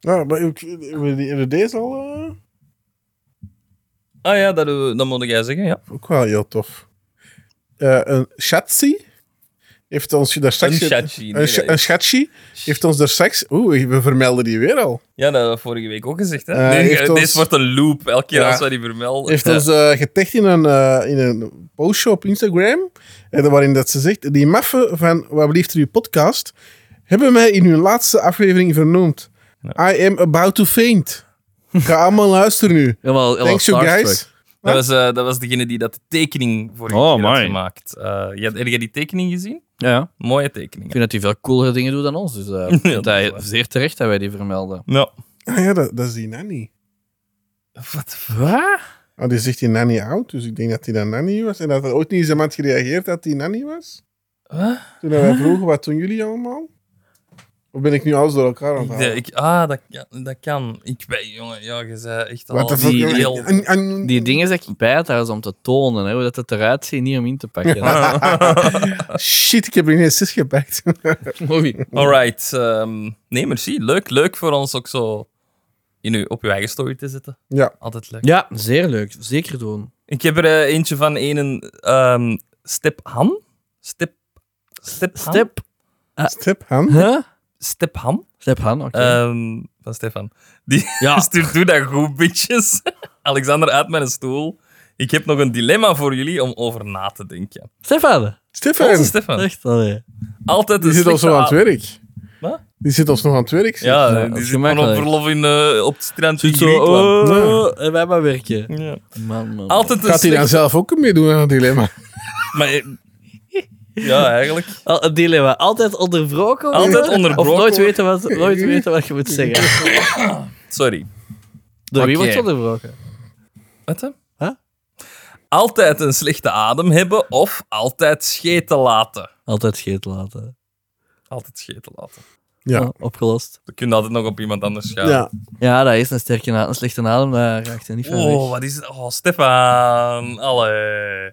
Speaker 3: Nou, maar ik- hebben die- hebben deze al? eh?
Speaker 1: Ah ja, dat, eh, dat moet jij zeggen, ja.
Speaker 3: Ook wel heel tof. Eh, een Shatsi heeft ons daar straks...
Speaker 1: Een Shatsi, nee,
Speaker 3: Een, sha-
Speaker 1: dat
Speaker 3: een
Speaker 1: is-
Speaker 3: Shatsi heeft ons daar straks... Oeh, we vermelden die weer al.
Speaker 1: Ja, dat hebben we vorige week ook gezegd. Hè?
Speaker 3: Eh,
Speaker 1: Nee,
Speaker 3: heeft
Speaker 1: deze
Speaker 3: ons-
Speaker 1: wordt een loop. Elke keer
Speaker 3: Ja.
Speaker 1: als we die vermelden.
Speaker 3: Heeft
Speaker 1: Ja.
Speaker 3: ons eh, geticht in een, eh, in een postje op Instagram. En waarin dat ze zegt... Die maffen van Wat blieft er uw podcast... hebben mij in hun laatste aflevering vernoemd. I am about to faint. Ga allemaal luisteren nu.
Speaker 2: Helemaal, helemaal
Speaker 3: Thanks you
Speaker 2: starstruck.
Speaker 3: guys.
Speaker 1: dat, was, eh, dat was degene die dat de tekening voor
Speaker 2: Oh,
Speaker 1: keer had
Speaker 2: my.
Speaker 1: gemaakt. Eh, je, had- heb jij die tekening gezien?
Speaker 2: Ja, ja.
Speaker 1: Mooie
Speaker 2: Ik
Speaker 1: tekening.
Speaker 2: vind dat hij veel coolere dingen doet dan ons. Dus eh, ik vind
Speaker 1: dat is
Speaker 2: dat
Speaker 1: waar.
Speaker 2: zeer terecht dat wij die vermelden.
Speaker 1: Ja.
Speaker 3: Ah ja, dat, dat is die nanny.
Speaker 1: Wat?
Speaker 2: Wat?
Speaker 3: Oh, die zegt die nanny oud, dus ik denk dat die dan nanny was. En dat er ooit niet eens iemand gereageerd dat die nanny was.
Speaker 1: Huh?
Speaker 3: Toen wij vroegen, wat doen jullie allemaal? Of ben ik nu alles door elkaar aan het
Speaker 1: Ik,
Speaker 3: halen?
Speaker 1: ik, ah, dat, ja, dat kan. Ik ben, jongen, ja, je zei echt al
Speaker 3: What the fuck,
Speaker 1: die
Speaker 3: jongen?
Speaker 1: heel...
Speaker 3: En- en-
Speaker 2: Die dingen zeg ik bij trouwens om te tonen, hè, hoe dat het eruit ziet, niet om in te pakken.
Speaker 3: Shit, ik heb er ineens zes gepakt.
Speaker 2: Mooi.
Speaker 1: Alright. ehm, nee, merci. Leuk, leuk voor ons ook zo in uw, op uw eigen story te zetten.
Speaker 3: Ja.
Speaker 1: Altijd leuk.
Speaker 2: Ja, zeer leuk. Zeker doen.
Speaker 1: Ik heb er eh, eentje van een ehm Step Han. Step... Step Han?
Speaker 2: Step.
Speaker 3: Step, Han.
Speaker 2: Huh?
Speaker 1: Step Han.
Speaker 2: Step Han, oké. Eh, Ah.
Speaker 1: Ehm, van Stefan. Die
Speaker 2: Ja.
Speaker 1: stuurt, doe dat goed, bitches. Alexander, uit mijn stoel. Ik heb nog een dilemma voor jullie om over na te denken.
Speaker 2: Stefan.
Speaker 3: Stefan,
Speaker 1: Onze
Speaker 3: die
Speaker 1: Stefan.
Speaker 2: Echt allee.
Speaker 1: Altijd een
Speaker 3: zit al
Speaker 1: slechte
Speaker 3: zo aan het
Speaker 1: avond.
Speaker 3: werk.
Speaker 1: Wat?
Speaker 3: Die zit ons nog aan het werk. zeg.
Speaker 1: Ja,
Speaker 2: Ja, dat
Speaker 1: die
Speaker 2: is
Speaker 1: zit gewoon op
Speaker 2: gemakkelijk.
Speaker 1: verlof in, eh, op het strand in
Speaker 2: Zit zo,
Speaker 1: Griekenland.
Speaker 2: oh, oh, en wij maar werken.
Speaker 1: Ja.
Speaker 2: Man, man.
Speaker 1: Altijd een
Speaker 3: Gaat hij dan
Speaker 1: slecht...
Speaker 3: zelf ook meedoen aan het dilemma?
Speaker 1: Maar, eh, ja, eigenlijk.
Speaker 2: Al, het dilemma. Altijd onderbroken worden?
Speaker 1: Altijd onderbroken
Speaker 2: Of nooit
Speaker 1: worden?
Speaker 2: weten, wat, nooit weten wat je moet zeggen.
Speaker 1: Sorry.
Speaker 2: Door wie
Speaker 1: Oké.
Speaker 2: wordt je onderbroken?
Speaker 1: Wat hè?
Speaker 2: Huh?
Speaker 1: Altijd een slechte adem hebben of altijd scheten laten.
Speaker 2: Altijd scheet laten.
Speaker 1: Altijd scheten laten.
Speaker 3: Ja.
Speaker 2: Oh, opgelost.
Speaker 1: We kunnen altijd nog op iemand anders gaan. Oh,
Speaker 2: Ja, dat is een sterke na- een slechte adem. Daar raakt hij niet van
Speaker 1: Oh,
Speaker 2: weg.
Speaker 1: wat is het? Oh, Stefan. Allee.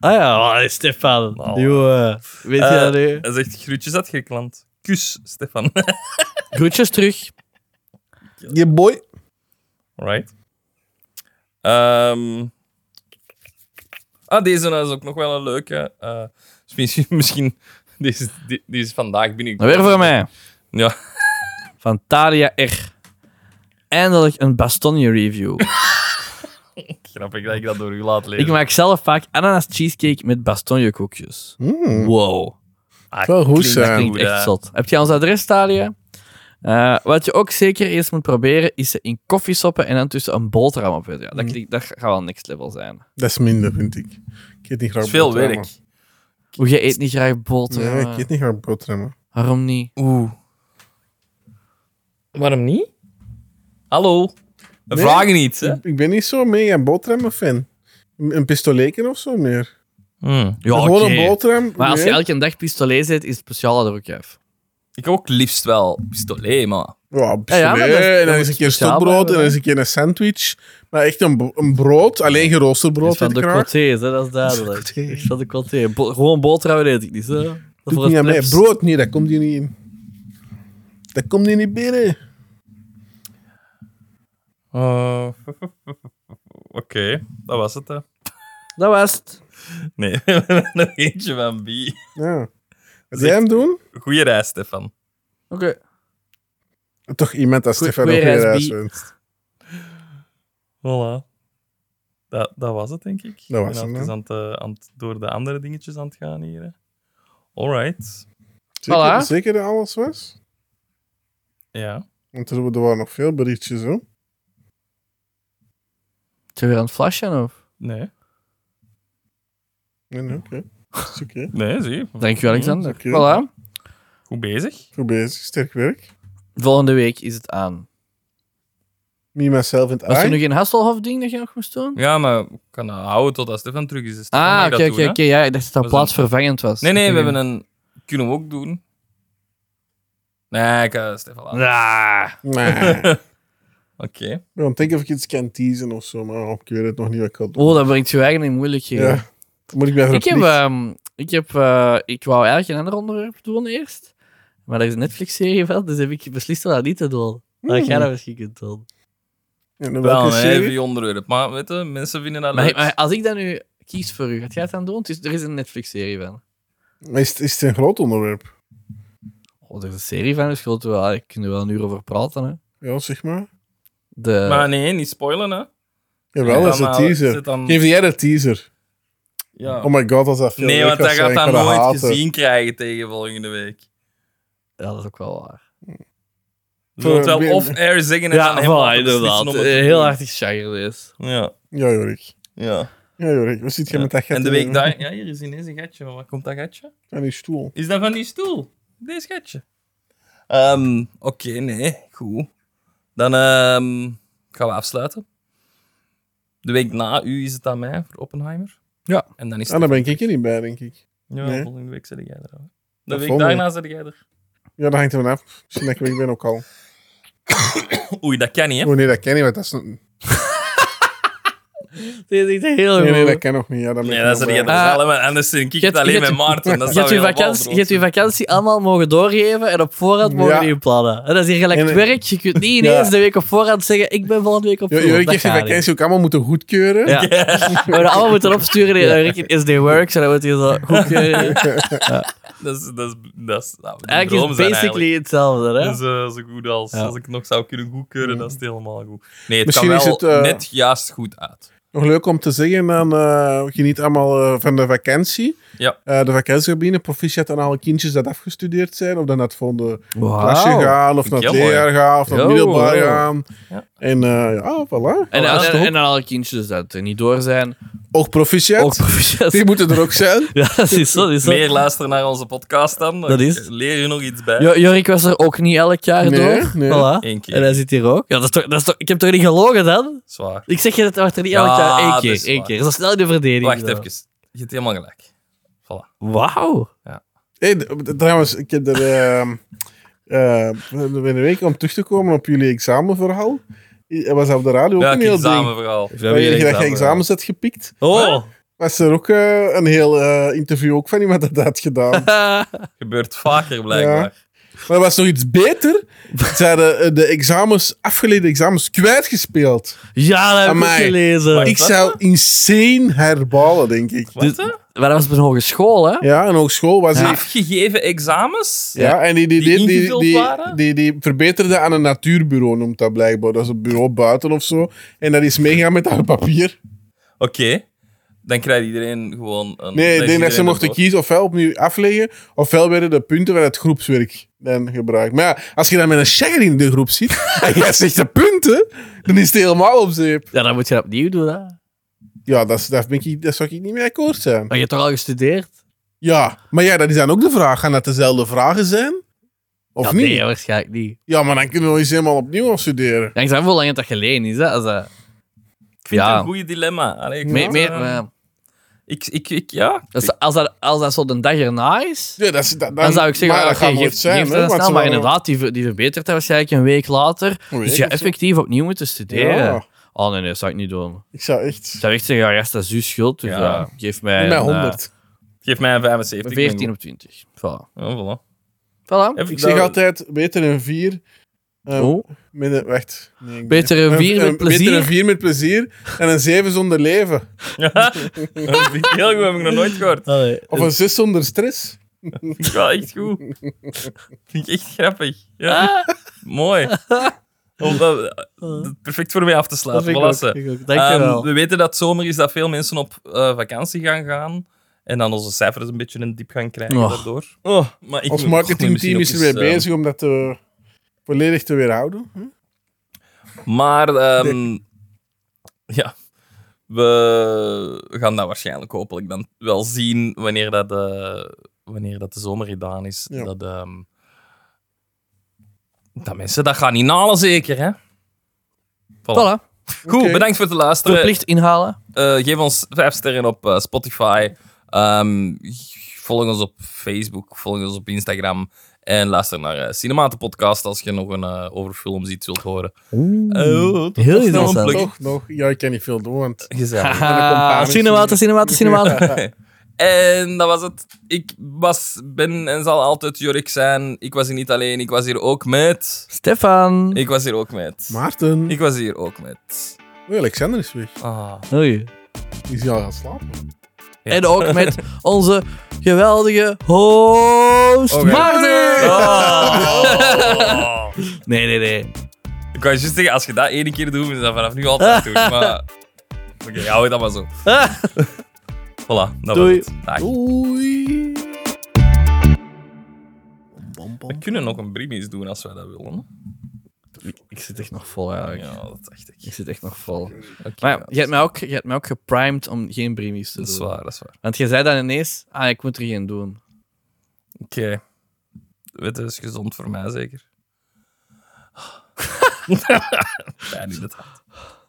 Speaker 2: Ah ja, oh, Stefan.
Speaker 1: Oh.
Speaker 2: Jongen. Weet je
Speaker 1: Eh,
Speaker 2: dat nu?
Speaker 1: Hij zegt groetjes uit Griekenland. Kus, Stefan.
Speaker 2: Groetjes terug.
Speaker 3: Je boy.
Speaker 1: Alright. Ehm. ah, deze nou is ook nog wel een leuke. Eh, dus misschien, misschien deze, die, die is vandaag binnen.
Speaker 2: Nou, Weer voor mij.
Speaker 1: Ja.
Speaker 2: Van Talia R. Eindelijk een Bastogne review.
Speaker 1: Grappig dat ik dat door u laat lezen.
Speaker 2: Ik maak zelf vaak ananas cheesecake met Bastogne koekjes.
Speaker 3: Mm.
Speaker 2: Wow.
Speaker 1: Ah,
Speaker 3: Wel goed
Speaker 1: klinkt
Speaker 3: zijn.
Speaker 2: Klinkt
Speaker 1: hè.
Speaker 2: echt zot. Heb je ons adres, Talia? Eh, wat je ook zeker eerst moet proberen, is ze in koffie soppen en dan tussen een boterham op. Ja, dat, klinkt, dat gaat wel next level zijn.
Speaker 3: Dat is minder, vind ik. Ik eet niet
Speaker 1: Dat
Speaker 3: graag
Speaker 1: is veel
Speaker 3: boterhammen.
Speaker 1: werk.
Speaker 2: Hoe je eet niet graag boterhammen.
Speaker 3: Nee, ik eet niet graag boterhammen.
Speaker 2: Waarom niet?
Speaker 1: Oeh. Waarom niet? Hallo. We
Speaker 3: Nee.
Speaker 1: vragen niet, hè?
Speaker 3: Ik ben niet zo mega boterhammen-fan. Een een pistoleken of zo meer.
Speaker 2: Ja,
Speaker 3: Gewoon
Speaker 2: oké.
Speaker 3: een boterham.
Speaker 2: Maar als je
Speaker 3: nee.
Speaker 2: elke dag pistolet zet, is het speciaal er ook af.
Speaker 1: Ik ook liefst wel pistolet, maar...
Speaker 3: Ja,
Speaker 2: Ja, ja, maar dat is-
Speaker 3: pistolet, en
Speaker 2: dat
Speaker 3: dan
Speaker 2: moet
Speaker 3: is een keer
Speaker 2: speciaal
Speaker 3: stokbrood, en
Speaker 2: blijven,
Speaker 3: dan is een keer een sandwich. Maar echt een, bro- een brood, alleen geroosterd
Speaker 2: Dat
Speaker 3: brood
Speaker 2: is van
Speaker 3: vind
Speaker 2: de
Speaker 3: ik graag.
Speaker 2: Cortés, hè, dat is duidelijk.
Speaker 3: Cortés.
Speaker 2: Dat is van de Cortés. Bo- gewoon boterhammen eet ik niet. Hè. Dat
Speaker 3: Doe
Speaker 2: voor
Speaker 3: het niet
Speaker 2: het
Speaker 3: aan mij.
Speaker 2: plebs.
Speaker 3: Brood, nee, dat komt hier niet in. Dat komt hier niet binnen.
Speaker 1: Eh,
Speaker 3: Oh.
Speaker 1: Oké, dat was het, hè.
Speaker 2: Dat was het.
Speaker 1: Nee, we hebben nog eentje van B.
Speaker 3: Ja. Wat
Speaker 1: Zeg-
Speaker 3: jij hem doen?
Speaker 1: Goeie reis, Stefan.
Speaker 2: Oké.
Speaker 3: Toch iemand als
Speaker 2: Goeie-
Speaker 3: Stefan ook
Speaker 2: goeie
Speaker 3: weer reis
Speaker 2: reis, Bie.
Speaker 3: wenst.
Speaker 1: Voilà. Dat, dat was het, denk ik.
Speaker 3: Dat was
Speaker 1: Ik ben
Speaker 3: hem,
Speaker 1: even
Speaker 3: hè.
Speaker 1: aan het, eh, aan het- door de andere dingetjes aan het gaan hier. hè. Alright.
Speaker 3: Zeker,
Speaker 2: Voilà.
Speaker 3: zeker dat alles was?
Speaker 1: Ja.
Speaker 3: Want er, er waren nog veel berichtjes, hoor.
Speaker 2: Zijn we weer aan het flashen of?
Speaker 1: Nee.
Speaker 3: Nee, nee, oké. Dat is oké.
Speaker 1: Nee, zie je.
Speaker 2: Dankjewel, Alexander.
Speaker 3: Mm, Oké.
Speaker 2: Voilà.
Speaker 1: Goed bezig.
Speaker 3: Goed bezig, sterk werk.
Speaker 2: Volgende week is het aan.
Speaker 3: Me, myself en
Speaker 2: Was er
Speaker 3: I.
Speaker 2: nog geen Hasselhof-ding dat je nog moest doen?
Speaker 1: Ja, maar ik kan dat houden totdat Stefan terug is. Dus Stefan mag
Speaker 2: Ah,
Speaker 1: dat
Speaker 2: oké,
Speaker 1: doen,
Speaker 2: oké,
Speaker 1: hè.
Speaker 2: oké. Ja, ik dacht dat dat
Speaker 1: Dat is een-
Speaker 2: plaatsvervangend was.
Speaker 1: Nee, nee, we
Speaker 2: Ik
Speaker 1: hebben
Speaker 2: denk-
Speaker 1: een... Kunnen we ook doen. Nee, ik eh, Stefan laten.
Speaker 2: Ah.
Speaker 3: Nee.
Speaker 1: Oké.
Speaker 3: Ik ben aan het denken of ik iets kan teasen of zo, maar oh, ik weet het nog niet wat ik kan doen.
Speaker 2: Oh, dat brengt je eigen in moeilijkheden.
Speaker 3: ja. Dan Moet ik mij
Speaker 2: Ik heb...
Speaker 3: verplicht-
Speaker 2: ehm, ik, heb eh, ik wou eigenlijk een ander onderwerp doen eerst. Maar dat is een Netflix-serie van, dus heb ik beslist om dat niet te doen. Maar
Speaker 3: Hmm.
Speaker 2: jij dat misschien kunt doen.
Speaker 3: En in
Speaker 1: eh, Wel
Speaker 3: welke
Speaker 1: een
Speaker 3: serie?
Speaker 1: heavy onderwerp. Maar weet je, mensen vinden dat
Speaker 2: Maar,
Speaker 1: leuk.
Speaker 2: maar als ik dat nu kies voor u, gaat jij het dan doen? Dus er is een Netflix-serie van.
Speaker 3: Maar Is, het- is het een groot onderwerp?
Speaker 2: Oh, er is een serie van, dus ik wel, ik kan er wel een uur over praten. Hè.
Speaker 3: Ja, zeg maar.
Speaker 2: De,
Speaker 1: Maar nee, niet spoilen, hè.
Speaker 3: Jawel, dat is
Speaker 1: Dan,
Speaker 3: een
Speaker 1: eh, is
Speaker 3: teaser.
Speaker 1: het dan-
Speaker 3: Geef jij de teaser.
Speaker 1: Ja.
Speaker 3: Oh my god, als dat veel
Speaker 1: Nee,
Speaker 3: leuk
Speaker 1: want
Speaker 3: was,
Speaker 1: hij
Speaker 3: zou
Speaker 1: gaat
Speaker 3: ik
Speaker 1: dat
Speaker 3: kunnen
Speaker 1: nooit
Speaker 3: haten.
Speaker 1: gezien krijgen tegen volgende week.
Speaker 2: Ja, dat is ook wel waar.
Speaker 1: Je moet wel
Speaker 3: Voor-
Speaker 1: off-air zeggen en dan
Speaker 2: Ja,
Speaker 1: helemaal
Speaker 2: voilà, inderdaad. Heel hard gechagerd is.
Speaker 1: Ja.
Speaker 3: Ja, Jorik.
Speaker 1: ja.
Speaker 3: Ja, Jorik. Wat zit je
Speaker 1: Ja.
Speaker 3: met dat gat
Speaker 1: En de
Speaker 3: in
Speaker 1: week daar... Ja, hier is ineens een gatje. Maar waar komt dat gatje?
Speaker 3: Aan die stoel.
Speaker 1: Is dat van die stoel? Deze gatje. Ehm, Oké, nee. Goed. Dan ehm, gaan we afsluiten. De week na u is het aan mij voor Oppenheimer.
Speaker 2: Ja.
Speaker 1: En dan is
Speaker 3: Ah,
Speaker 1: het...
Speaker 3: daar ben ik er niet bij, denk ik.
Speaker 1: Ja,
Speaker 3: Nee.
Speaker 1: volgende week zit jij er. al. De
Speaker 3: Dat
Speaker 1: week
Speaker 3: volgende
Speaker 1: daarna zit jij er.
Speaker 3: Ja, dat hangt er vanaf. Misschien dat ik weg ben ook al.
Speaker 1: Oei, dat kan niet, hè?
Speaker 3: Oh nee, dat ken ik, want dat is... een-
Speaker 2: Dit is echt heel
Speaker 3: Nee, nee, dat
Speaker 2: goed.
Speaker 3: kan nog niet. Ja, dat ben
Speaker 1: Nee,
Speaker 3: ik
Speaker 1: dat
Speaker 3: nog
Speaker 1: zit jij
Speaker 3: bij.
Speaker 1: er
Speaker 2: Ah.
Speaker 1: wel, hè, maar Anders zit ik
Speaker 2: Je
Speaker 1: het
Speaker 2: hebt-
Speaker 1: alleen
Speaker 2: je
Speaker 1: met
Speaker 2: hebt-
Speaker 1: Maarten. Dat
Speaker 2: Je hebt
Speaker 1: zou
Speaker 2: je,
Speaker 1: helemaal
Speaker 2: vakantie,
Speaker 1: brood
Speaker 2: je hebt je
Speaker 1: zijn.
Speaker 2: vakantie allemaal mogen doorgeven en op voorhand mogen
Speaker 3: Ja.
Speaker 2: die plannen. En dat is hier gelijk
Speaker 3: En-
Speaker 2: het werk. Je kunt niet ineens
Speaker 3: Ja.
Speaker 2: de week op voorhand zeggen: Ik ben volgende week op
Speaker 3: Jo-
Speaker 1: Oh,
Speaker 2: tour.
Speaker 3: Jorik
Speaker 2: Dat
Speaker 3: heeft die
Speaker 2: gaat niet.
Speaker 3: vakantie ook allemaal moeten goedkeuren.
Speaker 2: Ja. We hebben dat allemaal moeten opsturen in Jorik in SD Works en dan moet je zo goedkeuren.
Speaker 1: Dat is, dat is, dat is, nou, de
Speaker 2: Eigenlijk
Speaker 1: droom
Speaker 2: is het
Speaker 1: zijn
Speaker 2: basically
Speaker 1: eigenlijk.
Speaker 2: hetzelfde. Hè?
Speaker 1: Dat is eh, zo goed als,
Speaker 2: Ja.
Speaker 1: als ik het nog zou kunnen goedkeuren, dan is het helemaal goed. Nee, het
Speaker 3: Misschien
Speaker 1: kan
Speaker 3: is
Speaker 1: wel
Speaker 3: het, eh,
Speaker 1: net juist goed uit.
Speaker 3: Nog leuk om te zeggen, aan, eh, geniet allemaal eh, van de vakantie.
Speaker 1: Ja.
Speaker 3: Eh, de vakantiegebieden, proficiat aan alle kindjes dat afgestudeerd zijn, of dan naar het volgende klasje
Speaker 2: Wauw.
Speaker 3: gaan, of naar het
Speaker 1: Heel mooi.
Speaker 3: leerjaar gaan, of naar het
Speaker 2: Yo.
Speaker 3: middelbaar gaan.
Speaker 1: Ja.
Speaker 3: En eh, ja, voilà.
Speaker 2: En,
Speaker 1: dat is
Speaker 2: en,
Speaker 1: top.
Speaker 2: en aan alle kindjes dat er niet door zijn.
Speaker 3: Ook proficiat.
Speaker 2: Ook proficiat.
Speaker 3: Die moeten er ook zijn.
Speaker 2: Ja, dat is zo. Dat is zo.
Speaker 1: Meer luisteren naar onze podcast dan.
Speaker 2: Dat is-
Speaker 1: Leer je nog iets bij.
Speaker 2: Jo- Jorik was er ook niet elk jaar
Speaker 3: Nee,
Speaker 2: door.
Speaker 3: nee.
Speaker 2: Voilà.
Speaker 1: Eén keer.
Speaker 2: En hij zit hier ook. Ja, dat is toch, dat is toch, ik heb toch niet gelogen dan?
Speaker 1: Zwaar.
Speaker 2: Ik zeg je dat wordt er niet
Speaker 1: Ja,
Speaker 2: elk jaar één
Speaker 1: dat
Speaker 2: keer.
Speaker 1: is
Speaker 2: één
Speaker 1: waar.
Speaker 2: keer. Zo snel in de verdediging.
Speaker 1: Wacht
Speaker 2: zo.
Speaker 1: even. Je hebt helemaal gelijk. Voilà.
Speaker 2: Wauw.
Speaker 3: Hey, d- d- trouwens, ik heb er ehm, eh, binnen een week om terug te komen op jullie examenverhaal. Er was op de radio ook
Speaker 1: Ja,
Speaker 3: een
Speaker 1: ik
Speaker 3: heel ding.
Speaker 1: examenverhaal.
Speaker 3: Dat je dat je examens hebt gepikt.
Speaker 2: Oh.
Speaker 3: Was er ook eh, een heel eh, interview ook van iemand dat dat had gedaan.
Speaker 1: Gebeurt vaker blijkbaar.
Speaker 3: Maar er was nog iets beter. Ze hadden eh, de examens, afgeleide examens kwijtgespeeld.
Speaker 2: ja, dat heb ik ook
Speaker 3: Amai.
Speaker 1: Eh,
Speaker 2: gelezen.
Speaker 3: Ik zou insane herbalen, denk ik.
Speaker 1: Wat,
Speaker 2: Dit-
Speaker 1: hè?
Speaker 2: Maar dat was op een hogeschool, hè?
Speaker 3: Ja, en hogeschool was ik.
Speaker 1: Afgegeven examens?
Speaker 3: Ja, en die, die,
Speaker 1: Die
Speaker 3: die, die, die,
Speaker 1: ingevuld
Speaker 3: die,
Speaker 1: waren?
Speaker 3: die verbeterde aan een natuurbureau, noemt dat blijkbaar. Dat is een bureau buiten of zo. En dat is meegaan met dat papier.
Speaker 1: Oké. Dan krijgt iedereen gewoon een...
Speaker 3: Nee, ik
Speaker 1: dan is
Speaker 3: denk dat ze
Speaker 1: iedereen
Speaker 3: mochten
Speaker 1: ervoor.
Speaker 3: kiezen ofwel opnieuw afleggen, ofwel werden de punten van het groepswerk dan gebruikt. Maar ja, als je dan met een shagger in de groep zit en jij zegt de punten, dan is het helemaal op zeep.
Speaker 2: Ja, dan moet je dat opnieuw doen, hè?
Speaker 3: Ja, dat, is- dat, ben ik, dat zou ik niet mee akkoord zijn.
Speaker 2: Maar je hebt toch al gestudeerd?
Speaker 3: Ja, maar ja, dat is dan ook de vraag. Gaan dat dezelfde vragen zijn? Of
Speaker 2: Ja,
Speaker 3: niet?
Speaker 2: Nee, waarschijnlijk niet.
Speaker 3: Ja, maar dan kunnen we eens helemaal opnieuw afstuderen.
Speaker 2: Ja, ik zou hoe lang het dat geleden is, hè? Als, eh,
Speaker 1: Ik vind het
Speaker 2: Ja.
Speaker 1: een goede dilemma. Allee, ik
Speaker 2: meer,
Speaker 1: vind,
Speaker 2: meer,
Speaker 1: eh,
Speaker 2: eh,
Speaker 1: ik, ik, ik, ja.
Speaker 2: als, als, dat, als dat zo de dag erna is,
Speaker 3: Ja, dat, is, dat, dan,
Speaker 2: dan zou ik zeggen, ah,
Speaker 3: maar dat
Speaker 2: oké,
Speaker 3: gaat nooit
Speaker 2: geef,
Speaker 3: zijn.
Speaker 2: geef
Speaker 3: hè,
Speaker 2: dat
Speaker 3: want
Speaker 2: snel,
Speaker 3: ze
Speaker 2: maar
Speaker 3: waren-
Speaker 2: inderdaad, die, die verbetert dat waarschijnlijk een week later.
Speaker 3: Een week
Speaker 2: dus je
Speaker 3: of zo.
Speaker 2: effectief opnieuw moeten studeren.
Speaker 3: Ja,
Speaker 2: Oh nee, nee, dat zou ik niet doen.
Speaker 3: ik zou echt...
Speaker 2: Ik zou echt zeggen, ja, rest dat is uw schuld. Dus
Speaker 1: Ja.
Speaker 2: ja. geef mij
Speaker 3: Met mij
Speaker 2: een, eh,
Speaker 3: 100.
Speaker 1: Geef mij een 75. ik ben
Speaker 2: 14
Speaker 1: goed.
Speaker 2: op 20. Voilà.
Speaker 1: Ja, voilà.
Speaker 2: Voilà.
Speaker 1: Even
Speaker 3: Ik zeg
Speaker 1: daar-
Speaker 3: altijd, beter een 4...
Speaker 2: Oh.
Speaker 3: Met een, wacht. Nee, ik- Ehm,
Speaker 2: Beter een vier met plezier.
Speaker 3: Beter een 4 met plezier en een 7 zonder leven.
Speaker 1: Ja. Dat vind ik heel goed, heb ik nog nooit gehoord.
Speaker 2: Eh,
Speaker 3: Of een 6 zonder stress.
Speaker 1: Vind ik wel echt goed. Vind ik echt grappig. Ja.
Speaker 2: Ah.
Speaker 1: Mooi. Om dat, dat perfect voor mij af te
Speaker 2: Dat
Speaker 1: sluiten.
Speaker 2: vind ik
Speaker 1: Voilà,
Speaker 2: ook,
Speaker 1: ze.
Speaker 2: vind ik ook. Dankjewel.
Speaker 1: Ehm, we weten dat het zomer is dat veel mensen op eh, vakantie gaan gaan. En dan onze cijfers een beetje een diep gaan krijgen
Speaker 2: Oh.
Speaker 1: daardoor. Oh, maar ik
Speaker 3: Ons
Speaker 1: moet- misschien
Speaker 3: marketingteam
Speaker 1: ook
Speaker 3: is er
Speaker 1: eens,
Speaker 3: mee
Speaker 1: eh,
Speaker 3: bezig om dat te, volledig te weerhouden. Hm?
Speaker 1: Maar ehm, ja, we gaan dat waarschijnlijk hopelijk dan wel zien wanneer dat, eh, wanneer dat de zomer gedaan is.
Speaker 3: Ja.
Speaker 1: Dat, ehm, dat mensen dat gaan inhalen zeker, hè? Voilà.
Speaker 2: Ehm, Voilà.
Speaker 1: Goed,
Speaker 3: Oké.
Speaker 1: bedankt voor het luisteren.
Speaker 2: Verplicht inhalen.
Speaker 1: Eh, geef ons vijf sterren op eh, Spotify. Ehm, volg ons op Facebook. Volg ons op Instagram. En luister naar eh Cinemate Podcast als je nog een eh, over films iets wilt horen. Oh,
Speaker 2: Heel interessant.
Speaker 1: namelijk-
Speaker 3: Toch nog? Ja, ik kan niet veel doen, want...
Speaker 1: Gezellig.
Speaker 2: Haha, Cinematen, cinematen, cinematen.
Speaker 1: En dat was het. Ik was, ben en zal altijd Jorik zijn. Ik was hier niet alleen. Ik was hier ook met.
Speaker 2: Stefan.
Speaker 1: Ik was hier ook met.
Speaker 3: Maarten.
Speaker 1: Ik was hier ook met.
Speaker 3: Oei, Alexander is weg.
Speaker 1: Ah.
Speaker 2: Oei.
Speaker 3: Is hij al gaan slapen?
Speaker 1: Ja.
Speaker 2: En ook met onze geweldige host
Speaker 1: Oké.
Speaker 2: Maarten.
Speaker 1: Oh.
Speaker 2: Nee, nee, nee.
Speaker 1: Ik wou juist zeggen, als je dat één keer doet, moet je dat vanaf nu altijd doen. Maar oké, hou het dan maar zo. Voilà, dat
Speaker 2: Doei.
Speaker 1: was het. Dag.
Speaker 3: Doei. Bom, bom.
Speaker 1: We kunnen nog een brimis doen als wij dat willen.
Speaker 2: Ik zit echt nog vol eigenlijk.
Speaker 1: Ja, dat dacht ik.
Speaker 2: Ik zit echt nog vol.
Speaker 1: Oké,
Speaker 2: Maar ja,
Speaker 1: ja,
Speaker 2: je hebt mij ook, je hebt mij ook geprimed om geen brimies te
Speaker 1: Dat is
Speaker 2: doen.
Speaker 1: waar, dat is waar.
Speaker 2: Want je zei dan ineens, ah, ik moet er geen doen.
Speaker 1: Oké. Weet je, dat is gezond voor mij zeker. Pijn in het hart.